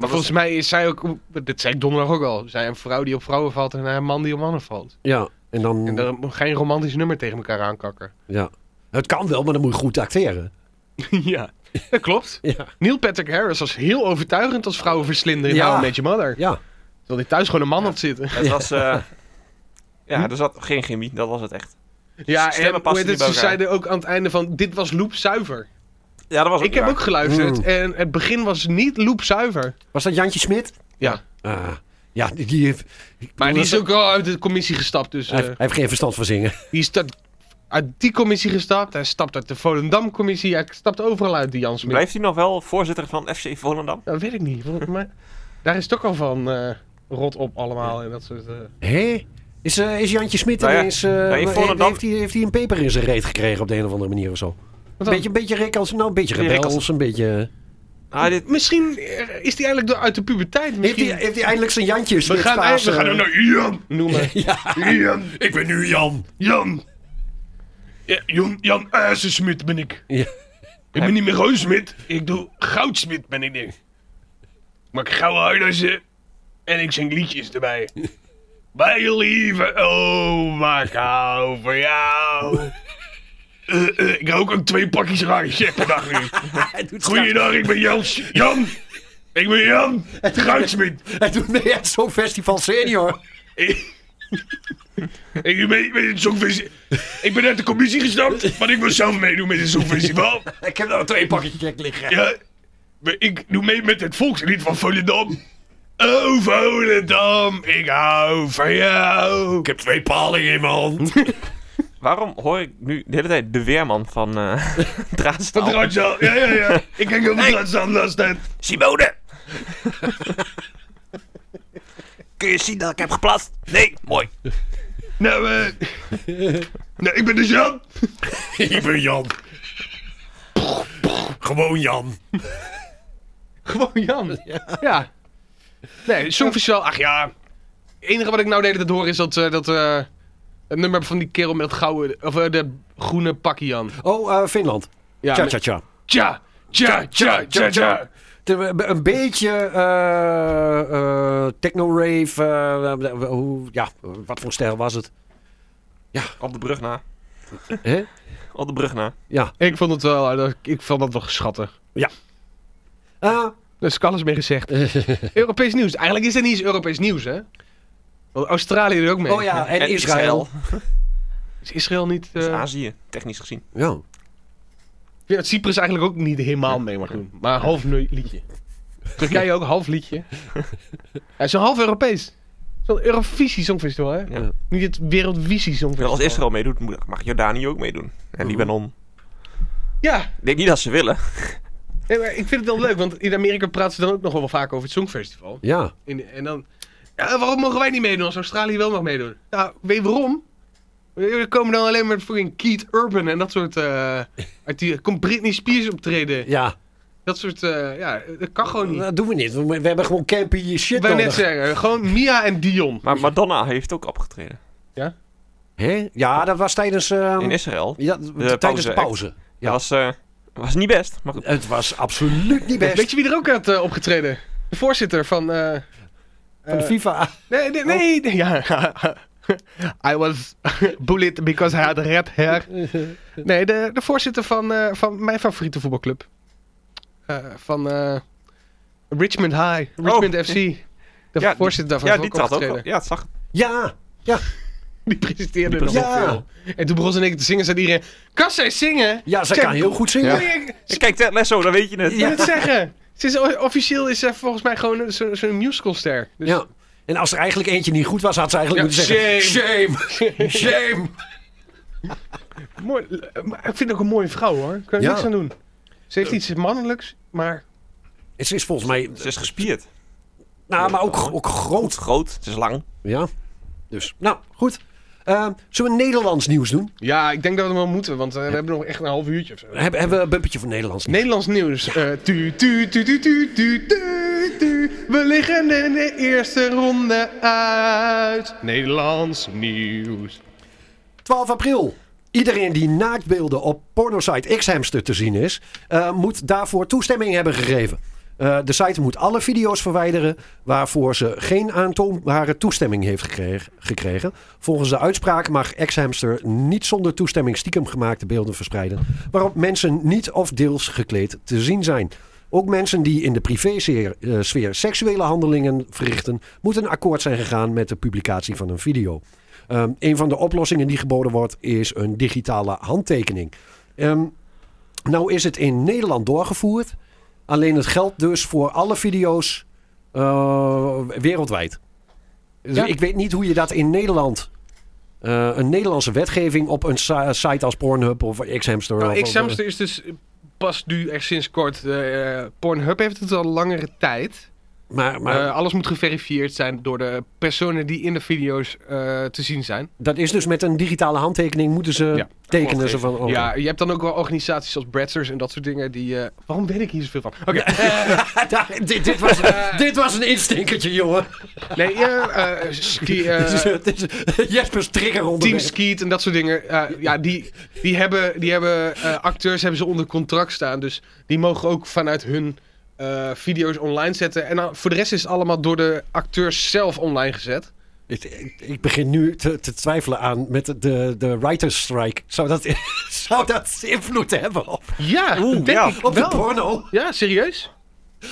S4: Maar volgens mij is zij ook... Dit zei ik donderdag ook al. Zij een vrouw die op vrouwen valt en een man die op mannen valt.
S5: Ja, en dan...
S4: En daar moet geen romantisch nummer tegen elkaar aankakken.
S5: ja. Het kan wel, maar dan moet je goed acteren.
S4: ja, dat klopt.
S5: Ja.
S4: Neil Patrick Harris was heel overtuigend als vrouwen verslinderen in
S5: Ja.
S4: How I Met Your Mother.
S5: Ja.
S4: Terwijl hij thuis gewoon een man had zitten.
S3: het was... eh, ja, er zat geen chemie, dat was het echt.
S4: Ja,
S3: stemmen
S4: en
S3: pasten
S4: hoe
S3: niet
S4: heet het,
S3: bij
S4: ze
S3: elkaar.
S4: zeiden ook aan het einde van... Dit was loopzuiver.
S3: Ja, dat was ook
S4: Ik heb
S3: niet
S4: ook geluisterd
S5: Mm.
S4: en het begin was niet loopzuiver.
S5: Was dat Jantje Smit?
S4: Ja.
S5: Ah, Ja, die, die-
S4: Maar die is
S5: dat-
S4: ook wel uit de commissie gestapt. Dus,
S5: hij,
S4: eh,
S5: hij heeft geen verstand van zingen.
S4: die is dat- uit die commissie gestapt. Hij stapt uit de Volendam-commissie. Hij stapt overal uit, die Jan Smit.
S3: Blijft hij nog wel voorzitter van FC Volendam?
S4: Dat weet ik niet. want- Maar daar is toch al van eh, rot op allemaal. En dat soort, eh.
S5: Hé? Is, eh, is Jantje Smit
S3: Nou ja,
S5: ineens... eh,
S3: nou, in
S5: he-
S3: Volendam-
S5: heeft, hij, heeft hij een peper in zijn reet gekregen op de een of andere manier of zo?
S4: Wat dan?
S5: Beetje, een beetje rekels, nou een beetje
S3: Beetje
S5: rebels, een beetje...
S3: Ah, dit,
S4: Misschien eh, is die eigenlijk door, uit de puberteit.
S5: Heeft
S4: Misschien...
S5: hij, heeft hij eindelijk zijn Jantje
S4: we,
S5: Smit
S4: gaan,
S5: paas,
S4: we gaan
S5: eh,
S4: hem naar Jan noemen.
S5: Ja,
S4: Jan,
S5: ik ben nu Jan.
S4: Jan. Ja, Jan, Jan IJzersmid ben ik.
S5: Ja.
S4: Ik ben niet meer Roosmid. Ik doe Goudsmid ben ik nu. Ik maak gouden huizen. En ik zing liedjes erbij. Wij lieve oma, ik hou van jou. Eh, eh, ik rook ook twee pakjes rare shit per dag nu.
S5: Hij doet, straks-
S4: Goeiedag, ik ben Jans. Jan. Ik ben Jan. Goudsmid.
S5: hij doet mee aan zo'n festival senior.
S4: Ik, ik, ben, ben het songfestival. ik ben uit de commissie gestapt, maar ik wil zelf meedoen met het songfestival.
S5: ik heb nou twee pakjes check liggen.
S4: Ja, maar ik doe mee met het volkslied van Volendam. Oh Volendam, ik hou van jou.
S5: Ik heb twee palen in mijn hand.
S3: waarom hoor ik nu de hele tijd de weerman van eh Draadstaal?
S4: Van Dransal, ja, ja, ja. Ik kijk over hey. Dransal last tijd.
S3: Simone! Kun je zien dat ik heb geplaatst? Nee, mooi.
S4: Nou, eh... nou, ik ben de Jan.
S5: ik ben Jan. Gewoon Jan.
S4: Gewoon Jan. Ja. Nee, Songfestival, ach ja. Het enige wat ik nou de hele tijd hoor is dat, eh, dat eh, het nummer van die kerel met het gouden, of eh, de groene pakje Jan.
S5: Oh, eh, Finland.
S4: Ja,
S5: Tja,
S4: met-
S5: tja, tja.
S4: tja, tja, tja, tja, tja.
S5: Te- Een beetje eh, eh, techno-rave. eh, eh, hoe- ja, wat voor stijl was het?
S3: Op de brug na.
S5: Hè?
S3: Op de brug na.
S5: Ja.
S4: Ik vond het wel, ik vond dat wel schattig.
S5: Eh,
S4: Daar is ook alles mee gezegd. Europees nieuws. Eigenlijk is dit niet eens Europees nieuws, hè? Want Australië er ook mee.
S3: Eh,
S5: oh ja, en, Israël.
S4: Is Israël niet... eh,
S3: Dus Azië, technisch gezien.
S5: Ja.
S4: Ik vind dat Cyprus eigenlijk ook niet helemaal mee mag doen. Maar een half nu- liedje. Turkije ook, half liedje. Ja, zo'n half Europees. Zo'n Eurovisie Songfestival, hè?
S3: Ja.
S4: Niet het Wereldvisie
S3: Wel,
S4: Songfestival.
S3: Als Israël meedoet, moet- mag Jordanië ook meedoen. En Libanon.
S4: Ja,
S3: Ik denk niet dat ze willen.
S4: nee, maar ik vind het wel leuk, want in Amerika praten ze dan ook nog wel vaak over het Songfestival.
S5: Ja.
S4: En, en dan... Ja, waarom mogen wij niet meedoen als Australië wel mag meedoen? Nou, weet je waarom? We komen dan alleen maar fucking Keith Urban en dat soort... eh uit die, komt Britney Spears optreden.
S5: ja.
S4: Dat soort... eh, ja, dat kan gewoon niet.
S5: Dat doen we niet. We, we hebben gewoon campy shit
S4: Ik wou net
S5: nodig.
S4: zeggen, gewoon Mia en Dion.
S3: Maar Madonna heeft ook opgetreden.
S5: Hè? Ja, dat was tijdens, eh,
S3: In Israël.
S5: ja, tijdens
S3: pauze
S5: de
S3: act.
S5: pauze. Ja.
S3: Dat was, eh, was niet best. Maar goed.
S5: Het was absoluut niet best.
S4: Weet je wie er ook had eh, opgetreden? De voorzitter van. eh,
S5: Van de
S4: eh,
S5: FIFA.
S4: nee, nee, nee. nee, ja. I was bullied because I had red hair. Nee, de, de voorzitter van, eh, van mijn favoriete voetbalclub. Eh, van eh, Richmond High, Richmond FC. De
S3: Ja,
S4: voorzitter daarvan
S3: ja,
S4: is
S3: die
S4: ook
S3: trad ook.
S4: opgetreden.
S3: wel. Ja, het zag.
S5: Ja.
S4: Die presenteerde
S3: Die
S4: nog
S5: presenteerde.
S4: wel veel. En toen begon ze in één keer te zingen, zei iedereen... Kan zij zingen?
S5: Ja, zij
S4: Zij-
S5: kan heel goed zingen.
S4: Wil je-
S3: Dus Kijk, Ted Lasso, dan weet je het.
S4: wil je het zeggen? Ze is, o- officieel is ze volgens mij gewoon een- zo- zo'n musicalster. Dus
S5: Ja. En als er eigenlijk eentje niet goed was, had ze eigenlijk
S4: Ja,
S5: moeten zeggen... Shame. Shame.
S4: Mooi, eh, maar ik vind het ook een mooie vrouw hoor. Ik kan er
S5: Ja.
S4: niks aan doen. Ze heeft iets mannelijks, maar
S5: Ze is volgens mij...
S3: Ze is gespierd.
S5: Nou, maar ook, ook groot.
S3: Groot, ze is lang.
S5: Ja. Dus, nou, goed. Ehm, zullen we Nederlands nieuws doen?
S4: ja, ik denk dat we wel moeten, want eh, we hebben nog echt een half uurtje of zo.
S5: Hebben, hebben we een bumpetje voor Nederlands nieuws?
S4: Nederlands nieuws. Eh, tu, tu, tu, tu, tu, tu, tu, tu. We liggen in de eerste ronde uit. Nederlands nieuws.
S5: 12 april. Iedereen die naaktbeelden op pornosite X-Hamster te zien is, eh, moet daarvoor toestemming hebben gegeven. Eh, de site moet alle video's verwijderen waarvoor ze geen aantoonbare toestemming heeft gekregen. gekregen. Volgens de uitspraak mag X-Hamster niet zonder toestemming stiekem gemaakte beelden verspreiden, waarop mensen niet of deels gekleed te zien zijn. Ook mensen die in de privésfeer eh, sfeer seksuele handelingen verrichten, moeten akkoord zijn gegaan met de publicatie van een video. Ehm, een van de oplossingen die geboden wordt, is een digitale handtekening. Ehm, nou is het in Nederland doorgevoerd. Alleen het geldt dus voor alle video's eh, wereldwijd. Dus
S6: Ja.
S5: Ik weet niet hoe je dat in Nederland... eh, een Nederlandse wetgeving op een sa- site als Pornhub of Xhamster. of-
S7: Nou,
S5: of-
S7: Xhamster is dus pas nu echt sinds kort. eh, Pornhub heeft het al langere tijd.
S5: Maar, maar
S7: Eh, alles moet geverifieerd zijn door de personen die in de video's eh, te zien zijn.
S5: dat is dus met een digitale handtekening moeten ze
S7: Ja.
S5: tekenen. Ze van, oh,
S7: Ja, je hebt dan ook wel organisaties als Bratzers en dat soort dingen die... eh, waarom weet ik hier zoveel van? Oké, Eh.
S5: dit, dit, was, dit was een instinkertje, jongen.
S7: nee, eh, eh, ski, eh,
S5: Dit is- dit is Jespers trigger onder
S7: Team Skeet en dat soort dingen. eh, ja, die, die hebben, die hebben eh, acteurs hebben ze onder contract staan. Dus die mogen ook vanuit hun eh, video's online zetten. En dan- voor de rest is het allemaal door de acteurs zelf online gezet.
S5: Ik, ik- ik begin nu te, te twijfelen aan met de, de writer's strike. Zou dat, zou dat invloed hebben op,
S7: Ja, dat denk
S3: ja.
S7: ik
S5: op de
S7: wel.
S5: porno?
S7: Ja, serieus?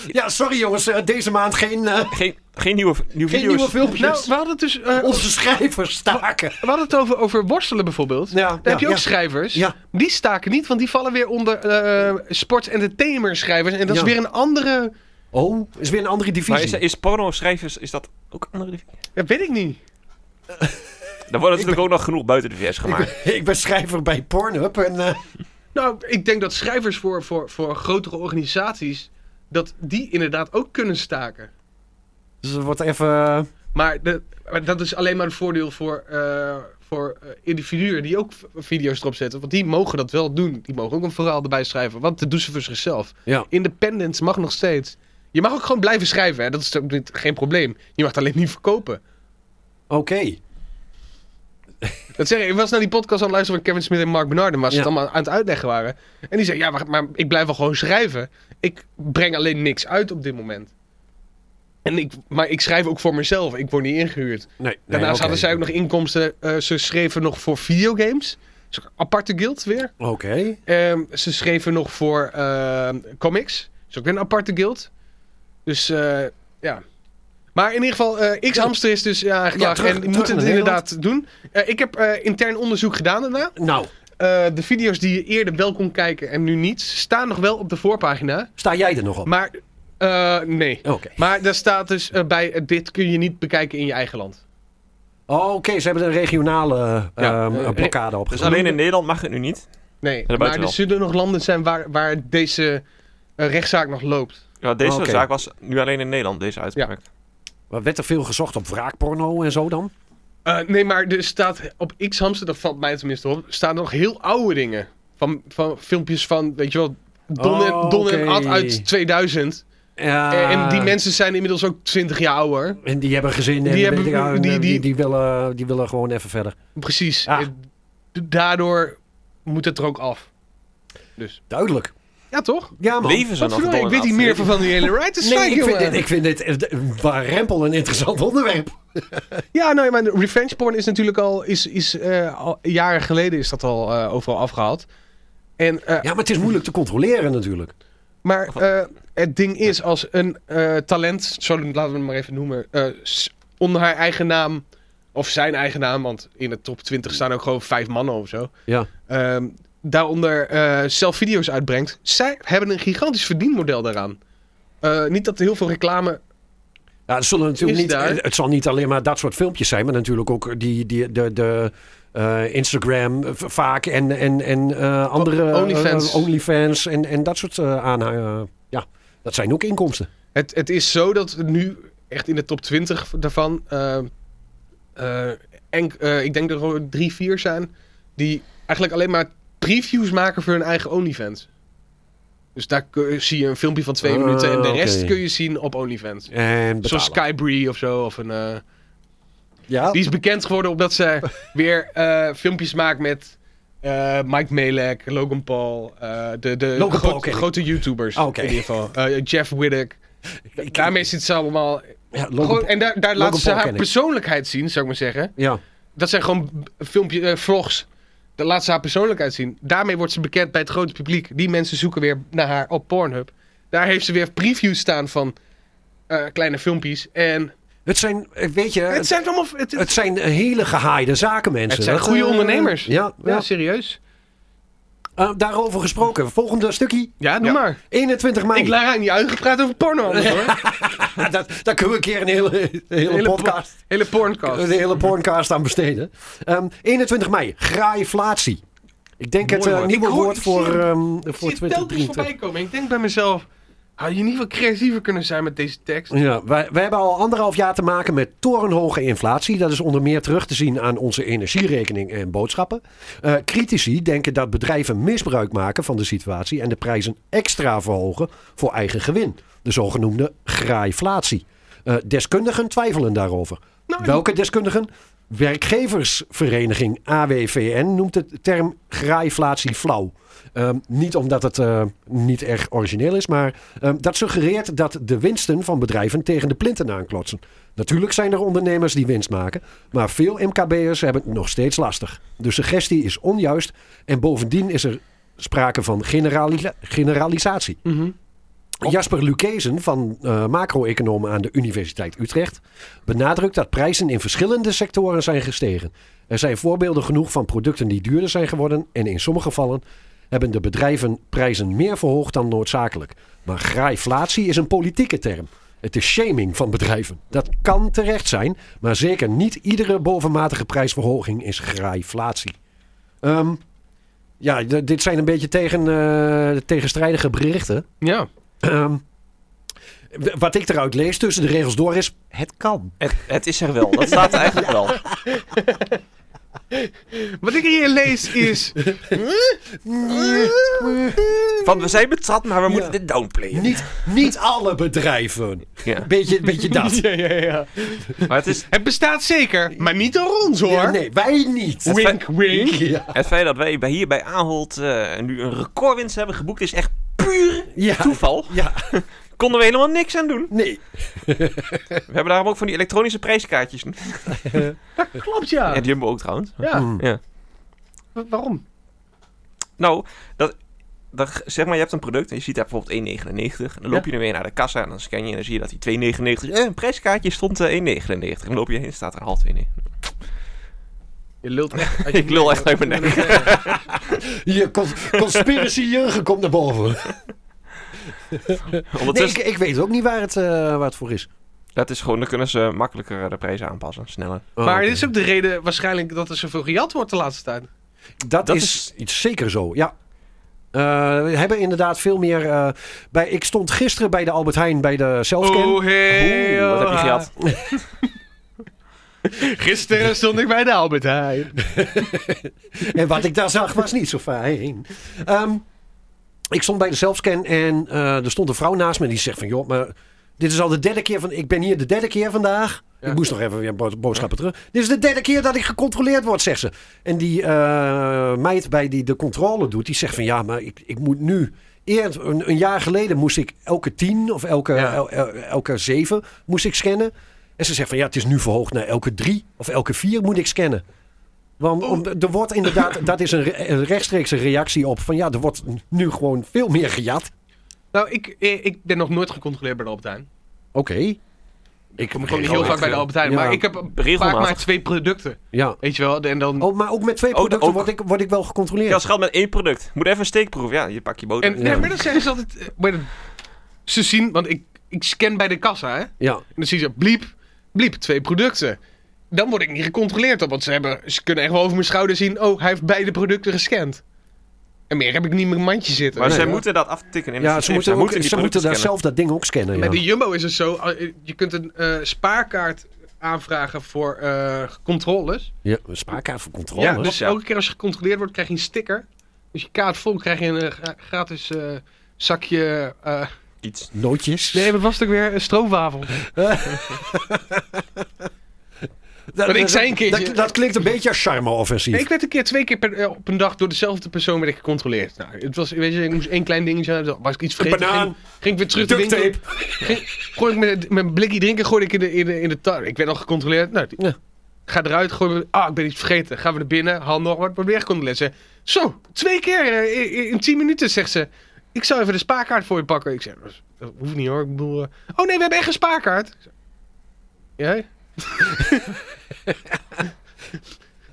S5: Ja, sorry jongens, eh, deze maand geen, eh,
S3: Geen, geen nieuwe, nieuwe
S5: geen
S3: video's.
S5: nieuwe filmpjes.
S7: Nou, we hadden het dus... eh,
S5: Onze schrijvers staken.
S7: we hadden het over, over worstelen bijvoorbeeld.
S5: Ja,
S7: Daar
S5: ja,
S7: heb je ook
S5: ja.
S7: schrijvers.
S5: Ja.
S7: Die staken niet, want die vallen weer onder eh sports entertainer schrijvers. En dat is
S5: Ja.
S7: weer een andere...
S5: Oh, is weer een andere
S3: Maar
S5: divisie.
S3: is, is porno schrijvers, is dat ook een andere divisie?
S7: Dat weet ik niet.
S3: Dan wordt natuurlijk ook nog genoeg buiten de VS gemaakt.
S5: ik ben schrijver bij Pornhub en eh,
S7: Nou, ik denk dat schrijvers voor, voor, voor grotere organisaties. dat die inderdaad ook kunnen staken.
S5: dus het wordt even... eh,
S7: Maar, de, maar dat is alleen maar een voordeel voor, eh, voor eh, individuen die ook v- video's erop zetten. Want die mogen dat wel doen. Die mogen ook een verhaal erbij schrijven. Want dat doen ze voor zichzelf.
S5: Ja.
S7: Independence mag nog steeds. Je mag ook gewoon blijven schrijven, hè? dat is ook niet, geen probleem. Je mag het alleen niet verkopen.
S5: Oké.
S7: Dat zeg ik, ik was naar die podcast aan het luisteren van Kevin Smith en Mark Bernardin, waar ze
S5: Ja.
S7: het allemaal aan het uitleggen waren. En die zei, ja, maar, maar ik blijf wel gewoon schrijven. Ik breng alleen niks uit op dit moment. En ik, maar ik schrijf ook voor mezelf, ik word niet ingehuurd.
S5: Nee, nee,
S7: Daarnaast
S5: oké.
S7: hadden zij ook nog inkomsten, eh, ze schreven nog voor videogames. Dat is ook een aparte guild weer.
S5: Oké.
S7: Ehm, ze schreven nog voor eh, comics. Dat is ook weer een aparte guild. Dus eh, ja. Maar in ieder geval, eh, X-Hamster is dus ja, aangeklaagd
S5: terug-
S7: en die
S5: terug
S7: moeten
S5: naar
S7: het inderdaad doen. Eh, ik heb eh, intern onderzoek gedaan daarna.
S5: Nou,
S7: Eh, de video's die je eerder wel kon kijken en nu niet, staan nog wel op de voorpagina.
S5: sta jij er nog op?
S7: Maar eh, nee.
S5: Oké.
S7: Maar daar staat dus eh, bij, eh, dit kun je niet bekijken in je eigen land.
S5: Oh, Oké, ze hebben een regionale
S3: Ja,
S5: ehm,
S7: eh,
S5: blokkade opgezet.
S3: Dus alleen in Nederland mag het nu niet.
S7: Nee,
S3: buiten
S7: maar er
S3: wel.
S7: zullen nog landen zijn waar, waar deze eh, rechtszaak nog loopt.
S3: Ja, deze
S5: Oké.
S3: zaak was nu alleen in Nederland, deze uitspraak.
S5: Maar werd er veel gezocht op wraakporno en zo dan?
S7: Eh, nee, maar er staat op X-Hamster, dat valt mij tenminste op, staan nog heel oude dingen. Van, van filmpjes van, weet je wel, Don, en,
S5: Oh,
S7: Don en
S5: oké. Ah.
S7: Ad uit 2000.
S5: Ja.
S7: Eh, en die mensen zijn inmiddels ook 20 jaar ouder.
S5: En die hebben gezin en
S7: Die
S5: die,
S7: hebben-
S5: die,
S7: die-
S5: die,
S7: die-
S5: willen, die willen gewoon even verder.
S7: Precies.
S5: Ja.
S7: Eh, d- daardoor moet het er ook af. Dus.
S5: Duidelijk.
S7: Ja, toch?
S5: Ja, man.
S3: Leven ze
S7: Wat
S3: nog
S7: verdorie, ik weet niet meer van, van die hele writers
S5: Nee,
S7: strike,
S5: ik vind,
S7: jongen.
S5: dit, ik vind dit eh, een warempel een interessant onderwerp.
S7: Ja, nou ja, maar revenge porn is natuurlijk al, is, is, eh, al jaren geleden is dat al eh, overal afgehaald. En, eh,
S5: Ja, maar het is moeilijk te controleren natuurlijk.
S7: Maar eh, het ding is, als een eh, talent, zo laten we hem maar even noemen, eh, s- onder haar eigen naam, of zijn eigen naam, want in de top 20 staan ook gewoon vijf mannen of zo,
S5: Ja.
S7: ehm, daaronder eh, zelf video's uitbrengt, zij hebben een gigantisch verdienmodel daaraan. Eh, niet dat er heel veel reclame
S5: Ja, het, zullen natuurlijk
S7: Is
S5: niet,
S7: daar-
S5: eh, het zal niet alleen maar dat soort filmpjes zijn, maar natuurlijk ook die, die, de, de eh, Instagram eh, v- vaak en, en, en eh, andere
S7: Onlyfans.
S5: eh, OnlyFans en, en dat soort eh aanhangen. ja, dat zijn ook inkomsten.
S7: Het, het is zo dat nu echt in de top 20 daarvan. eh, eh, enk- eh, ik denk dat er gewoon drie, vier zijn. die eigenlijk alleen maar previews maken voor hun eigen OnlyFans. Dus daar kun- zie je een filmpje van twee
S5: Ah,
S7: minuten. en de rest
S5: oké.
S7: kun je zien op OnlyFans.
S5: En
S7: Zoals
S5: betalen.
S7: Skybree of zo. Of een, eh,
S5: Ja,
S7: die is bekend geworden omdat ze weer eh, filmpjes maakt met. eh, Mike Melek, Logan Paul, eh, de, de
S5: Logan Paul
S7: grote-
S5: ken ik.
S7: grote YouTubers
S5: Ah, oké.
S7: in ieder geval. Eh, Jeff Widdick.
S5: ik-
S7: Daarmee zit ze allemaal
S5: ja, Logan
S7: Gewoon-
S5: Paul.
S7: en daar, daar laat
S5: Logan
S7: ze
S5: Paul
S7: haar
S5: ken ik.
S7: persoonlijkheid zien, zou ik maar zeggen.
S5: ja.
S7: Dat zijn gewoon b- filmpje, eh, vlogs. Daar laat ze haar persoonlijkheid zien. Daarmee wordt ze bekend bij het grote publiek. Die mensen zoeken weer naar haar op Pornhub. Daar heeft ze weer previews staan van eh, kleine filmpjes. En
S5: Het zijn, eh, weet je,
S7: het
S5: het,
S7: zijn allemaal... Het,
S5: het zijn hele gehaaide zakenmensen.
S7: Het zijn
S5: Dat,
S7: goede
S5: eh,
S7: ondernemers.
S5: Ja,
S7: ja,
S5: ja.
S7: serieus.
S5: Eh, daarover gesproken. Volgende stukje.
S7: Ja, doe
S3: Ja.
S7: maar.
S5: 21 mei.
S7: Ik laat niet uitgepraat over porno. anders, hoor.
S5: Ah, dat, daar kunnen we een keer een hele, een hele,
S7: Hele
S5: podcast,
S7: Hele porncast.
S5: een hele porncast aan besteden. Ehm 21 mei. Graaiflatie. Ik denk het
S7: Mooi
S5: eh,
S7: woord.
S5: nieuwe
S7: Ik hoor-
S5: woord
S7: ik
S5: voor,
S7: zie hem-
S5: ehm
S7: Ik
S5: voor
S7: zie het telkens
S5: 2023.
S7: voorbij komen. Ik denk bij mezelf, had je niet wat creatiever kunnen zijn met deze tekst?
S5: Ja, wij, wij hebben al anderhalf jaar te maken met torenhoge inflatie. Dat is onder meer terug te zien aan onze energierekening en boodschappen. Eh, critici denken dat bedrijven misbruik maken van de situatie en de prijzen extra verhogen voor eigen gewin. De zogenoemde graaiflatie. Eh, deskundigen twijfelen daarover.
S7: Nou,
S5: Welke deskundigen? Werkgeversvereniging AWVN noemt de term graaiflatie flauw. Ehm, niet omdat het eh, niet erg origineel is, maar ehm, dat suggereert dat de winsten van bedrijven tegen de plinten aanklotsen. Natuurlijk zijn er ondernemers die winst maken, maar veel MKB'ers hebben het nog steeds lastig. De suggestie is onjuist en bovendien is er sprake van generali- generalisatie. Jasper Lukezen van eh macro-economen aan de Universiteit Utrecht benadrukt dat prijzen in verschillende sectoren zijn gestegen. Er zijn voorbeelden genoeg van producten die duurder zijn geworden en in sommige gevallen hebben de bedrijven prijzen meer verhoogd dan noodzakelijk. Maar graaiflatie is een politieke term. Het is shaming van bedrijven. Dat kan terecht zijn, maar zeker niet iedere bovenmatige prijsverhoging is graaiflatie. Ehm, ja, d- dit zijn een beetje tegen, eh, tegenstrijdige berichten.
S7: Ja.
S5: Ehm, w- wat ik eruit lees tussen de regels door is: het kan.
S3: Het, het is er wel. Dat staat er eigenlijk wel.
S7: Wat ik hier lees is,
S3: Van we zijn betrapt, maar we moeten
S5: Ja.
S3: dit downplayen.
S5: Niet, niet alle bedrijven.
S3: Ja.
S5: Beetje, beetje dat.
S3: Maar het, is,
S7: het bestaat zeker, maar niet door ons hoor.
S5: Ja, nee, wij niet.
S7: Wink, wink.
S5: Ja,
S3: het feit dat wij bij, hier bij Ahold eh, nu een recordwinst hebben geboekt is echt puur
S5: ja,
S3: toeval.
S5: ja,
S3: Konden we helemaal niks aan doen.
S5: nee.
S3: We hebben daarom ook van die elektronische prijskaartjes.
S7: Klopt ja.
S3: En Jumbo ook trouwens.
S7: Ja,
S5: Mm.
S7: wa- waarom?
S3: Nou, dat, dat, zeg maar, je hebt een product en je ziet daar bijvoorbeeld 1,99. En dan loop je ermee naar de kassa en dan scan je en dan zie je dat die 2,99... Eh, een prijskaartje stond eh, 1,99. En dan loop je heen en staat er half 2,99.
S7: Je lult echt. uit je
S3: Ik lul echt uit mijn nek.
S5: Je cons- conspiracy jurgen komt naar boven. Nee,
S3: Ondertussen,
S5: ik, ik weet ook niet waar het, eh, waar het voor is.
S3: dat is gewoon, dan kunnen ze makkelijker eh, de prijzen aanpassen. Sneller.
S5: Oh,
S7: maar
S5: oké.
S7: dit is ook de reden waarschijnlijk dat er zoveel gejat wordt de laatste tijd.
S5: Dat,
S3: Dat
S5: is, iets zeker zo, ja. Eh, we hebben inderdaad veel meer. eh, bij, ik stond gisteren bij de Albert Heijn bij de
S7: Oh,
S5: selfscan.
S7: hey.
S3: Oeh, wat heb je gehad?
S7: Gisteren stond ik bij de Albert Heijn.
S5: En wat ik daar zag was niet zo fijn. Ehm, ik stond bij de zelfscan en eh, er stond een vrouw naast me die zegt van... joh, maar dit is al de derde keer van... ik ben hier de derde keer vandaag.
S7: Ja.
S5: Ik moest nog even weer bo- boodschappen terug. Dit is de derde keer dat ik gecontroleerd word, zegt ze. En die eh, meid bij die de controle doet, die zegt van... ja, maar ik, ik moet nu... Eer, een, een jaar geleden moest ik elke tien of elke,
S7: Ja.
S5: el- el- elke zeven moest ik scannen. En ze zegt van ja, het is nu verhoogd naar elke drie of elke vier moet ik scannen. Want om- er wordt inderdaad, dat is een, re- een rechtstreekse reactie op van ja, er wordt nu gewoon veel meer gejat.
S7: Nou, ik, eh, ik ben nog nooit gecontroleerd bij de Albert Heijn.
S5: Oké. Ik
S7: Ik kom gewoon niet heel vaak bij de Albert Heijn,
S5: Ja.
S7: maar ik heb vaak
S3: Regelmatig.
S7: maar twee producten.
S5: Ja.
S7: Weet je wel, en dan...
S5: Oh, maar ook met twee
S3: Oh, de-
S5: producten
S3: ook-
S5: word, ik, word ik wel gecontroleerd.
S3: Ja, als geld met één product. Moet even een steekproef. Ja, je pak je boter.
S7: en nee, maar dan zeggen ze altijd... eh, maar dan- ze zien, want ik, ik scan bij de kassa, hè.
S5: Ja.
S7: En dan zie je, bliep, bliep, twee producten. Dan word ik niet gecontroleerd op, want ze, hebben, ze kunnen echt wel over mijn schouder zien... Oh, hij heeft beide producten gescand. En meer heb ik niet in mijn mandje zitten.
S3: maar
S5: nee,
S3: zij
S5: ja.
S3: moeten dat aftikken in het
S5: ja, ze
S3: systeem.
S5: moeten,
S3: Zij
S5: ook, ze
S3: die
S5: moeten daar
S3: producten
S5: zelf dat ding ook scannen.
S7: Bij de
S5: Ja.
S7: Jumbo is het zo, eh, je kunt een eh, spaarkaart aanvragen voor eh, controles.
S5: Ja, een spaarkaart voor controle.
S7: Ja, dus
S3: ja.
S7: elke keer als je gecontroleerd wordt, krijg je een sticker. Dus je kaart vol krijg je een eh, gra- gratis eh, zakje... eh,
S3: scannen. Iets.
S5: Nootjes.
S7: nee, wat was het ook weer? Een stroopwafel.
S5: dat,
S7: maar ik zei een keertje-
S5: Dat, dat klinkt een beetje als charme-offensief.
S7: Nee, ik werd een keer twee keer per, eh, op een dag door dezelfde persoon werd ik gecontroleerd. Nou, het was, weet je, ik moest één klein dingetje hebben. Was ik iets vergeten?
S5: banaan.
S7: Ging, ging ik weer terug de
S5: Duct
S7: winkel. Ging, gooi ik mijn, mijn blikje drinken, gooi ik in de, in de, in de tar. Ik werd al gecontroleerd. Nou, die-
S5: Ja.
S7: Ga eruit, gooi me- Ah, ik ben iets vergeten. Gaan we naar binnen, handen nog wat, wordt weer gecontroleerd. Ze, Zo, twee keer eh, in- in, in tien minuten, zegt ze. Ik zou even de spaarkaart voor je pakken. Ik zeg, dat- dat hoeft niet hoor. Ik bedoel, eh, oh nee, we hebben echt een spaarkaart. Ik zeg, Jij?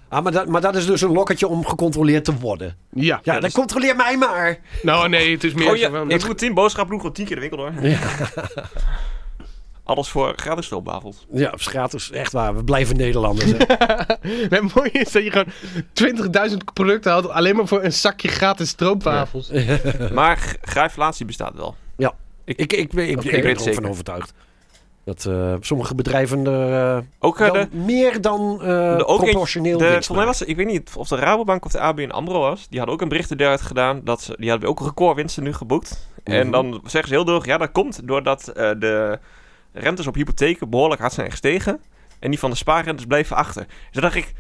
S5: Ah, maar, dat, maar dat is dus een lokketje om gecontroleerd te worden.
S4: Ja.
S5: Ja,
S3: Ja,
S5: dan
S3: dus-
S5: controleer mij maar.
S4: Nou, nee, het is meer...
S3: Oh ja,
S4: zo van-
S3: ik moet tien boodschappen doen, gewoon tien keer de winkel door. Alles voor gratis tulbavels.
S5: Ja, op gratis. Echt waar, we blijven Nederlanders. hè.
S4: Nee, het mooie is dat je gewoon 20.000 producten haalt alleen maar voor een zakje gratis stroopwafels.
S3: Maar g- grijflatie bestaat wel.
S5: ik, ik, ben- ik, ik,
S3: weet
S5: ben
S3: het
S5: er ook
S3: zeker.
S5: van overtuigd. Dat eh, sommige bedrijven er eh,
S3: Ook eh,
S5: dan
S3: de,
S5: meer dan eh,
S3: de, ook een-
S5: proportioneel
S3: de, volgens
S5: winst
S3: mij
S5: maken.
S3: was het- ik weet niet of de Rabobank of de ABN AMRO was. Die hadden ook een bericht eruit gedaan. Dat ze, die hadden ook recordwinsten nu geboekt. En
S5: Mhm.
S3: dan zeggen ze heel droog, ja dat komt doordat eh, de rentes op hypotheken behoorlijk hard zijn gestegen. En die van de spaarrentes bleven achter. Dus dan dacht ik,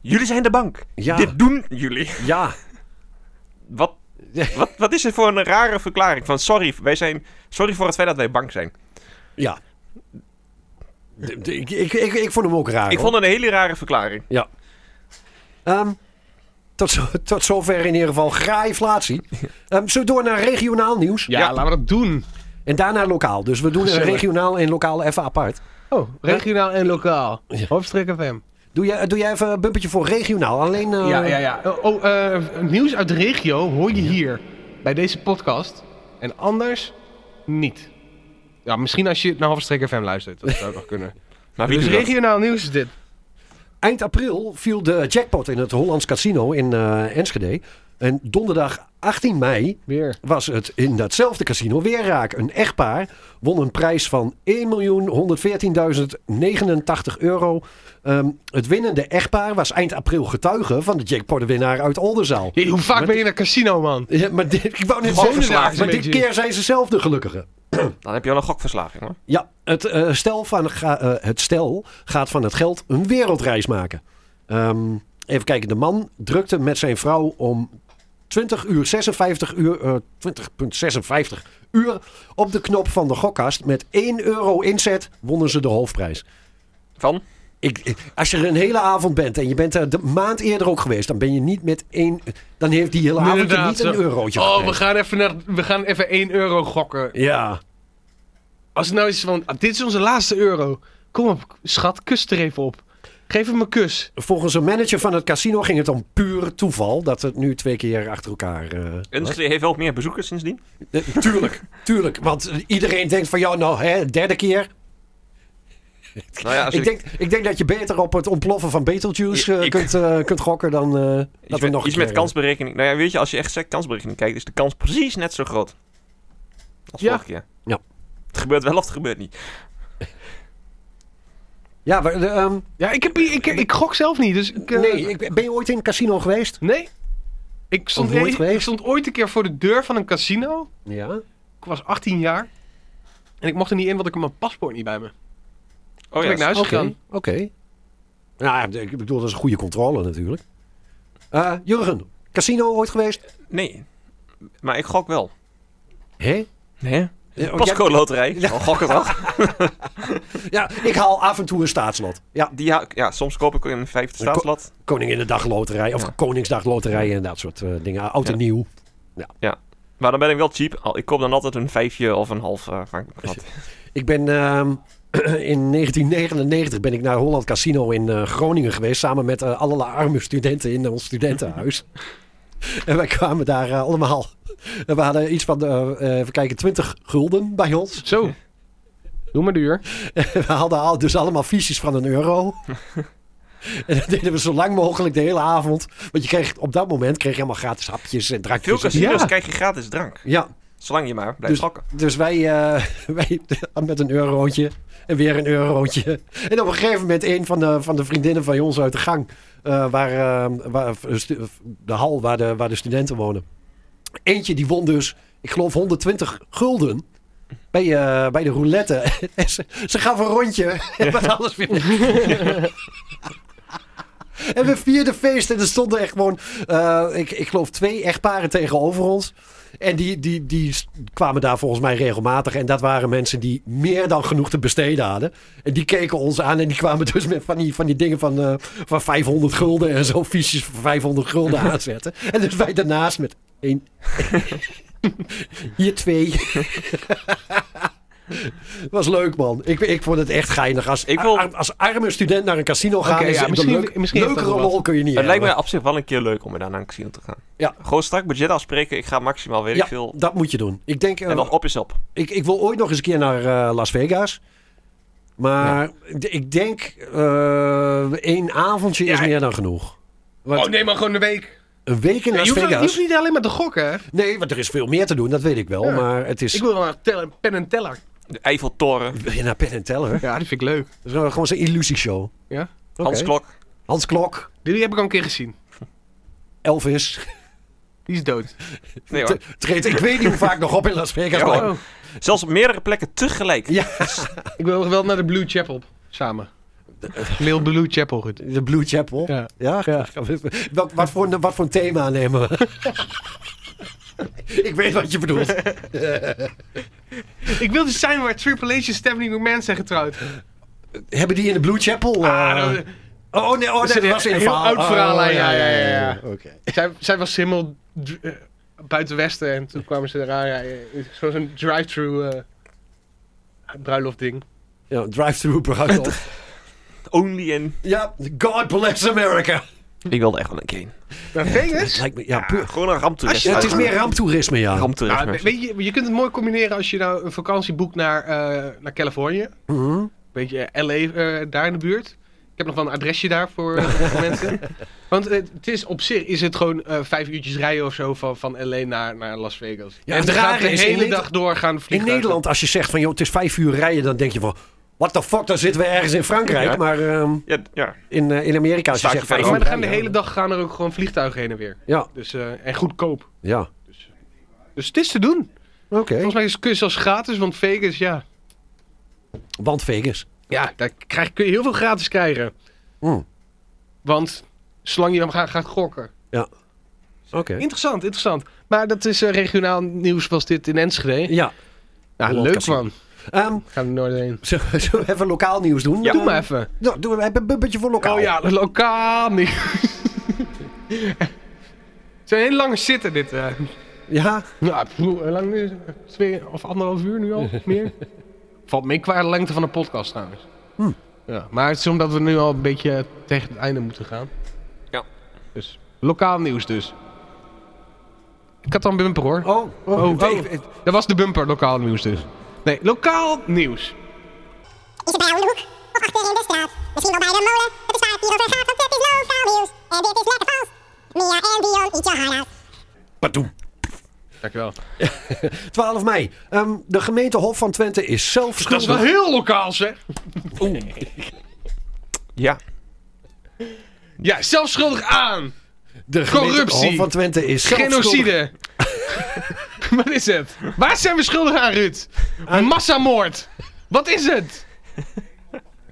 S3: jullie zijn de bank.
S5: Ja.
S3: Dit doen jullie.
S5: Ja,
S3: Wat, wat, wat is het voor een rare verklaring? Van sorry, wij zijn, sorry voor het feit dat wij bank zijn.
S5: ja. De- de- ik, ik, ik, ik vond hem ook raar.
S3: Ik
S5: hoor.
S3: vond het een hele rare verklaring.
S5: Ehm, tot, zo- tot zover in ieder geval graaiflatie. Ehm zullen we door naar regionaal nieuws?
S4: Ja,
S3: Ja.
S4: laten we dat doen.
S5: En daarna lokaal. Dus we doen eh,
S4: Gezellig.
S5: regionaal en lokaal even apart.
S4: Oh, regionaal en lokaal.
S5: Ja.
S4: Hoofdstreek FM.
S5: Doe jij, doe jij even een bumpertje voor regionaal? Alleen eh,
S4: Ja, ja, ja. Oh, Oh, eh, nieuws uit de regio hoor je hier bij deze podcast. En anders niet. Ja, misschien als je naar Hoofdstreek FM luistert. Dat zou nog kunnen.
S3: Maar Nou, wie
S4: Dus
S3: doet dat?
S4: regionaal nieuws is dit.
S5: Eind april viel de jackpot in het Hollands Casino in eh, Enschede. En donderdag 18 mei
S4: Weer.
S5: was het in datzelfde casino weer raak. Een echtpaar won een prijs van 1.114.089 euro. Ehm, het winnende echtpaar was eind april getuige van de jackpotwinnaar uit Oldenzaal.
S4: Jee, hoe vaak ben je naar casino, man?
S5: Ja, maar dit, ik wou net
S4: Gewoon
S5: zeggen,
S4: verslaafd,
S5: maar
S4: een
S5: dit
S4: beetje.
S5: keer zijn ze zelf de gelukkige.
S3: Dan heb je al een gokverslaging hoor.
S5: Ja, het, eh, stel van, ga- eh, het stel gaat van het geld een wereldreis maken. Ehm, even kijken, de man drukte met zijn vrouw om 20 uur 56 uur, eh, 20.56 uur op de knop van de gokkast. Met 1 euro inzet wonnen ze de hoofdprijs.
S3: Van?
S5: Ik, ik- als je er een hele avond bent en je bent er de maand eerder ook geweest, dan ben je niet met één. Dan heeft die hele avond je
S4: Inderdaad,
S5: niet een
S4: zo.
S5: eurotje.
S4: Oh, we
S5: gekregen.
S4: gaan, even naar, we gaan even 1 euro gokken.
S5: Ja,
S4: Als het nou is van, ah, dit is onze laatste euro. Kom op, schat, kus er even op. Geef hem een kus.
S5: Volgens een manager van het casino ging het om puur toeval dat het nu twee keer achter elkaar. eh,
S3: Enschede heeft wel meer bezoekers sindsdien.
S5: Eh, tuurlijk, tuurlijk. Want iedereen denkt van ja, nou, hè, derde keer.
S3: Nou ja, als
S5: Ik
S3: ik
S5: denk, ik denk dat je beter op het ontploffen van Betelgeuse eh,
S3: Ik-
S5: kunt, eh, kunt gokken dan eh, dat
S3: iets,
S5: we
S3: met,
S5: nog een
S3: iets met
S5: keer- eh,
S3: kansberekening. Nou ja, weet je, als je echt sec kansberekening kijkt, is de kans precies net zo groot. Als
S4: Ja.
S3: vorige keer.
S5: Ja.
S3: Het gebeurt wel of het gebeurt niet.
S5: Ja, maar, eh, ehm,
S4: Ja, ik, heb, hier- ik, ik gok zelf niet, dus ik... eh,
S5: nee, ik, ben je ooit in een casino geweest?
S4: Nee? Ik stond,
S5: Of nooit
S4: e- ik
S5: geweest?
S4: stond ooit een keer voor de deur van een casino.
S5: Ja.
S4: Ik was 18 jaar. En ik mocht er niet in, want ik had mijn paspoort niet bij me.
S3: Oh
S4: ben ik naar huis
S5: Oké.
S4: gegaan.
S5: Oké. Nou, ik bedoel, dat is een goede controle natuurlijk. Eh, Jurgen, casino ooit geweest?
S3: Nee. Maar ik gok wel.
S5: Hé?
S3: Nee.
S5: Eh, oh,
S3: Pasco loterij. Al gokken toch?
S5: jij- Ja, ik haal af en toe een staatslot. Ja,
S3: Die ha- ja, soms koop ik een vijfde
S5: ko-
S3: staatslot.
S5: Koninginnedag-loterij of
S3: Ja.
S5: Koningsdag-loterij en dat soort eh, dingen. Oud en
S3: Ja.
S5: nieuw.
S3: Maar dan ben ik wel cheap. Al- Ik koop dan altijd een vijfje of een half. eh, van- van-
S5: Ik ben ehm, in 1999 ben ik naar Holland Casino in eh, Groningen geweest. Samen met eh, allerlei arme studenten in ons studentenhuis. en wij kwamen daar eh, allemaal. En we hadden iets van, eh, eh, even kijken, 20 gulden bij ons.
S4: Zo. Doe maar duur.
S5: we hadden al, dus allemaal fiches van een euro. En dat deden we zo lang mogelijk de hele avond. Want je kreeg op dat moment kreeg je allemaal gratis hapjes en drankjes.
S3: Veel
S5: en-
S3: casinos
S4: Ja.
S3: krijg je gratis drank.
S5: Ja,
S3: Zolang je maar blijft
S5: Dus-
S3: gokken.
S5: Dus wij, eh, wij met een eurotje en weer een eurotje. En op een gegeven moment een van de, van de vriendinnen van ons uit de gang. eh, waar, eh, waar, stu- de hal waar de, waar de studenten wonen. Eentje die won dus, ik geloof 120 gulden. Bij, eh, bij de roulette. En ze, ze gaf een rondje. En was alles weer weg. En we vierden feest. En er stonden echt gewoon, eh, ik, ik geloof, twee echtparen tegenover ons. En die, die, die s- kwamen daar volgens mij regelmatig. En dat waren mensen die meer dan genoeg te besteden hadden. En die keken ons aan en die kwamen dus met van die, van die dingen van, eh, van 500 gulden en zo fiches voor 500 gulden aanzetten. En dus wij daarnaast met één. Hier twee. was leuk, man. Ik, ik vond het echt geinig. Als,
S3: Ik wil-
S5: a- als arme student naar een casino gaan,
S7: Oké,
S5: is
S7: ja,
S5: het
S7: misschien-
S5: een leuk,
S7: misschien heeft
S5: leukere
S7: dat wel
S5: rol kun je niet
S3: Het lijkt
S5: hebben.
S3: me op zich wel een keer leuk om daarna naar een casino te gaan.
S5: Ja.
S3: Gewoon strak budget afspreken. Ik ga maximaal, weet
S5: ja,
S3: ik veel.
S5: dat moet je doen. Ik denk, eh,
S3: En dan op is op.
S5: ik, ik wil ooit nog eens een keer naar eh, Las Vegas. Maar ik- ik denk, eh één avondje is
S7: Ja,
S5: meer dan genoeg. Want
S7: Oh, nee, maar gewoon een week.
S5: Een week in
S7: Ja,
S5: Las
S7: je, hoeft, ook- je
S5: Vegas.
S7: hoeft niet alleen maar te gokken, hè?
S5: Nee, want er is veel meer te doen, dat weet ik wel.
S7: Ja.
S5: Maar het is...
S7: Ik wil wel naar tel- Penn en Teller.
S3: De Eiffeltoren,
S5: Wil je naar Penn en Teller?
S7: Ja, die vind ik leuk.
S5: Dat is wel gewoon zo'n illusieshow.
S7: Ja?
S5: Oké.
S3: Hans Klok.
S5: Hans Klok,
S7: Die heb ik al een keer gezien.
S5: Elvis.
S7: Die is dood.
S3: Nee hoor.
S5: T- treedt, ik weet niet hoe vaak nog op in Las Vegas.
S3: Ja,
S5: maar-
S3: hoor. Zelfs op meerdere plekken tegelijk.
S7: Ik wil wel naar de Blue Chapel. Samen. Lil Blue Chapel, goed.
S5: De Blue Chapel. Ja.
S7: Ja.
S5: Wat, wat, voor, een- wat voor een thema nemen we? ik weet wat je bedoelt.
S7: Ik wil dus zijn waar Triple H en Stephanie McMahon zijn getrouwd.
S5: Hebben die in de Blue Chapel? eh,
S7: Ah, dat-
S5: oh nee, oh,
S7: dat
S5: nee
S7: is
S5: dat
S7: een
S5: was in een
S7: heel
S5: verhaal.
S7: oud verhaal,
S5: Oh,
S7: ja, ja, ja, ja.
S5: Oké.
S7: zij, zij was helemaal dr- eh, buiten Westen en toen kwamen ze eraan. Ja, eh, zo- Zo'n drive-thru eh bruiloft ding.
S5: Ja, drive-through bruiloft.
S3: Only in.
S5: ja, God bless America.
S3: Ik wilde echt wel een keer. heen.
S7: Naar Vegas?
S5: Lijkt me, ja, puur.
S3: Gewoon een ramptoerist.
S5: Ja, het is meer ramptoerisme, ja.
S7: Ja,
S3: ramptoerist.
S7: ah, we- weet je, je kunt het mooi combineren als je nou een vakantie boekt naar, eh, naar Californië.
S5: Mhm.
S7: beetje eh, LA eh, daar in de buurt. Ik heb nog wel een adresje daar voor, eh, voor mensen. Want eh, het is op zich is het gewoon eh, vijf uurtjes rijden of zo van, van LA naar, naar Las Vegas.
S5: Ja,
S7: en
S5: het
S7: het
S5: rare
S7: gaat de
S5: is, in
S7: hele
S5: Nederland-
S7: dag door gaan
S5: In
S7: vliegen.
S5: Nederland, als je zegt van joh, het is vijf uur rijden, dan denk je van. What the fuck, dan zitten we ergens in Frankrijk.
S3: Ja.
S5: Maar ehm,
S3: Ja, ja.
S5: in, eh, in Amerika, als je
S3: Staat je
S5: zegt vijf
S3: vijf
S7: Maar
S5: uur
S7: er gaan de hele
S5: rijden,
S7: dag gaan er ook gewoon vliegtuigen heen en weer.
S5: Ja,
S7: Dus, eh, en goedkoop.
S5: ja.
S7: Dus het is te doen.
S5: Oké.
S7: Volgens mij is Kus als gratis, want Vegas, ja.
S5: Want Vegas.
S7: Ja, daar krijg, kun je heel veel gratis krijgen.
S5: Hm.
S7: Want zolang je dan gaat, gaat gokken.
S5: Oké.
S7: Interessant, interessant. Maar dat is eh, regionaal nieuws was dit in Enschede.
S5: Ja.
S7: Ja,
S5: Holland
S7: leuk
S5: Casino.
S7: man.
S5: Ehm,
S7: Gaan we nooit heen.
S5: zullen, we- zullen we even lokaal nieuws doen?
S7: Doe
S5: Eh,
S7: maar even.
S5: Nou, doen we even een bumpertje voor lokaal.
S7: Oh ja, lokaal niet. Het zijn heel lange zitten dit. eh.
S5: Ja?
S7: Nou, pff, hoe lang is het? Twee of anderhalf uur nu al? Meer? Valt mee qua de lengte van de podcast trouwens.
S5: Hm.
S7: Ja, maar het is omdat we nu al een beetje tegen het einde moeten gaan.
S3: Ja.
S7: Dus lokaal nieuws dus. Ik had al een bumper hoor.
S5: Oh, oh,
S7: Oh,
S5: ik-
S7: oh.
S5: ik-
S7: Dat was de bumper, lokaal nieuws dus. Nee, lokaal nieuws.
S8: Is het bij jou in de hoek? Of achter in de straat? Misschien wel bij de molen? Het is vaak hier over gaat, want het is lokaal nieuws. En dit is lekker vals. Mia en Dion, eat your heart out.
S5: Patoem.
S7: Dankjewel.
S5: 12 mei. Ehm, de gemeente Hof van Twente is zelf
S7: Dat is wel
S5: schuldig.
S7: heel lokaal zeg.
S3: ja.
S7: Ja, zelfschuldig aan.
S5: De gemeente
S7: corruptie.
S5: Hof van Twente is zelf schuldig
S7: Genocide. Wat is het? Waar zijn we schuldig aan, Ruud? Massamoord. Wat is het?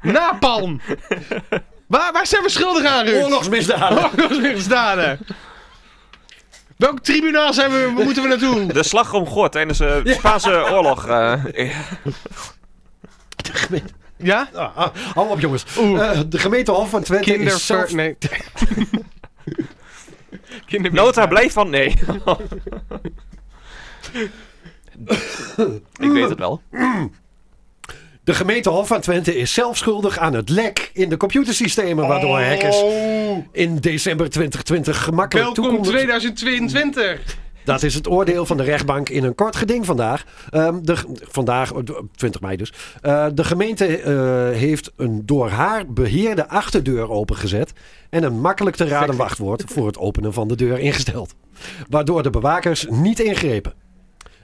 S7: Napalm. Waar, waar zijn we schuldig aan, Ruud?
S5: Oorlogsmisdaden.
S7: Oorlogsmisdaden. Welk tribunaal zijn we, moeten we naartoe?
S3: De slag om Gort tijdens eh, de Spaanse oorlog. eh,
S7: Ja?
S5: Ah, ah, hou op jongens.
S7: Oh. Oeh.
S5: Eh, de gemeente Hof van Twente
S7: Kinderver...
S5: is zelf...
S7: Nee. Kindermisdaad.
S3: Nota blijf van nee. ik weet het wel.
S5: De gemeente Hof van Twente is zelf schuldig aan het lek in de computersystemen, waardoor
S7: Oh.
S5: hackers in december 2020 gemakkelijk
S7: Welkom
S5: toekomen.
S7: 2022.
S5: Dat is het oordeel van de rechtbank in een kort geding vandaag. Ehm, de, ge- vandaag, eh, 20 mei dus. Eh, de gemeente eh, heeft een door haar beheerde achterdeur opengezet en een makkelijk te raden wachtwoord voor het openen van de deur ingesteld. Waardoor de bewakers niet ingrepen.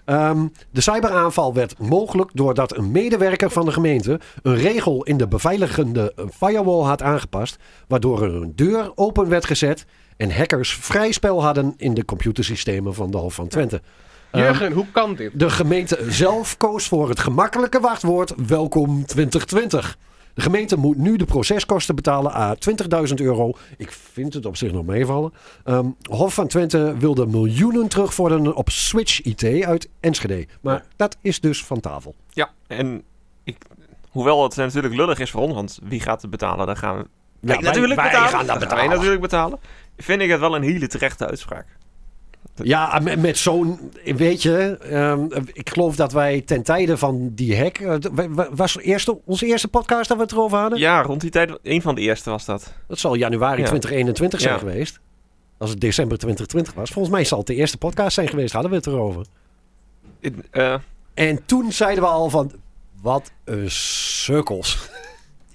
S5: Ehm, de cyberaanval werd mogelijk doordat een medewerker van de gemeente een regel in de beveiligende eh, firewall had aangepast, waardoor er een deur open werd gezet en hackers vrij spel hadden in de computersystemen van de Hof van Twente. Ehm,
S7: Jurgen, hoe kan dit?
S5: de gemeente zelf koos voor het gemakkelijke wachtwoord Welkom 2020. De gemeente moet nu de proceskosten betalen aan 20.000 euro. Ik vind het op zich nog meevallen. Ehm, Hof van Twente wilde miljoenen terugvorderen op Switch IT uit Enschede. Maar dat is dus van tafel.
S3: Ja, en ik, hoewel het natuurlijk lullig is voor ons, want wie gaat het betalen? Dan gaan
S5: Ja,
S3: wij natuurlijk
S5: wij
S3: betalen.
S5: gaan dat
S3: Dan gaan
S5: betalen.
S3: Wij natuurlijk betalen. Vind ik het wel een hele terechte uitspraak.
S5: Ja, met, met zo'n, weet je, ehm, ik geloof dat wij ten tijde van die hack, eh, d- wa- wa- was eerste, onze eerste podcast dat we het erover hadden?
S3: Ja, rond die tijd, een van de eerste was dat.
S5: Dat zal januari
S3: Ja.
S5: 2021 zijn
S3: Ja.
S5: geweest. Als het december 2020 was. Volgens mij zal het de eerste podcast zijn geweest, hadden we het erover.
S3: In- eh,
S5: En toen zeiden we al van, wat een sukkels.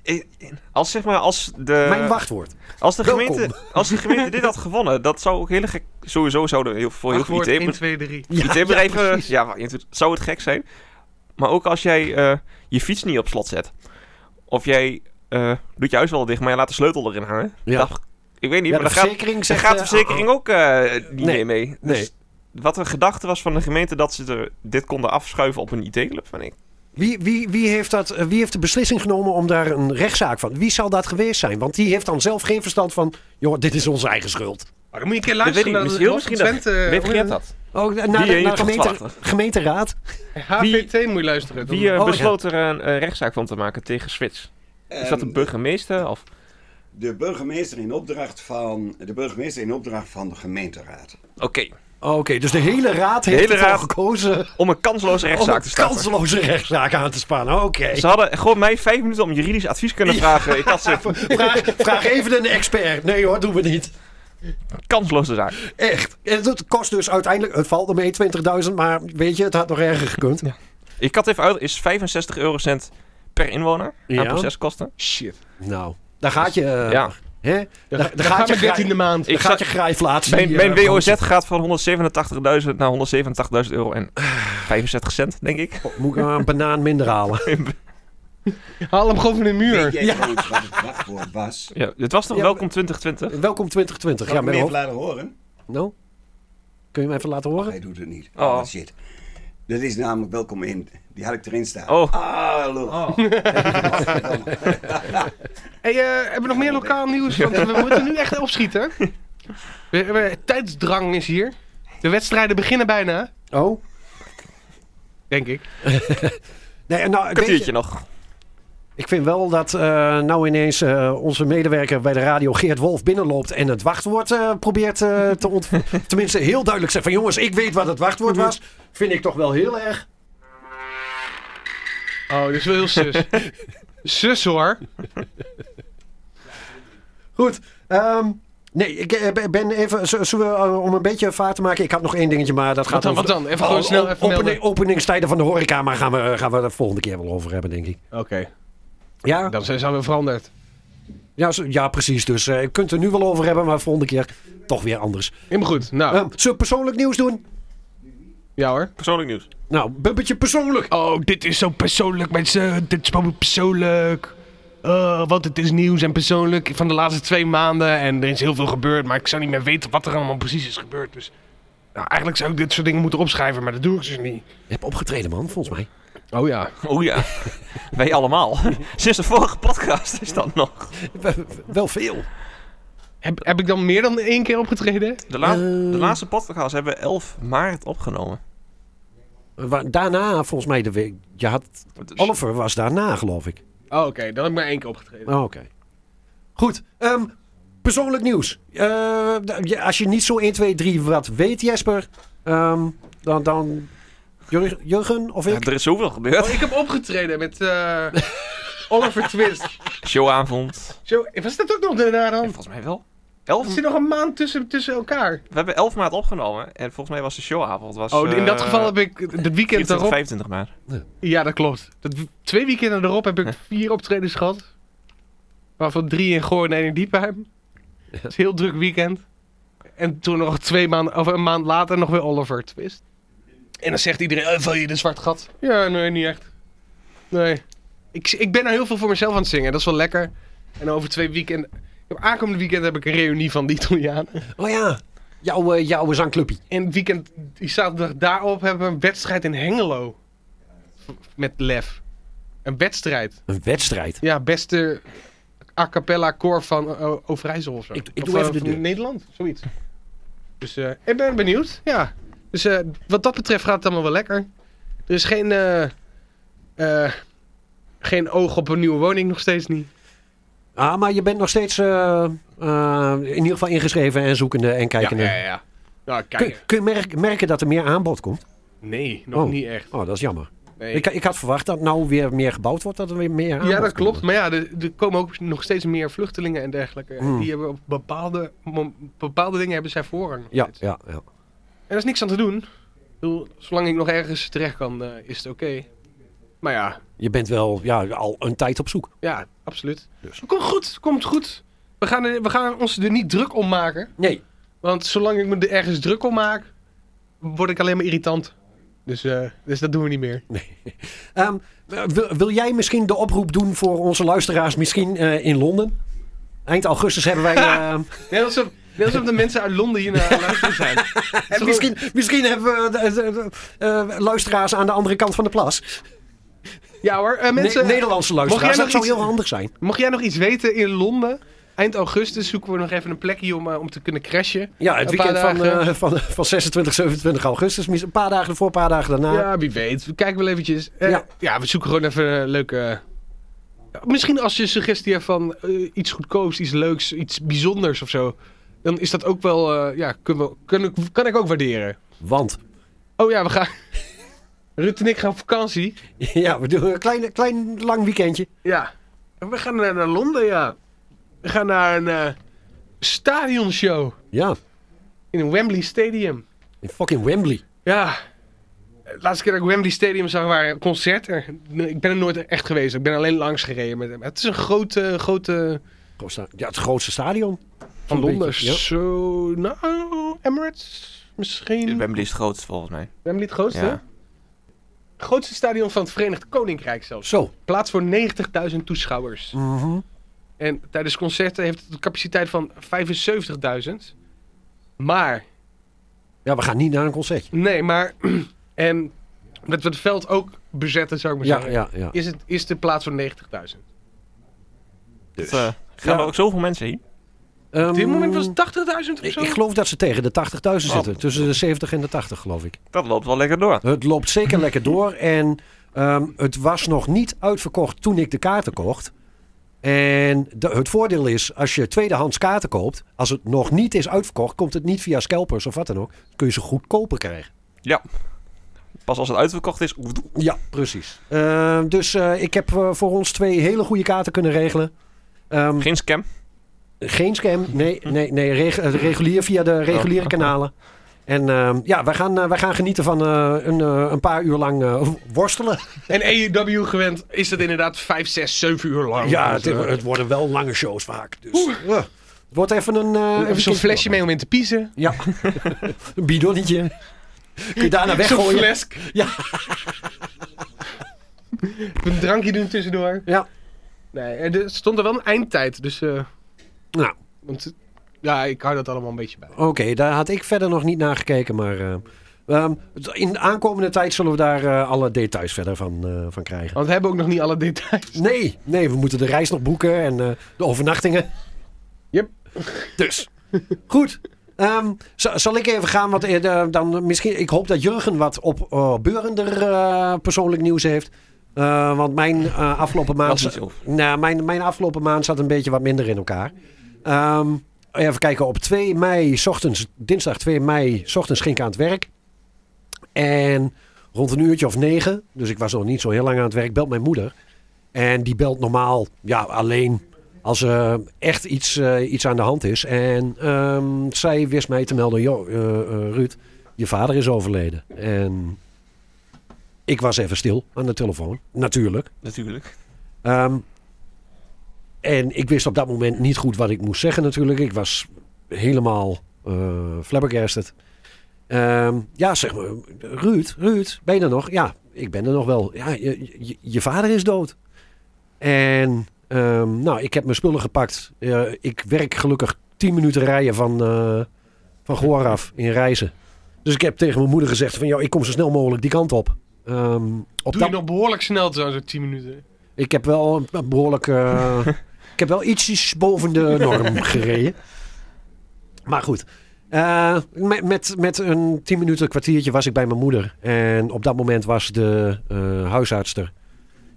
S3: in- in- als zeg maar, als de...
S5: Mijn wachtwoord.
S3: Als de,
S5: Welkom.
S3: gemeente, als de gemeente dit had gewonnen, dat zou ook hele gek... Sowieso zouden heel, voor heel veel
S7: Wachtwoord
S3: IT...
S7: 1, 2, 3.
S5: Ja,
S3: IT
S5: ja,
S3: bedrijven...
S5: precies.
S3: Ja, ja, zou het gek zijn. Maar ook als jij eh, je fiets niet op slot zet. Of jij eh, doet je huis wel dicht, maar je laat de sleutel erin hangen.
S5: Ja.
S3: Dat- ik weet niet,
S5: Ja,
S3: maar
S5: de
S3: dan gaat,
S5: verzekering
S3: dan
S5: zegt...
S3: gaat de
S5: eh,
S3: verzekering ook eh, niet
S5: Nee,
S3: meer mee. Dus
S5: nee.
S3: wat een gedachte was van de gemeente dat ze er, dit konden afschuiven op een IT-club. Van ik.
S5: Wie, wie, wie, heeft dat, eh, wie heeft de beslissing genomen om daar een rechtszaak van? Wie zal dat geweest zijn? Want die heeft dan zelf geen verstand van... joh, dit is onze eigen schuld.
S7: Maar dan moet je een keer
S3: Dat weet ik
S7: luisteren naar
S3: niet,
S7: de
S3: heel
S7: Rob
S3: misschien
S7: van
S3: dat-
S7: Twente,
S3: weet
S7: eh,
S3: Geert dat?
S5: Ook eh, naar
S3: Die
S5: de, naar
S3: 81.
S5: gemeente, gemeenteraad.
S7: HVT moet je luisteren. dan-
S3: Wie eh,
S5: Oh, ja.
S3: besloot er een eh, rechtszaak van te maken tegen Switch? Is dat de
S4: En
S3: burgemeester? Of?
S4: De burgemeester in opdracht van de burgemeester in opdracht van de gemeenteraad.
S3: Oké,
S5: Oké, dus de hele raad heeft
S3: hele
S5: ervoor
S3: raad-
S5: gekozen...
S3: om een kansloze
S5: om
S3: rechtszaak
S5: een
S3: te starten.
S5: kansloze rechtszaak aan te spannen. Oké.
S3: Ze hadden gewoon mij vijf minuten om juridisch advies kunnen vragen. Ik had ze
S5: Vraag, vraag even een expert. Nee hoor, doen we niet.
S3: kansloze zaak.
S5: Echt. En dat kost dus uiteindelijk, het valt ermee 20.000, maar weet je, het had nog erger gekund.
S3: Ik had even uit, is 65 eurocent per inwoner
S5: Ja.
S3: aan proceskosten.
S4: Shit.
S5: Nou, daar gaat je. eh,
S3: Ja.
S5: Hè? Daar,
S7: Dan,
S5: daar
S7: dan gaat
S5: je
S7: je 13e
S5: grij-
S7: maand.
S5: daar
S3: Ik
S5: gaat
S3: zag-
S5: je eh, grijflaatst.
S3: Mijn, mijn WOZ gaat van 187.000 naar 187.000 euro en 65 cent, denk ik.
S5: Moet ik maar een banaan minder halen.
S7: Haal hem gewoon van de
S4: Weet
S7: muur.
S4: jij trouwens wat het wachtwoord was?
S3: Ja, het was toch
S5: Ja,
S3: welkom 2020?
S5: Welkom 2020.
S4: Kan
S5: Ja,
S4: ik hem
S5: mijn
S4: even laten
S5: hoofd.
S4: horen?
S5: Nou, kun je hem even laten horen?
S4: Hij doet het niet.
S3: Oh.
S4: Oh, shit. Dat is namelijk welkom in. Die had ik erin staan.
S3: Oh.
S4: Ah, lul.
S7: Hey, eh, hebben we nog meer lokaal nieuws? Want we moeten nu echt opschieten. We, we- tijdsdrang is hier. De wedstrijden beginnen bijna,
S5: Oh.
S7: denk ik.
S5: Nee, en nou, weet
S3: Kwartiertje
S5: je,
S3: nog.
S5: ik vind wel dat eh, nou ineens eh, onze medewerker bij de radio Geert Wolf binnenloopt en het wachtwoord eh, probeert eh, te ontvangen. Tenminste, heel duidelijk zegt van jongens, ik weet wat het wachtwoord was. Vind ik toch wel heel erg.
S7: Oh, dit is wel heel sus. sus hoor.
S5: Goed. ehm, nee, ik eh, ben- ben even, z- zullen we, eh, om een beetje vaart te maken, ik had nog één dingetje, maar dat
S7: Wat
S5: gaat
S7: dan,
S5: over-
S7: wat dan? Even gewoon snel even
S5: Opening-
S7: melden.
S5: openingstijden van de horeca, maar gaan we, gaan we de volgende keer wel over hebben, denk ik.
S7: Oké,
S5: Ja,
S7: dan zijn ze alweer veranderd.
S5: ja, zo- ja precies. Dus eh, je kunt er nu wel over hebben, maar volgende keer toch weer anders.
S7: Helemaal goed. Nou,
S5: Ehm, zullen we persoonlijk nieuws doen?
S7: ja hoor.
S3: Persoonlijk nieuws.
S5: Nou, bubbetje persoonlijk.
S7: Oh, dit is zo persoonlijk, mensen. Dit is gewoon persoonlijk. Eh, want het is nieuws en persoonlijk van de laatste twee maanden. En er is heel veel gebeurd, maar ik zou niet meer weten wat er allemaal precies is gebeurd. Dus nou, eigenlijk zou ik dit soort dingen moeten opschrijven, maar dat doe ik dus niet.
S5: Je hebt opgetreden, man, volgens mij.
S7: Oh ja.
S3: Oh ja, wij allemaal. Sinds de vorige podcast is dat nog.
S5: Wel veel.
S7: Heb, heb ik dan meer dan één keer opgetreden?
S3: De, laat-
S5: Eh.
S3: de laatste podcast hebben we 11 maart opgenomen.
S5: Waar- Daarna, volgens mij, de week. Je had, Oliver was daarna, geloof ik.
S7: Oh, oké. Dan heb ik maar één keer opgetreden.
S5: Oh, Oké. Goed. ehm, persoonlijk nieuws. Eh, d- ja, als je niet zo 1, 2, 3 wat weet, Jesper, ehm, dan. dan Jur- Jurgen of
S3: Ja,
S5: ik?
S3: er is zoveel
S7: Oh,
S3: gebeurd.
S7: ik heb opgetreden met eh, Oliver Twist.
S3: Showavond.
S7: Zo, was dat ook nog daarna
S3: Ja,
S7: dan?
S3: volgens mij wel. 11
S7: Er zit nog een maand tussen, tussen elkaar.
S3: We hebben 11 maart opgenomen en volgens mij was de showavond. Was,
S7: Oh, in dat
S3: eh,
S7: geval heb ik het weekend
S3: 24,
S7: erop
S3: 25 maart.
S7: Ja, dat klopt. Dat, twee weekenden erop heb ik vier optredens gehad. Waarvan drie in Goorn en één in Diepheim. Dat is een heel druk weekend. En toen nog twee maanden, of een maand later nog weer Oliver Twist. En dan zegt iedereen, eh, val je in een zwart gat? Ja, nee, niet echt. Nee. Ik, ik ben nou heel veel voor mezelf aan het zingen. Dat is wel lekker. En over twee weekenden... ik heb- Aankomende weekend heb ik een reunie van de Italianen.
S5: Oh ja, jouw, eh, jouw zangclubje.
S7: En het weekend, die zaterdag daarop, hebben we een wedstrijd in Hengelo. Met Lef. Een wedstrijd.
S5: Een wedstrijd.
S7: Ja, beste a cappella koor van eh, Overijssel of zo.
S5: Ik- ik
S7: Of,
S5: doe even
S7: eh,
S5: de
S7: van
S5: deur.
S7: Nederland, zoiets. Dus eh, ik ben benieuwd, ja. Dus eh, wat dat betreft gaat het allemaal wel lekker. Er is geen, eh, eh, geen oog op een nieuwe woning, nog steeds niet.
S5: Ah, maar je bent nog steeds eh, eh, in ieder geval ingeschreven en zoekende en kijkende.
S7: ja, ja, ja. Ja,
S5: Kun,
S7: kijk.
S5: kun je merk- merken dat er meer aanbod komt?
S7: Nee, nog
S5: Oh.
S7: niet echt.
S5: Oh, dat is jammer.
S7: Nee.
S5: Ik, ik had verwacht dat nou weer meer gebouwd wordt, dat er weer meer aanbod
S7: ja, dat klopt.
S5: komt.
S7: Maar ja, er, er komen ook nog steeds meer vluchtelingen en dergelijke. En
S5: Mm.
S7: Die hebben op bepaalde, mom- bepaalde dingen hebben zij voorrang. nog
S5: Ja,
S7: steeds.
S5: ja, ja.
S7: En er is niks aan te doen. Ik bedoel, zolang ik nog ergens terecht kan, eh, is het oké. Maar ja,
S5: Je bent wel ja, al een tijd op zoek.
S7: ja, absoluut.
S5: Dus.
S7: Komt goed, komt goed. We gaan, er- we gaan ons er niet druk om maken.
S5: Nee.
S7: Want zolang ik me er ergens druk om maak, word ik alleen maar irritant. Dus, eh, dus dat doen we niet meer.
S5: Ehm, wil, wil jij misschien de oproep doen voor onze luisteraars, misschien eh, in Londen? Eind augustus hebben wij. ehm,
S7: Net alsof, net alsof de mensen uit Londen hier naar luisteren zijn.
S5: en misschien, misschien hebben we de- de- de- eh, luisteraars aan de andere kant van de plas.
S7: Ja hoor, eh, mensen.
S5: Ne- Nederlandse
S7: jij
S5: luisteraars.
S7: nog
S5: Dat zou
S7: iets-
S5: heel handig zijn.
S7: Mocht jij nog iets weten in Londen? Eind augustus zoeken we nog even een plekje om, eh, om te kunnen crashen.
S5: Ja, het
S7: Een paar
S5: weekend van,
S7: dagen.
S5: eh, van, van 26, 27 augustus. Mis- Een paar dagen ervoor, een paar dagen daarna.
S7: Ja, wie weet. We kijken wel eventjes. Eh,
S5: Ja.
S7: ja. we zoeken gewoon even een leuke... Ja, Misschien als je een suggestie hebt van eh, iets goedkoops, iets leuks, iets bijzonders of zo. Dan is dat ook wel... eh, ja, kunnen we, kunnen, kan ik ook waarderen.
S5: Want.
S7: Oh ja, we gaan... Ruud en ik gaan op vakantie.
S5: Ja, we doen een klein, klein lang weekendje.
S7: Ja. We gaan naar, naar Londen, ja. We gaan naar een eh, stadionshow
S5: Ja,
S7: in een Wembley Stadium.
S5: in fucking Wembley.
S7: Ja. De laatste keer dat ik Wembley Stadium zag waren een concert. Er- Ik ben er nooit echt geweest. Ik ben alleen langs gereden. Met hem. Het is een grote, grote
S5: Grootsta- Ja, het grootste stadion.
S7: van
S5: beetje,
S7: Londen.
S5: ja.
S7: Zo, nou, Emirates misschien.
S3: Wembley is het grootst volgens mij.
S7: Wembley het grootste?
S3: Ja.
S7: Het grootste stadion van het Verenigd Koninkrijk zelfs.
S5: Zo.
S7: Plaats voor 90.000 toeschouwers. En tijdens concerten heeft het een capaciteit van 75.000. Maar
S5: Ja, we gaan niet naar een concertje.
S7: Nee, maar. En omdat we het veld ook bezetten, zou ik maar
S5: Ja,
S7: zeggen.
S5: ja, ja.
S7: Is, het, is de plaats voor 90.000.
S3: Dus. eh, gaan
S5: Ja.
S3: er ook zoveel mensen heen?
S5: Ehm,
S7: Op dit moment was het 80.000 of
S5: Ik
S7: zo.
S5: Ehm,
S7: Oh.
S5: ik geloof dat ze tegen de 80.000 zitten. Tussen de 70 en de 80, geloof ik.
S3: Dat loopt wel lekker door.
S5: Het loopt zeker lekker door. En ehm, het was nog niet uitverkocht toen ik de kaarten kocht. En de- het voordeel is, als je tweedehands kaarten koopt, als het nog niet is uitverkocht, komt het niet via scalpers of wat dan ook. Kun je ze goedkoper krijgen.
S3: Ja. Pas als het uitverkocht is. oef, doe.
S5: Ja, precies. Ehm, dus eh, ik heb eh, voor ons twee hele goede kaarten kunnen regelen. Ehm,
S3: Geen scam.
S5: Geen scam. Nee, nee, nee. reg- eh, regulier via de reguliere kanalen. En ehm, ja, wij gaan, eh, wij gaan genieten van eh, een, eh, een paar uur lang eh, worstelen.
S7: En
S4: E
S7: AEW gewend is dat inderdaad 5, 6, 7 uur lang.
S5: Ja,
S7: Dus,
S5: het,
S7: eh,
S5: het worden wel lange shows vaak. Dus, ja. het wordt even een... eh,
S7: Even zo'n
S5: een-
S7: flesje mee om in te piezen.
S5: Ja, een bidonnetje. Kun je daarna
S7: Zo'n
S5: weggooien.
S7: flesk.
S5: Ja.
S7: een drankje doen tussendoor.
S5: Ja.
S7: Nee, er stond er wel een eindtijd. Dus, eh,
S5: Nou,
S7: want, ja, ik hou dat allemaal een beetje bij.
S5: oké. daar had ik verder nog niet naar gekeken. Maar eh, ehm, in de aankomende tijd zullen we daar eh, alle details verder van, eh, van krijgen.
S7: Want we hebben ook nog niet alle details.
S5: Nee, nee, we moeten de reis nog boeken en eh, de overnachtingen.
S7: Yep.
S5: Dus, goed. Ehm, za- zal ik even gaan, want eh, de- dan misschien, ik hoop dat Jurgen wat opbeurender eh persoonlijk nieuws heeft. Eh, want mijn eh, afgelopen maand...
S3: Was niet zo.
S5: Nou, mijn, mijn afgelopen maand zat een beetje wat minder in elkaar. Ehm, even kijken, op 2 mei, 's ochtends, dinsdag 2 mei, 's ochtends ging ik aan het werk. En rond een uurtje of negen, dus ik was nog niet zo heel lang aan het werk, belt mijn moeder. En die belt normaal, ja, alleen als er echt iets, eh, iets aan de hand is. En ehm, zij wist mij te melden, joh, eh, eh, Ruud, je vader is overleden. En ik was even stil aan de telefoon, natuurlijk.
S3: Natuurlijk.
S5: Ehm, en ik wist op dat moment niet goed wat ik moest zeggen natuurlijk. Ik was helemaal eh flabbergasted. Ehm, ja, zeg maar, Ruud, Ruud, ben je er nog? Ja, ik ben er nog wel. Ja, je, je, je vader is dood. En ehm, nou, ik heb mijn spullen gepakt. Eh, ik werk gelukkig 10 minuten rijden van, eh van Goor af in Reizen. Dus ik heb tegen mijn moeder gezegd van... Joh, ik kom zo snel mogelijk die kant op. Ehm, op
S7: Doe
S5: dat
S7: je nog behoorlijk snel zo, zo'n 10 minuten.
S5: ik heb wel een- een behoorlijk. eh, ik heb wel ietsjes boven de norm gereden. Maar goed. eh, met, met, met een tien minuten kwartiertje was ik bij mijn moeder. En op dat moment was de eh huisarts er.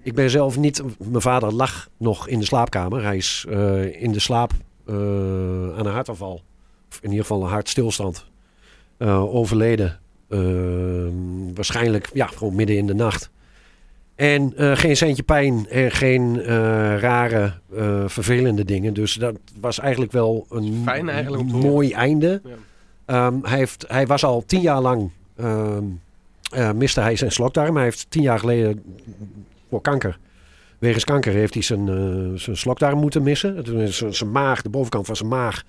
S5: Ik ben zelf niet. Mijn vader lag nog in de slaapkamer. Hij is eh, in de slaap eh, aan een hartaanval. Of in ieder geval een hartstilstand. eh, overleden. Eh, waarschijnlijk ja, gewoon midden in de nacht. En eh, geen centje pijn en geen eh, rare, eh, vervelende dingen. Dus dat was eigenlijk wel een
S4: Fijn eigenlijk om te horen.
S5: mooi einde.
S4: Ja.
S5: Ehm, hij, heeft, hij was al tien jaar lang, ehm eh, miste hij zijn slokdarm. Hij heeft tien jaar geleden mm, voor kanker, wegens kanker, heeft hij zijn, eh, zijn slokdarm moeten missen. Toen is Zijn, zijn maag, de bovenkant van zijn maag,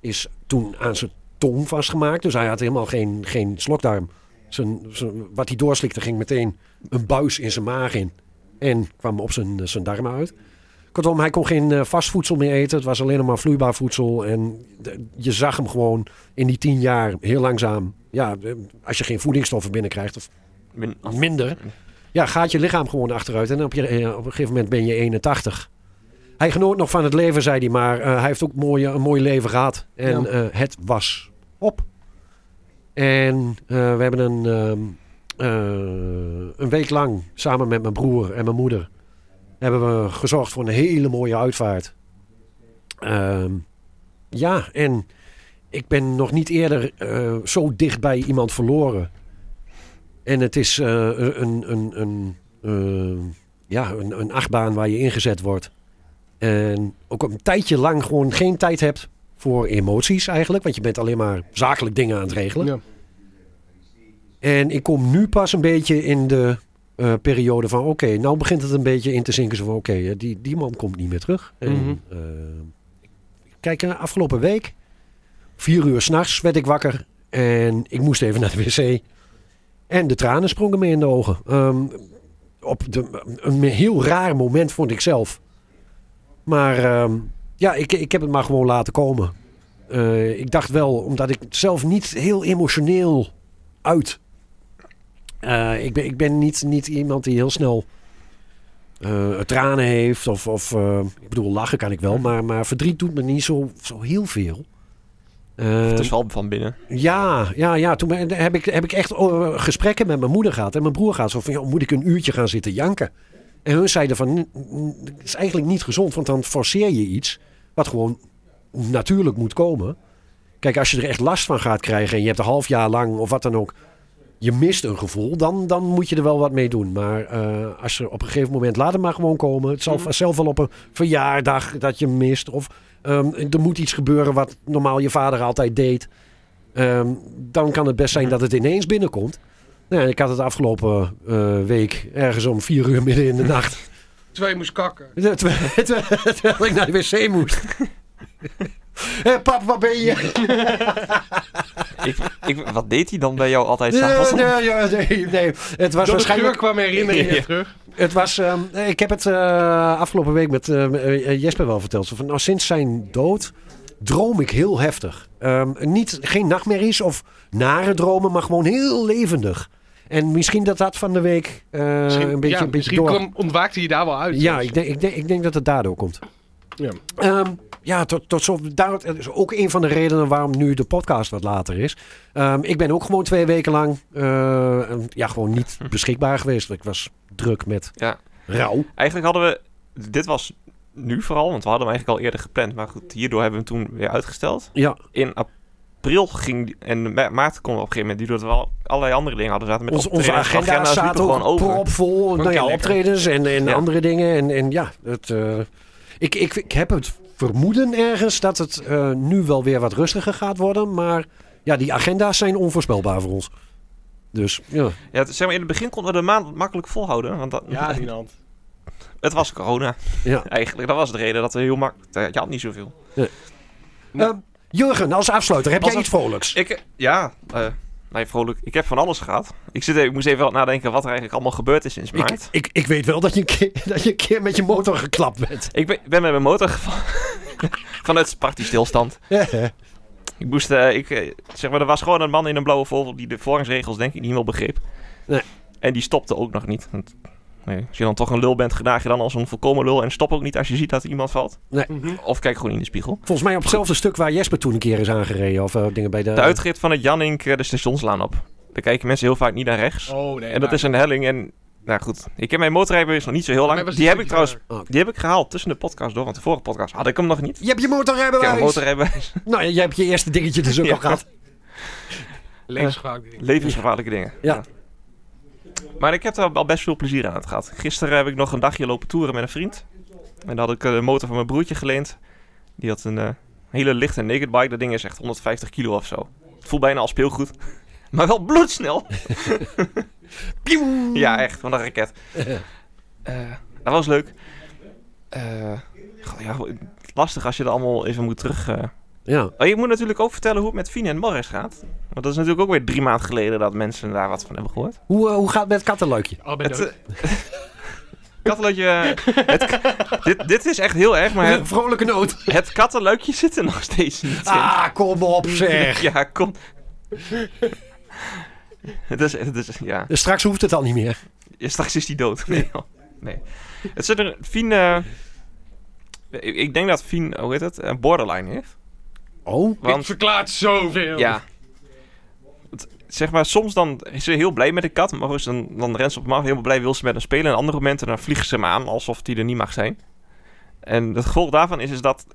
S5: is toen aan zijn tong vastgemaakt. Dus hij had helemaal geen, geen slokdarm. Zijn, zijn- wat hij doorslikte ging meteen een buis in zijn maag in. En kwam op zijn, eh, zijn darmen uit. Kortom, hij kon geen eh, vast voedsel meer eten. Het was alleen nog maar vloeibaar voedsel. En de- je zag hem gewoon in die tien jaar heel langzaam. Ja, eh, als je geen voedingsstoffen binnenkrijgt of
S3: Min-
S5: minder. Ja, gaat je lichaam gewoon achteruit. En op, je, eh, op een gegeven moment ben je 81. Hij genoot nog van het leven, zei hij. Maar eh, hij heeft ook mooie, een mooi leven gehad. En
S4: Ja.
S5: eh, het was op. En eh, we hebben een, ehm, eh, een week lang samen met mijn broer en mijn moeder... hebben we gezorgd voor een hele mooie uitvaart. Ehm, ja, en ik ben nog niet eerder eh, zo dicht bij iemand verloren... En het is eh, een, een, een, eh, ja, een, een achtbaan waar je ingezet wordt. En ook een tijdje lang gewoon geen tijd hebt voor emoties eigenlijk. Want je bent alleen maar zakelijk dingen aan het regelen.
S4: Ja.
S5: En ik kom nu pas een beetje in de eh, periode van... oké, nou begint het een beetje in te zinken. Zo van oké, eh, die, die man komt niet meer terug. En,
S4: Mhm.
S5: eh, kijk, eh, afgelopen week, vier uur s'nachts, werd ik wakker. En ik moest even naar de wc. En de tranen sprongen me in de ogen. Ehm, op de, een heel raar moment vond ik zelf. Maar ehm, ja, ik, ik heb het maar gewoon laten komen. Eh, ik dacht wel, omdat ik zelf niet heel emotioneel uit. Eh, ik ben, ik ben niet, niet iemand die heel snel eh, tranen heeft. Of, of eh, ik bedoel, lachen kan ik wel. Maar, maar verdriet doet me niet zo, zo heel veel.
S3: Het
S5: Eh,
S3: is wel van binnen.
S5: ja, ja, ja. Toen ben- heb ik, heb ik echt eh, gesprekken met mijn moeder gehad en mijn broer gehad. Zo van, joh, moet ik een uurtje gaan zitten janken? En hun zeiden van, "N- n- het is eigenlijk niet gezond, want dan forceer je iets wat gewoon natuurlijk moet komen. Kijk, als je er echt last van gaat krijgen en je hebt een half jaar lang of wat dan ook, je mist een gevoel, dan, dan moet je er wel wat mee doen. Maar eh, als je op een gegeven moment, laat het maar gewoon komen. Het zal vanzelf wel op een verjaardag dat je hem mist. Of ehm, er moet iets gebeuren wat normaal je vader altijd deed. Ehm, dan kan het best zijn dat het ineens binnenkomt. Nou, ja, ik had het afgelopen eh, week ergens om vier uur midden in de nacht.
S4: Terwijl je moest kakken.
S5: terwijl, terwijl- terwijl ik naar de wc moest. Hé pap, waar ben je?
S3: ik, ik, wat deed hij dan bij jou altijd
S5: Nee,
S3: s'avonds?
S5: nee, ja, nee, nee. Het was
S4: Door de geur
S5: waarschijnlijk...
S4: kwam herinneringen
S3: Ja.
S4: terug.
S5: Het was, ehm, nee, ik heb het eh, afgelopen week met eh, eh, Jesper wel verteld. Zo Van, nou, sinds zijn dood droom ik heel heftig. Ehm, niet, geen nachtmerries of nare dromen, maar gewoon heel levendig. En misschien dat dat van de week eh,
S4: Misschien,
S5: een beetje,
S4: ja,
S5: een beetje
S4: misschien
S5: door...
S4: kwam- ontwaakte je daar wel uit.
S5: Ja,
S4: zelfs.
S5: ik denk, ik, denk, ik denk dat het daardoor komt.
S4: Ja.
S5: Ehm, ja, tot, tot zo, daar, dat is ook een van de redenen waarom nu de podcast wat later is. Ehm, ik ben ook gewoon twee weken lang eh, ja, gewoon niet beschikbaar geweest. Ik was druk met
S3: Ja.
S5: rouw.
S3: Eigenlijk hadden we... Dit was nu vooral, want we hadden hem eigenlijk al eerder gepland. Maar goed, hierdoor hebben we hem toen weer uitgesteld.
S5: Ja,
S3: In april ging... die- En ma- maart kon op een gegeven moment... Die door we al- allerlei andere dingen hadden. Zaten met
S5: onze, onze
S3: optredens.
S5: agenda
S3: Agenda's
S5: staat
S3: liepen
S5: ook propvol. Nou ja,
S4: lekker.
S5: optredens en, en
S3: Ja.
S5: andere dingen. En, en ja, het, eh, ik, ik, ik heb het vermoeden ergens dat het eh, nu wel weer wat rustiger gaat worden. Maar ja, die agenda's zijn onvoorspelbaar voor ons. Dus ja.
S3: Ja, het- zeg maar, in het begin konden we de maand makkelijk volhouden. Want dat,
S4: Ja, die hand.
S3: het was corona
S5: ja.
S3: eigenlijk. Dat was de reden dat we heel makkelijk... Je had niet zoveel.
S5: Ehm, Jurgen, als afsluiter, heb
S3: Als
S5: jij
S3: af-
S5: iets vrolijks?
S3: Ik, ja, eh nee, vrolijk. Ik heb van alles gehad. Ik, zit, even- ik moest even wat nadenken wat er eigenlijk allemaal gebeurd is sinds maart.
S5: Ik, ik, ik weet wel dat je, een keer, dat je een keer met je motor geklapt bent.
S3: Ik ben, ben met mijn motor gevallen. Vanuit partystilstand. Ik moest, eh, ik, eh, zeg maar, er was gewoon een man in een blauwe Volvo die de voorrangsregels denk ik niet meer begreep.
S5: Nee.
S3: En die stopte ook nog niet. Want, nee, als je dan toch een lul bent, gedraag je dan als een volkomen lul. En stop ook niet als je ziet dat er iemand valt.
S5: Nee.
S3: Of kijk gewoon in de spiegel.
S5: Volgens mij op hetzelfde stuk waar Jesper toen een keer is aangereden. Of eh, dingen bij de...
S3: De uitrit van het Jannink eh, de stationslaan op. Daar kijken mensen heel vaak niet naar rechts.
S4: Oh, nee.
S3: en dat is een helling en... Nou goed, ik heb mijn motorrijbewijs nog niet zo heel
S4: mij
S3: lang.
S4: was
S3: Die
S4: het
S3: heb ik
S4: stukje
S3: trouwens
S5: verder.
S3: die heb ik gehaald tussen de podcast door. Want de vorige podcast had ik hem nog niet.
S5: Je hebt je
S3: Ik heb
S5: motorrijbewijs.
S3: een motorrijbewijs.
S5: Nou, jij hebt je eerste dingetje dus ook
S3: Ja.
S5: al gehad.
S4: Levensgevaarlijk ding.
S3: Levensgevaarlijke dingen.
S5: Ja.
S3: Maar ik heb er al best veel plezier aan het gehad. Gisteren heb ik nog een dagje lopen toeren met een vriend. En dan had ik eh, de motor van mijn broertje geleend. Die had een eh, hele lichte naked bike. Dat ding is echt 150 kilo of zo. Het voelt bijna als speelgoed. Maar wel bloedsnel. Pioem. ja, echt. Van een raket. Eh, dat was leuk. Eh, goh, ja, lastig als je er allemaal even moet terug... eh,
S5: Ja.
S3: Oh, je moet natuurlijk ook vertellen hoe het met Fine en Morris gaat. Want dat is natuurlijk ook weer drie maanden geleden dat mensen daar wat van hebben gehoord.
S5: Hoe, eh, hoe gaat het met het kattenluikje?
S4: Oh, ben
S3: Het,
S4: dood.
S3: eh, kattenluikje... eh, Het, k- dit, dit is echt heel erg,
S5: Eh,
S3: maar het,
S5: Vrolijke noot.
S3: het kattenluikje zit er nog steeds niet in.
S5: Ah, kom op zeg.
S3: Ja, kom. Het is, het is, ja.
S5: Dus Straks hoeft het al niet meer.
S3: Ja, straks is die dood. Nee. joh. nee. Het zit er... Fien... eh, ik, ik denk dat Fien, hoe heet het, een borderline heeft.
S5: Oh.
S4: Dit verklaart zoveel.
S3: Ja. Het- zeg maar, soms dan is ze heel blij met de kat. Maar als ze dan, dan rent ze op hem af. Heel blij wil ze met hem spelen. En andere momenten dan vliegen ze hem aan. Alsof hij er niet mag zijn. En het gevolg daarvan is, is dat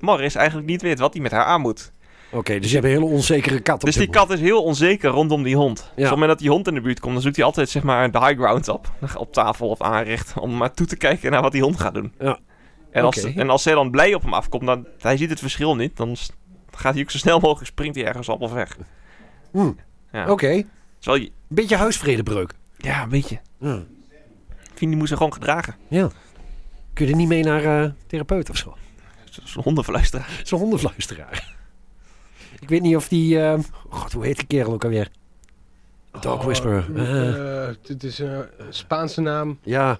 S3: Morris eigenlijk niet weet wat hij met haar aan moet.
S5: Oké, dus je hebt een hele onzekere kat. op
S3: Dus die
S5: dit
S3: kat is heel onzeker rondom die hond. Dus op het moment dat die hond in de buurt komt, dan zoekt hij altijd zeg maar de high ground op. Op tafel of aanrecht. Om maar toe te kijken naar wat die hond gaat doen.
S5: Ja.
S3: En, als,
S5: Oké.
S3: en als zij dan blij op hem afkomt, dan hij ziet het verschil niet. Dan s- gaat hij ook zo snel mogelijk, springt hij ergens op of weg.
S5: Hmm.
S3: Ja.
S5: moment. Oké.
S3: Terwijl je-
S5: Beetje huisvredebreuk.
S3: Ja, een beetje.
S5: Ja.
S3: Vind die moest zich gewoon gedragen.
S5: ja. Kun je er niet mee naar eh, therapeut of zo?
S3: Zo'n hondenverluisteraar.
S5: Zo'n hondenfluisteraar. Ik weet niet of die... eh, God, hoe heet die kerel ook alweer? Dog Whisperer. Eh,
S4: Het is een Spaanse naam.
S5: ja.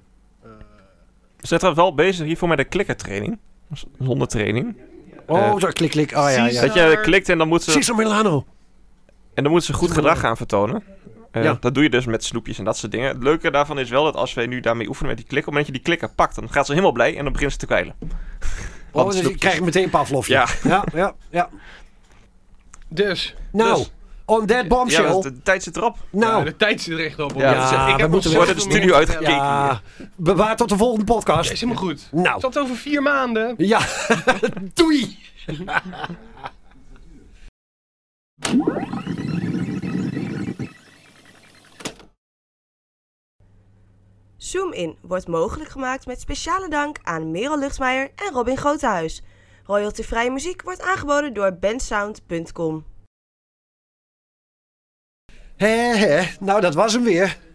S3: We zijn trouwens wel bezig hiervoor met een klikkertraining. Een hondentraining.
S5: Oh,
S3: Eh,
S5: zo klik, klik. Oh ja, ja.
S3: Dat je klikt en dan moet ze,
S5: Cesar Milano.
S3: en dan moet ze goed gedrag gaan vertonen. Eh,
S5: Ja.
S3: Dat doe je dus met snoepjes en dat soort dingen. Het leuke daarvan is wel dat als wij nu daarmee oefenen met die klikker, op het moment dat je die klikker pakt, dan gaat ze helemaal blij en dan begint ze te kwijlen.
S5: Oh,
S3: de
S5: dus ik
S3: snoepjes.
S5: krijg meteen Pavlovje.
S3: Ja.
S5: Ja, ja, ja.
S4: Dus,
S5: Nou,
S3: Dus-
S5: on that
S3: Ja,
S5: bombshell.
S3: want de tijd zit erop.
S5: nou,
S4: ja, eh, de tijd zit er echt op. hoor.
S3: Ja,
S5: dat is-
S4: ik
S5: we
S4: heb nog
S5: moeten
S4: zoveel
S5: weer-
S3: de
S4: meer
S3: studio
S4: te
S3: uit-
S4: vertellen.
S5: ja, bewaar tot de volgende podcast.
S4: Ja, Is helemaal goed.
S5: Nou.
S4: Tot over vier maanden.
S5: Ja, doei!
S2: Zoom In wordt mogelijk gemaakt met speciale dank aan Merel Luchtmeijer en Robin Grotehuis. Royaltyvrije muziek wordt aangeboden door bensound.com.
S5: Hé, hé, nou dat was hem weer.